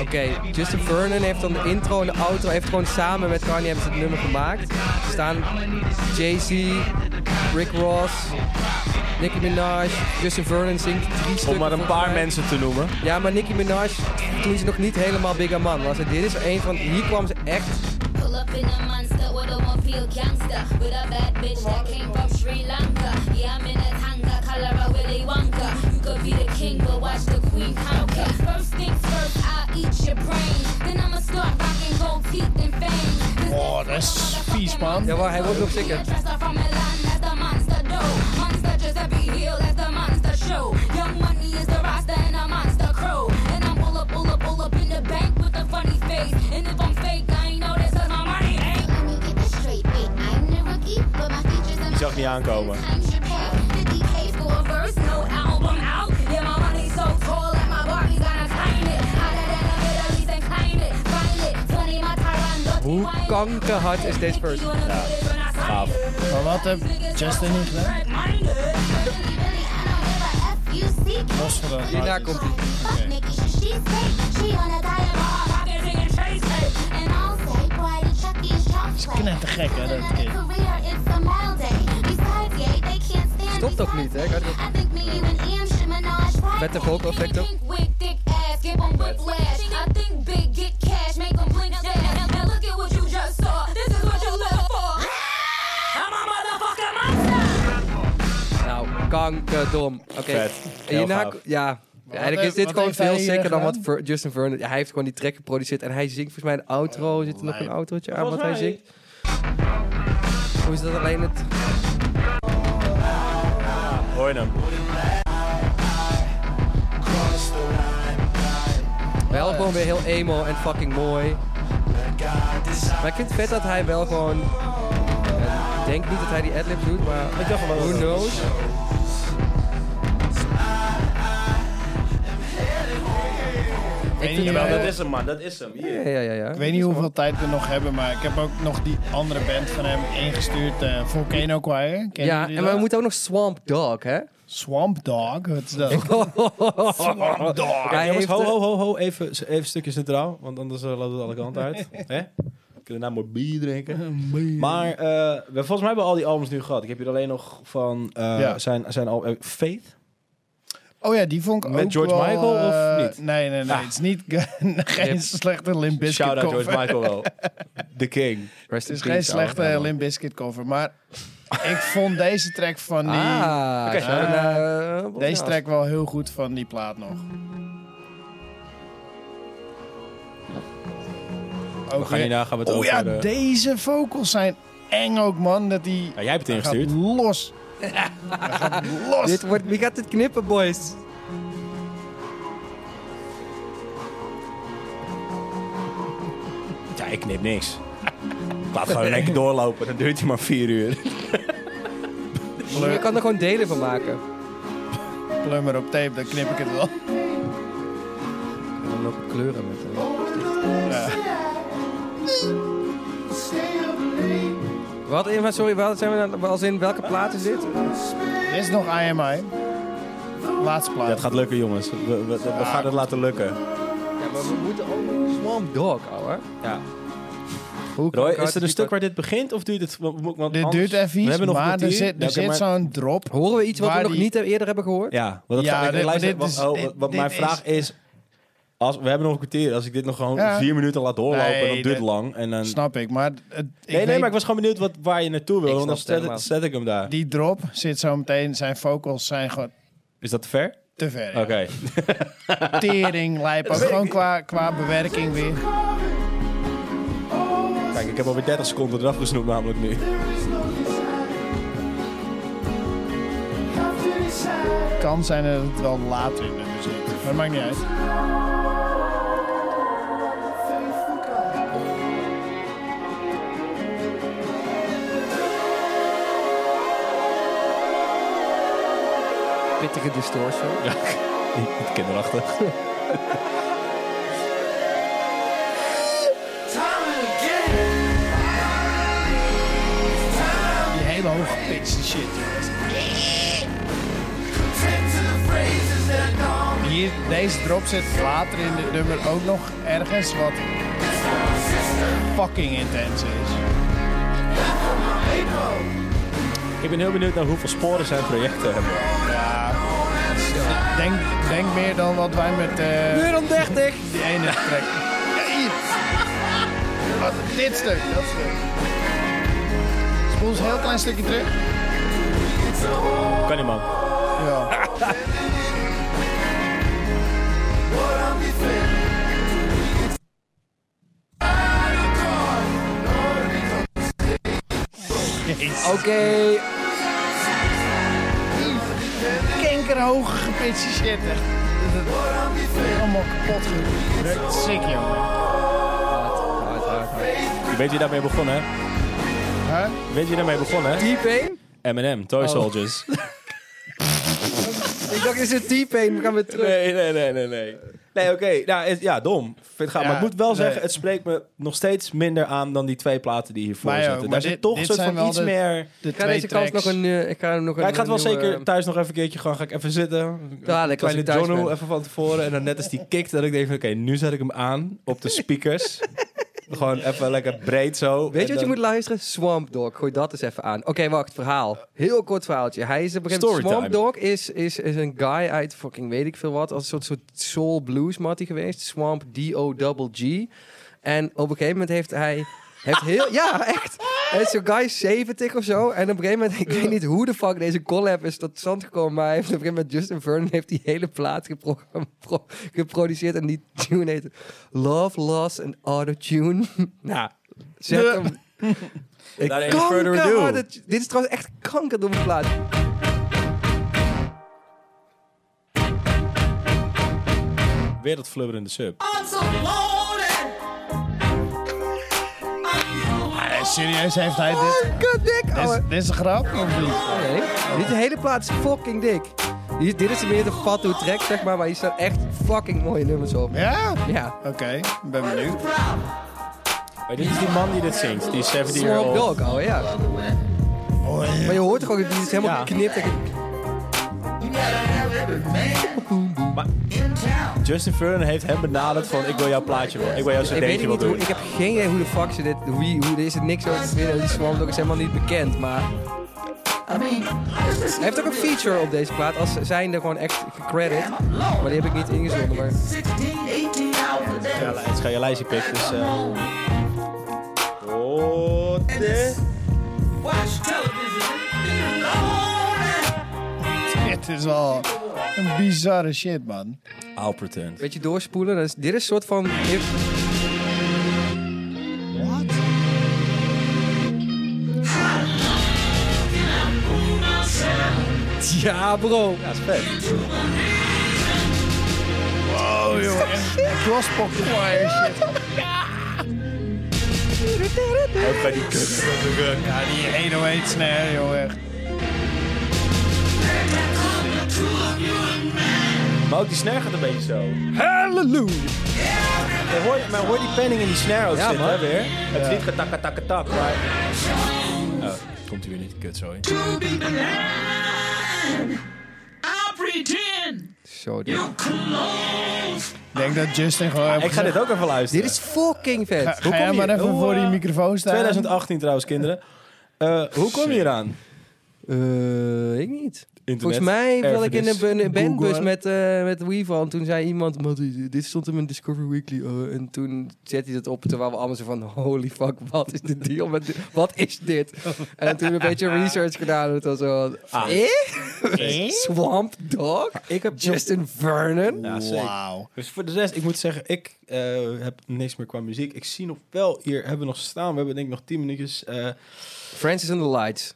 Oké, Justin Vernon heeft dan de intro en de outro heeft gewoon samen met Kanye hebben ze het nummer gemaakt. Er staan Jay-Z, Rick Ross, Nicki Minaj, Justin Vernon zingt drie stukken.
Om maar een
volgens
paar
mij.
mensen te noemen.
Ja, maar Nicki Minaj toen ze nog niet helemaal bigger man was. En dit is een van, hier kwam ze echt.
Pull up in a monster with a one feel gangster with a bad bitch that came from Sri Lanka. Yeah, I'm in a tanga, color of Willy Wonka. You could be the king, but watch the queen conquer. First things first, I'll eat your brain. Then I'ma start rocking gold teeth and fangs.
Oh, dat is vies, man.
Ja, maar hij wordt nog zeker.
Bank with a funny face, and if I'm fake, I ain't
zag niet aankomen.
Hoe kankerhard is deze person?
Ja,
gaaf.
Maar wat heb Justin niet gedaan? Los van dat.
Hierna komt hij.
knettergek, hè, dat kind.
Stopt ook niet, hè? Ik had het- Met de vocal effect ook.
I'm a motherfucking monster!
Nou, kankerdom. Oké.
Vet.
En
Heel
hierna-
gaaf.
ja. Eigenlijk is
heeft-
dit
wat
gewoon
heeft hij
veel
hier
sicker dan wat
gedaan?
Ver- Justin Vernon... Ja, hij heeft gewoon die track geproduceerd en hij zingt volgens mij een
Oh,
outro. Zit er nog een outrootje aan wat hij zingt? Hoe is dat alleen het...
Hoor je hem?
Wel gewoon weer heel emo en fucking mooi. Maar ik vind het vet dat hij wel gewoon... Ja, Ik denk niet dat hij die adlibs doet, maar
Ik dacht wel
who
dat-
knows? Ik vind
Jawel,
het wel-
dat is
hem, man. Dat is hem.
Ja, ja, ja. ja.
Ik weet niet hoeveel tijd we nog hebben, maar ik heb ook nog die andere band van hem ingestuurd. eh Volcano Choir. Kennen
Ja,
jullie
en
dat?
we moeten ook nog Swamp Dog, hè?
Swamp Dog, wat is
[laughs]
dat? Swamp Dog.
Hij
jongens,
heeft,
ho,
eh,
ho, ho, ho. Even, even een stukje centraal, want anders eh, loopt het alle kanten uit. Hè? We kunnen nou mooi bier drinken. Maar eh, we, volgens mij hebben we al die albums nu gehad. Ik heb hier alleen nog van eh,
Ja.
zijn, zijn album eh, Faith.
Oh ja, die vond ik
Met
ook
George
wel,
Michael of
eh,
niet?
Nee, nee, nee.
Ah.
Het is niet [laughs] geen
Rip.
slechte Limp Bizkit
Shout out
cover.
George Michael
[laughs]
wel. The King.
Rest
Het is
in
geen
peace,
slechte eh,
ouwe.
Limp Bizkit cover, maar ik vond deze track van die...
Ah,
Oké,
shout-out
eh,
naar, eh,
Deze track wel heel goed van die plaat nog.
We
Ook
gaan
weer-
hierna gaan we het
oh
over...
ja,
eh,
deze vocals zijn eng ook, man. Dat die
ja, jij hebt het
Hij gaat
ingestuurd.
los. Hij gaat los.
Dit wordt, wie gaat dit knippen, boys?
Ja, ik knip niks. Ik [laughs] Laat gewoon lekker doorlopen. Dan duurt hij maar vier uur.
Je kan er gewoon delen van maken.
plummer op tape, dan knip ik het wel.
En dan ook kleuren met Wat, eh, maar sorry, wat zijn we dan, als in welke plaat is dit?
Dit is nog IMI. Laatste plaat.
Ja, het gaat lukken, jongens. We, we, we gaan het laten lukken.
Ja, maar we moeten ook Swamp Dog, ouwe.
Ja.
Hoe
Roy,
kan-
is er een
die-
stuk waar dit begint? Of duurt het... Want want
Dit
anders-
duurt even
We
iets,
hebben nog
maar
een
er
kwartier.
zit, er
Ja, oké,
zit
maar-
zo'n drop.
Horen we iets wat
waar
we nog
die-
niet eerder hebben gehoord?
Ja, want dat
Ja,
gaat, ik,
dit-
luister,
dit is-
want- oh,
dit-
wat
dit
mijn
is-
vraag is... Als, we hebben nog een kwartier. Als ik dit nog gewoon
Ja.
vier minuten laat doorlopen,
Nee,
dan duurt het
dit-
lang. En dan...
Snap ik, maar... Het, ik
nee, nee,
weet-
maar ik was gewoon benieuwd wat, waar je naartoe wil.
Ik
Want dan
snap het
zet, zet ik hem daar.
Die drop zit zo meteen... Zijn vocals zijn gewoon
Is dat te ver?
te ver.
Oké.
Tering, lijp.
[laughs]
ook Gewoon qua, qua bewerking weer.
Kijk, ik heb alweer 30 seconden eraf gesnoept namelijk nu.
Kan zijn dat het wel later in de nummer zit. Maar het maakt niet uit.
Pittige distortion.
Ja, niet [laughs] kinderachtig.
Die hele hoge pitch shit. Hier, deze drop zit later in dit nummer ook nog ergens wat fucking intens is.
Ik ben heel benieuwd naar hoeveel sporen zijn projecten hebben.
Denk, denk meer dan wat wij met eh
Meer dan 30!
die ene trek. Hey! Wat dit stuk, dat stuk. Spoel eens een heel klein stukje terug.
Kan niet, man.
Ja.
Oké,
Kinkerhoog gepitste shit. echt. Allemaal kapot gedrukt. Sick, jongen.
Je weet wie daarmee begon, hè?
Huh?
Je weet wie daarmee begon, hè?
T-Pain?
Eminem,
Oh.
Toy Soldiers. [laughs]
Ik dacht, is het T-Pain? We gaan weer terug.
Nee, nee, nee, nee, nee. Nee, oké. Nou, het- ja, dom. Vind ik gaaf.
Ja,
maar ik moet wel
nee.
zeggen, het spreekt me nog steeds minder aan dan die twee platen die hiervoor
Mij ook,
zitten. Daar
maar
zit
dit-
toch een
dit
soort
zijn
van
wel
iets
de-
meer...
De
Ik ga
twee
deze kant
tracks.
nog een... eh, ik ga hem nog
Ja,
een eh,
ik ga het wel
nieuwe- ehm,
zeker thuis nog even een keertje gaan. Ga ik even zitten.
Dadelijk, als
Kleine
ik thuis
Johnno
ben.
even van tevoren. En dan net als die kick dat ik denk van... Oké, nu zet ik hem aan op de
[laughs]
speakers. Gewoon even lekker breed zo.
Weet je
En
wat je
dan-
moet luisteren? Swamp Dog. Gooi dat eens even aan. Oké, wacht. Verhaal. Heel kort verhaaltje. Hij is op een gegeven moment... Swamp
Storytime.
Dog is, is, is een guy uit fucking weet ik veel wat. Als een soort, soort soul blues mattie geweest. Swamp D-O-double-G. En op een gegeven moment heeft hij... Heeft heel, ja, echt. Hij is zo'n guy is 70 of zo. En op een gegeven moment, ik weet niet hoe de fuck deze collab is tot stand gekomen. Maar hij heeft op een gegeven moment Justin Vernon heeft die hele plaat gepro- pro- geproduceerd. En die tune heet Love, Loss and Auto-Tune. [laughs] nou, zet
Ja.
hem. Ik
Without any further ado.
kankerharde t- Dit is trouwens echt kanker door mijn plaat.
Weer dat flubberende sub.
Ah, serieus heeft hij dit?
Oh, god, dik.
Dit is,
Oh,
dit is een grap of niet?
nee. Dit hele plaat is fucking dik. Hier- Dit is meer de fatto track, zeg maar. Maar hier staan echt fucking mooie nummers op.
Ja?
Ja.
Oké, ik ben benieuwd.
Maar dit is die man die dit zingt. Die 17 year
Swamp
old.
Dog, oh ja.
Oh,
Maar je hoort toch ook, het is helemaal
Ja.
geknipt. en ge-
Justin Vernon heeft hem benaderd van... Ik wil jouw plaatje wel. Ik wil jouw
Ik weet
cd'tje wel
niet hoe,
doen.
ik heb geen idee hoe de fuck ze dit, hoe, hoe er is het niks over te vinden. Die Swamp Dog is helemaal niet bekend, maar... Hij heeft ook een feature op deze plaat, als zijn er gewoon echt gecredit. Maar die heb ik niet ingezonden, maar...
Ja, het is geen lijstje pikken, dus... eh Oh, dit.
dit is al een bizarre shit, man.
Alperton.
Beetje doorspoelen. Dat is, dit is een soort van. Ja, bro.
Ja, is vet.
Oh, joh. Crossbox fire shit.
Ook bij die kut.
Ja, die 108 snare, joh, echt.
Maar ook die snare gaat een beetje zo. Hallelujah! hoor, maar hoor die penning en die snare ook
Ja,
zitten,
man.
hè, weer. Het is niet getakka takka tak, maar... Oh, komt hij weer niet. Kut, sorry.
Zo, dit.
Ik denk dat Justin gewoon... heeft
Ik ga
gezegd,
dit ook even
dit
luisteren.
is fucking vet.
Ga, ga jij
kom
maar
je-
even
hoe,
voor die
eh,
microfoon staan.
2018 trouwens, kinderen. Eh, hoe kom je hieraan?
Eh, ik niet.
Internet,
Volgens mij wil ik in een,
erfenis.
bu- een bandbus
Google.
met, eh met Weeval. En toen zei iemand, "Man, dit- dit stond in mijn Discovery Weekly. eh." en toen zette hij dat op, terwijl we allemaal zo van, holy fuck, wat is de deal met dit? Wat is dit? En toen een beetje research gedaan. En het was zo,
Ah.
eh? Swamp Dog? Ik heb Justin Vernon?
Ja, zeker.
Wauw.
Dus voor de rest, ik moet zeggen, ik eh, heb niks meer qua muziek. Ik zie nog wel hier, hebben we nog staan, we hebben denk ik nog 10 minuutjes. eh
Francis and the Lights.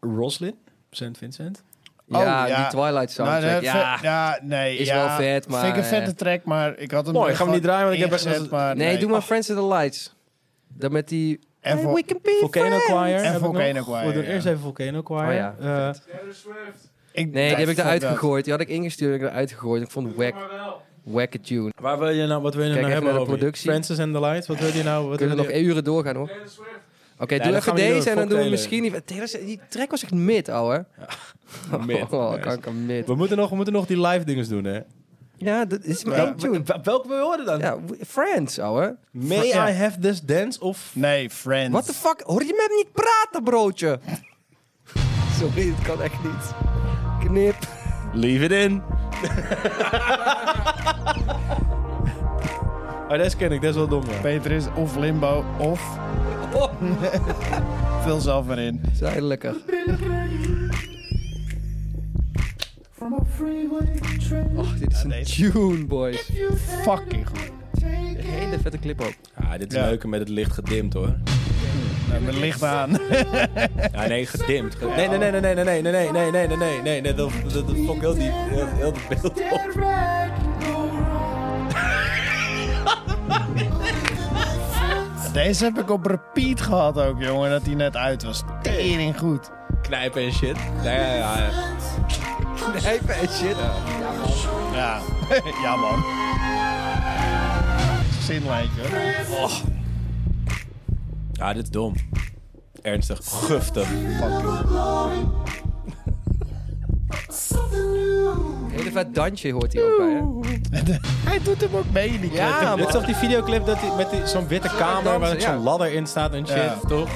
Roslyn, St. Vincent.
Oh,
ja,
ja.
die Twilight
Nou,
soundtrack.
dat-
ja.
ve- ja, nee.
Is
ja,
wel vet, maar,
Vind ik
eh,
een vette track, maar ik had hem...
Mooi,
er
gaan we niet
gewoon
draaien, want ik heb echt-
ingezet, maar
nee, doe maar
Ach,
Friends and the Lights. Dan met die...
En
Hey,
voor-
we can be
Volcano
friends.
Choir. heb ik
Volcano
nog.
Choir,
We doen
ja.
eerst even Volcano Choir.
Oh ja,
Eh,
ik-
Nee, die heb ik
fuck
eruit
dat.
gegooid. Die had ik ingestuurd en ik eruit gegooid. Ik vond het wack, wacke tune.
waar wil je nou, wat wil je
Kijk
nou
even
hebben
naar de
over
productie.
Francis and the Light, wat wil je nou? Wat
Kunnen we
wil
nog
je-
uren doorgaan, hoor. Oké, doe
dat
even
gaan we niet
deze
doen.
en dan doen
Fuck
we
Taylor.
misschien... Die, Taylor, die track was echt mid, ouwe.
Mid.
Oh,
Nice.
kanker mid.
we, moeten nog, we moeten nog die live dinges doen, hè?
Ja, dat is mijn één tune.
Wel- Welke wil je horen dan?
Ja, we- Friends, ouwe.
May
Ja.
I have this dance of...
Nee, Friends.
What the fuck? Hoor je met me niet praten, broodje? Sorry, het kan echt niet. Knip.
Leave it [laughs] in. oh, dat ken ik, dat is wel dom. ja.
Peter is of Limbo
[laughs]
of... Vul zelf maar in.
Zijn lekker.
From a freeway train,
Och, dit is een
deze-
tune, boys.
Fucking goed.
take it.
Hele vette clip ook.
Ja, Ah, dit is
Ja.
leuker met het licht gedimd hoor.
Nou, mijn licht aan.
[laughs]
Ja, nee, gedimd. Ge- Nee, nee, nee, nee, nee, nee, nee, nee, nee, nee, nee, nee, nee, nee, dat, dat, dat fok heel die, heel, heel dat beeld op.
Dead right can go wrong.
Deze heb ik op repeat gehad ook, jongen. Dat hij net uit was. Tering goed.
knijpen en shit. Ja, ja, ja.
Knijpen en shit.
Ja, [laughs] ja man. Zinlijntje hoor.
Oh.
ja, dit is dom. Ernstig. Guftig.
Hele vet dansje hoort hier ook bij, hè?
[laughs] Hij doet hem ook mee, die
Ja,
kletter.
Dit is toch die videoclip dat die, met die- zo'n witte kamer waar
dansen,
zo'n
ja.
ladder in staat en shit,
Ja.
toch?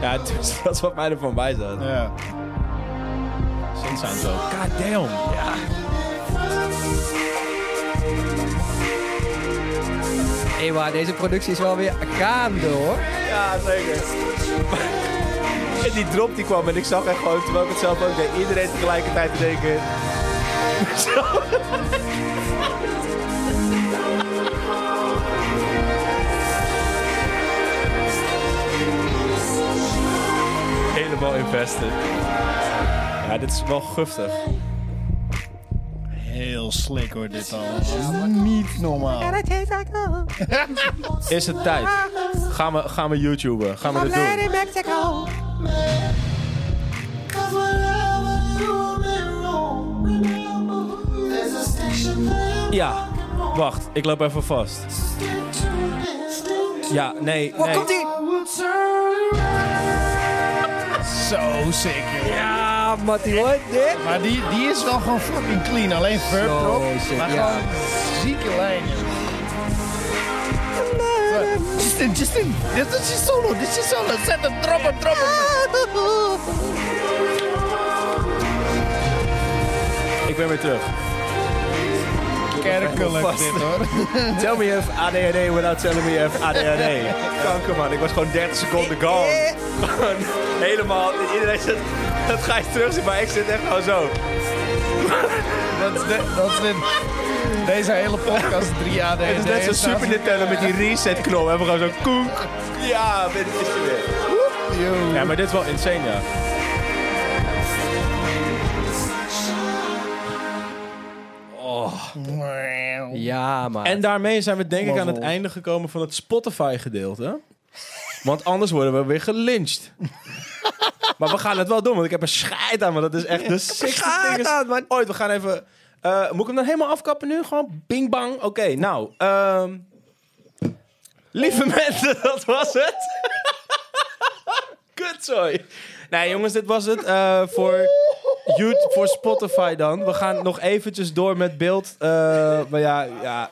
Ja, [laughs] dus dat is wat mij ervan bij zat.
Ja.
Sinds aan zo. God damn. Ja.
Hé, maar deze productie is wel weer gaande, hoor.
Ja, zeker. Maar- En die drop die kwam en ik zag echt gewoon, terwijl ik het zelf ook deed, iedereen tegelijkertijd te denken. Zo. [laughs] Helemaal invested. Ja, dit is wel guftig.
Heel slik hoor, dit allemaal. Niet normaal.
Is het tijd? Gaan we, gaan we YouTuben? Gaan we dit doen?
Cause whatever you been wrong, remember there's a station there.
Ja, wacht, ik loop even vast.
Get to it, stay to
Ja, nee, nee.
Komt-ie!
I will turn
Zo sick, joh.
Ja, Matty, hoor dit?
Maar die, die is wel gewoon fucking clean. Alleen verb
Zo
erop.
sick,
Maar
ja.
gewoon zieke lijnen. Justin, Justin, dit is je solo, dit is je solo. Zet het, drop het, drop het.
Ik ben weer terug.
Kerkelijk
Vast.
dit hoor.
Tell me if ADHD without telling me if ADHD. Kanker man, ik was gewoon 30 seconden gone. Gewoon Helemaal, iedereen zit, dat ga je terugzien, maar ik zit echt gewoon zo.
Dat is, de- dat is de- deze hele podcast 3 AD.
Het is net zo'n Super Nintendo met die reset knop. We hebben gewoon zo'n koek. Ja, dit is er weer. Ja, maar dit is wel insane, ja.
Ja, maar.
En daarmee zijn we denk ik aan het
Mazzel.
einde gekomen van het Spotify-gedeelte. Want anders worden we weer gelyncht. maar we gaan het wel doen, want ik heb een scheid aan, maar dat is echt de sixte ding aan, ooit. We gaan even... eh, moet ik hem dan helemaal afkappen nu? Gewoon bing bang. Oké, nou. ehm, lieve mensen, [laughs] dat was het. Kutzooi. Nee jongens, dit was het eh, voor, YouTube, voor Spotify dan. We gaan nog eventjes door met beeld. Eh, maar ja, ja,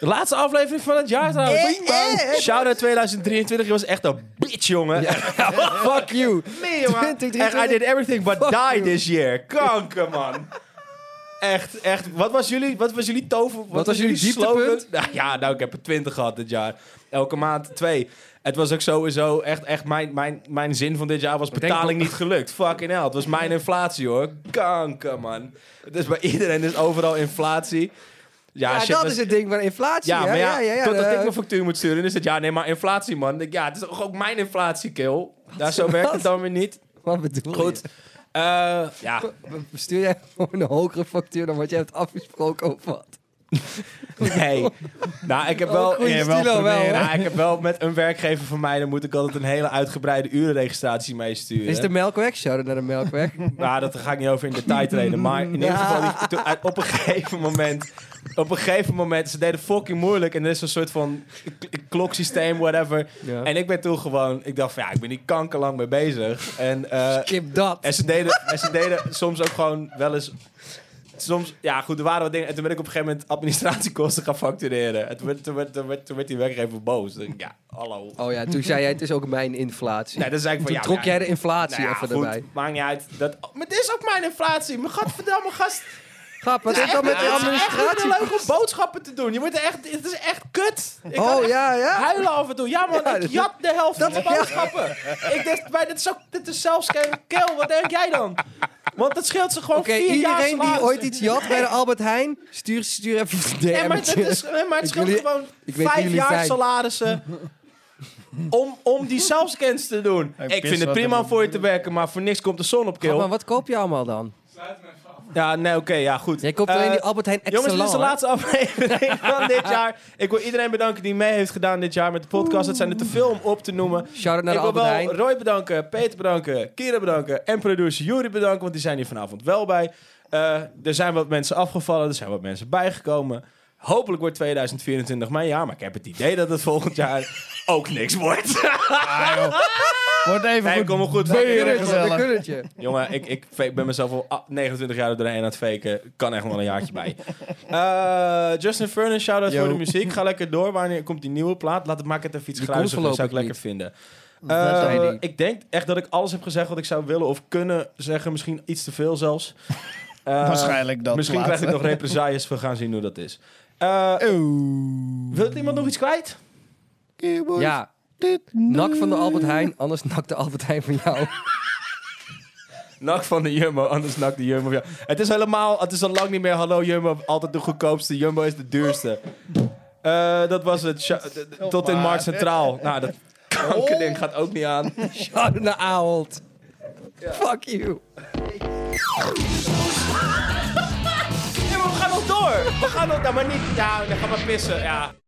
de laatste aflevering van het jaar trouwens.
Eh,
Bing bang. Shout-out 2023. Je was echt een bitch, jongen.
Fuck you!
Nee, jongen.
2023.
Echt, I did everything but
Fuck
die
you.
this year. Kanker, man. Echt, echt. Wat was jullie, wat was jullie tover? Wat,
was jullie dieptepunt?
slogan? Nou, ja, nou, ik heb er 20 gehad dit jaar. Elke maand twee. Het was ook sowieso echt, echt mijn, mijn, mijn zin van dit jaar was betaling niet gelukt. Fucking hell. Het was mijn inflatie, hoor. Kanker, man. Het is bij iedereen is overal inflatie. Ja,
Ja,
shit,
dat
was-
is het ding van inflatie.
ja,
hè?
maar
ja,
ja,
ja, ja,
totdat
eh,
ik mijn factuur moet sturen, is het ja, nee, maar inflatie, man. Ik denk, Ja, het is toch ook mijn inflatie, kill. Daar zo werkt het
wat?
dan weer niet.
Wat bedoel je?
Goed. Eh, ja,
Stuur jij gewoon een hogere factuur dan wat je hebt afgesproken of wat?
nee. Nou, ik heb wel...
goeie
Ja,
stilo wel,
proberen.
hoor.
Nou, ik heb wel met een werkgever van mij, dan moet ik altijd een hele uitgebreide urenregistratie meesturen.
Is de melkweg? Shout naar de
[laughs]
melkweg.
Nou, dat ga ik niet over in detail treden. Maar in ieder geval, die- toen- uit- op een gegeven moment... Op een gegeven moment, ze deden fucking moeilijk. En er is een soort van k- kloksysteem, whatever.
Ja.
En ik ben toen gewoon... Ik dacht van, ja, ik ben hier kankerlang mee bezig. En, eh,
Kip dat.
en, ze deden, en ze deden soms ook gewoon wel eens... Soms, ja goed, er waren wat dingen. En toen ben ik op een gegeven moment administratiekosten gaan factureren. En toen werd, toen werd, toen werd, toen werd die werkgever boos. Ik dacht, ja, hallo.
Oh ja, toen zei jij, het is ook mijn inflatie.
Nee, dan zei ik van,
toen
ja,
trok
maar ja,
jij de inflatie
nou ja,
even
goed,
erbij.
Maakt niet uit. Dat, maar dit is ook mijn inflatie. Mijn godverdamme gast.
Grap, wat is dat met die
Het is echt
administratie?
niet leuk om boodschappen te doen. Je moet er echt, het is echt kut. Ik kan
Oh
echt
ja, ja.
Huilen af en toe. Ja man,
Ja,
ik
dat-
jat de helft van de boodschappen. Ik dacht, bij, dit, is ook, dit is zelfs geen keel. Wat denk jij dan? Want dat scheelt ze gewoon
Oké,
vier jaar
iedereen die
salaris.
ooit iets jat bij de Albert Heijn, stuur, stuur even een
Nee, maar het,
DM'tje. [laughs]
is, nee, maar het
Ik
scheelt
wil je-
gewoon
ik weet wie
vijf
jullie
jaar
zijn.
salarissen om, om die zelfscans te doen.
Hij
ik
pist
vind het
wat
prima
hem-
om voor je te werken, maar voor niks komt de zon op,
Grap, Maar
keel.
wat koop je allemaal dan?
Ja, nee, oké, ja, goed.
Jij koopt alleen
Eh,
die Albert Heijn extra
Jongens, dit is de
lang, hè?
laatste
[laughs]
aflevering van dit jaar. Ik wil iedereen bedanken die mee heeft gedaan dit jaar met de podcast. Het zijn er te veel om op te noemen.
Shout-out naar
ik
de
wil
Albert
wel
Heijn.
Roy bedanken, Peter bedanken, Kira bedanken en producer Jury bedanken, want die zijn hier vanavond wel bij. Eh, er zijn wat mensen afgevallen, er zijn wat mensen bijgekomen. Hopelijk wordt 2024 mijn jaar, maar ik heb het idee dat het volgend
[laughs]
jaar ook niks wordt.
Wordt even
Nee,
goed.
kom maar goed.
beren
Kurretje,
gezellig.
een kurretje.
[laughs] Jongen, ik, ik fake- ben mezelf al ah, 29 jaar er doorheen aan het faken. Kan echt nog wel een jaartje bij. Eh, Justin Furnace, shout-out
Yo.
voor de muziek. Ga lekker door. Wanneer komt die nieuwe plaat? Laat het maak het even iets
Die
gruiziger. Dat
komt
zou ik lekker
voorlopig
vinden.
Dat
Eh,
zei die.
ik denk echt dat ik alles heb gezegd wat ik zou willen of kunnen zeggen. Misschien iets te veel
[laughs]
zelfs. Eh,
Waarschijnlijk dat
Misschien krijg ik nog represailles. We gaan zien hoe dat is. Eh
Oh.
wilt iemand nog iets kwijt?
Ja, nak van de Albert Heijn, anders nakt de Albert Heijn van jou. [laughs]
Nak van de Jumbo, anders nak de Jumbo. Ja. Het is helemaal, het is al lang niet meer hallo Jumbo, altijd de goedkoopste. Jumbo is de duurste. Eh, dat was het. Sha- d- d- Tot in Markt Centraal. Nou, [laughs] dat kankerding gaat ook niet aan.
Shout naar Ahold. Fuck you.
Ja, maar we gaan nog door. We gaan nog, nou, maar niet. Ja, dan gaan we pissen. Ja.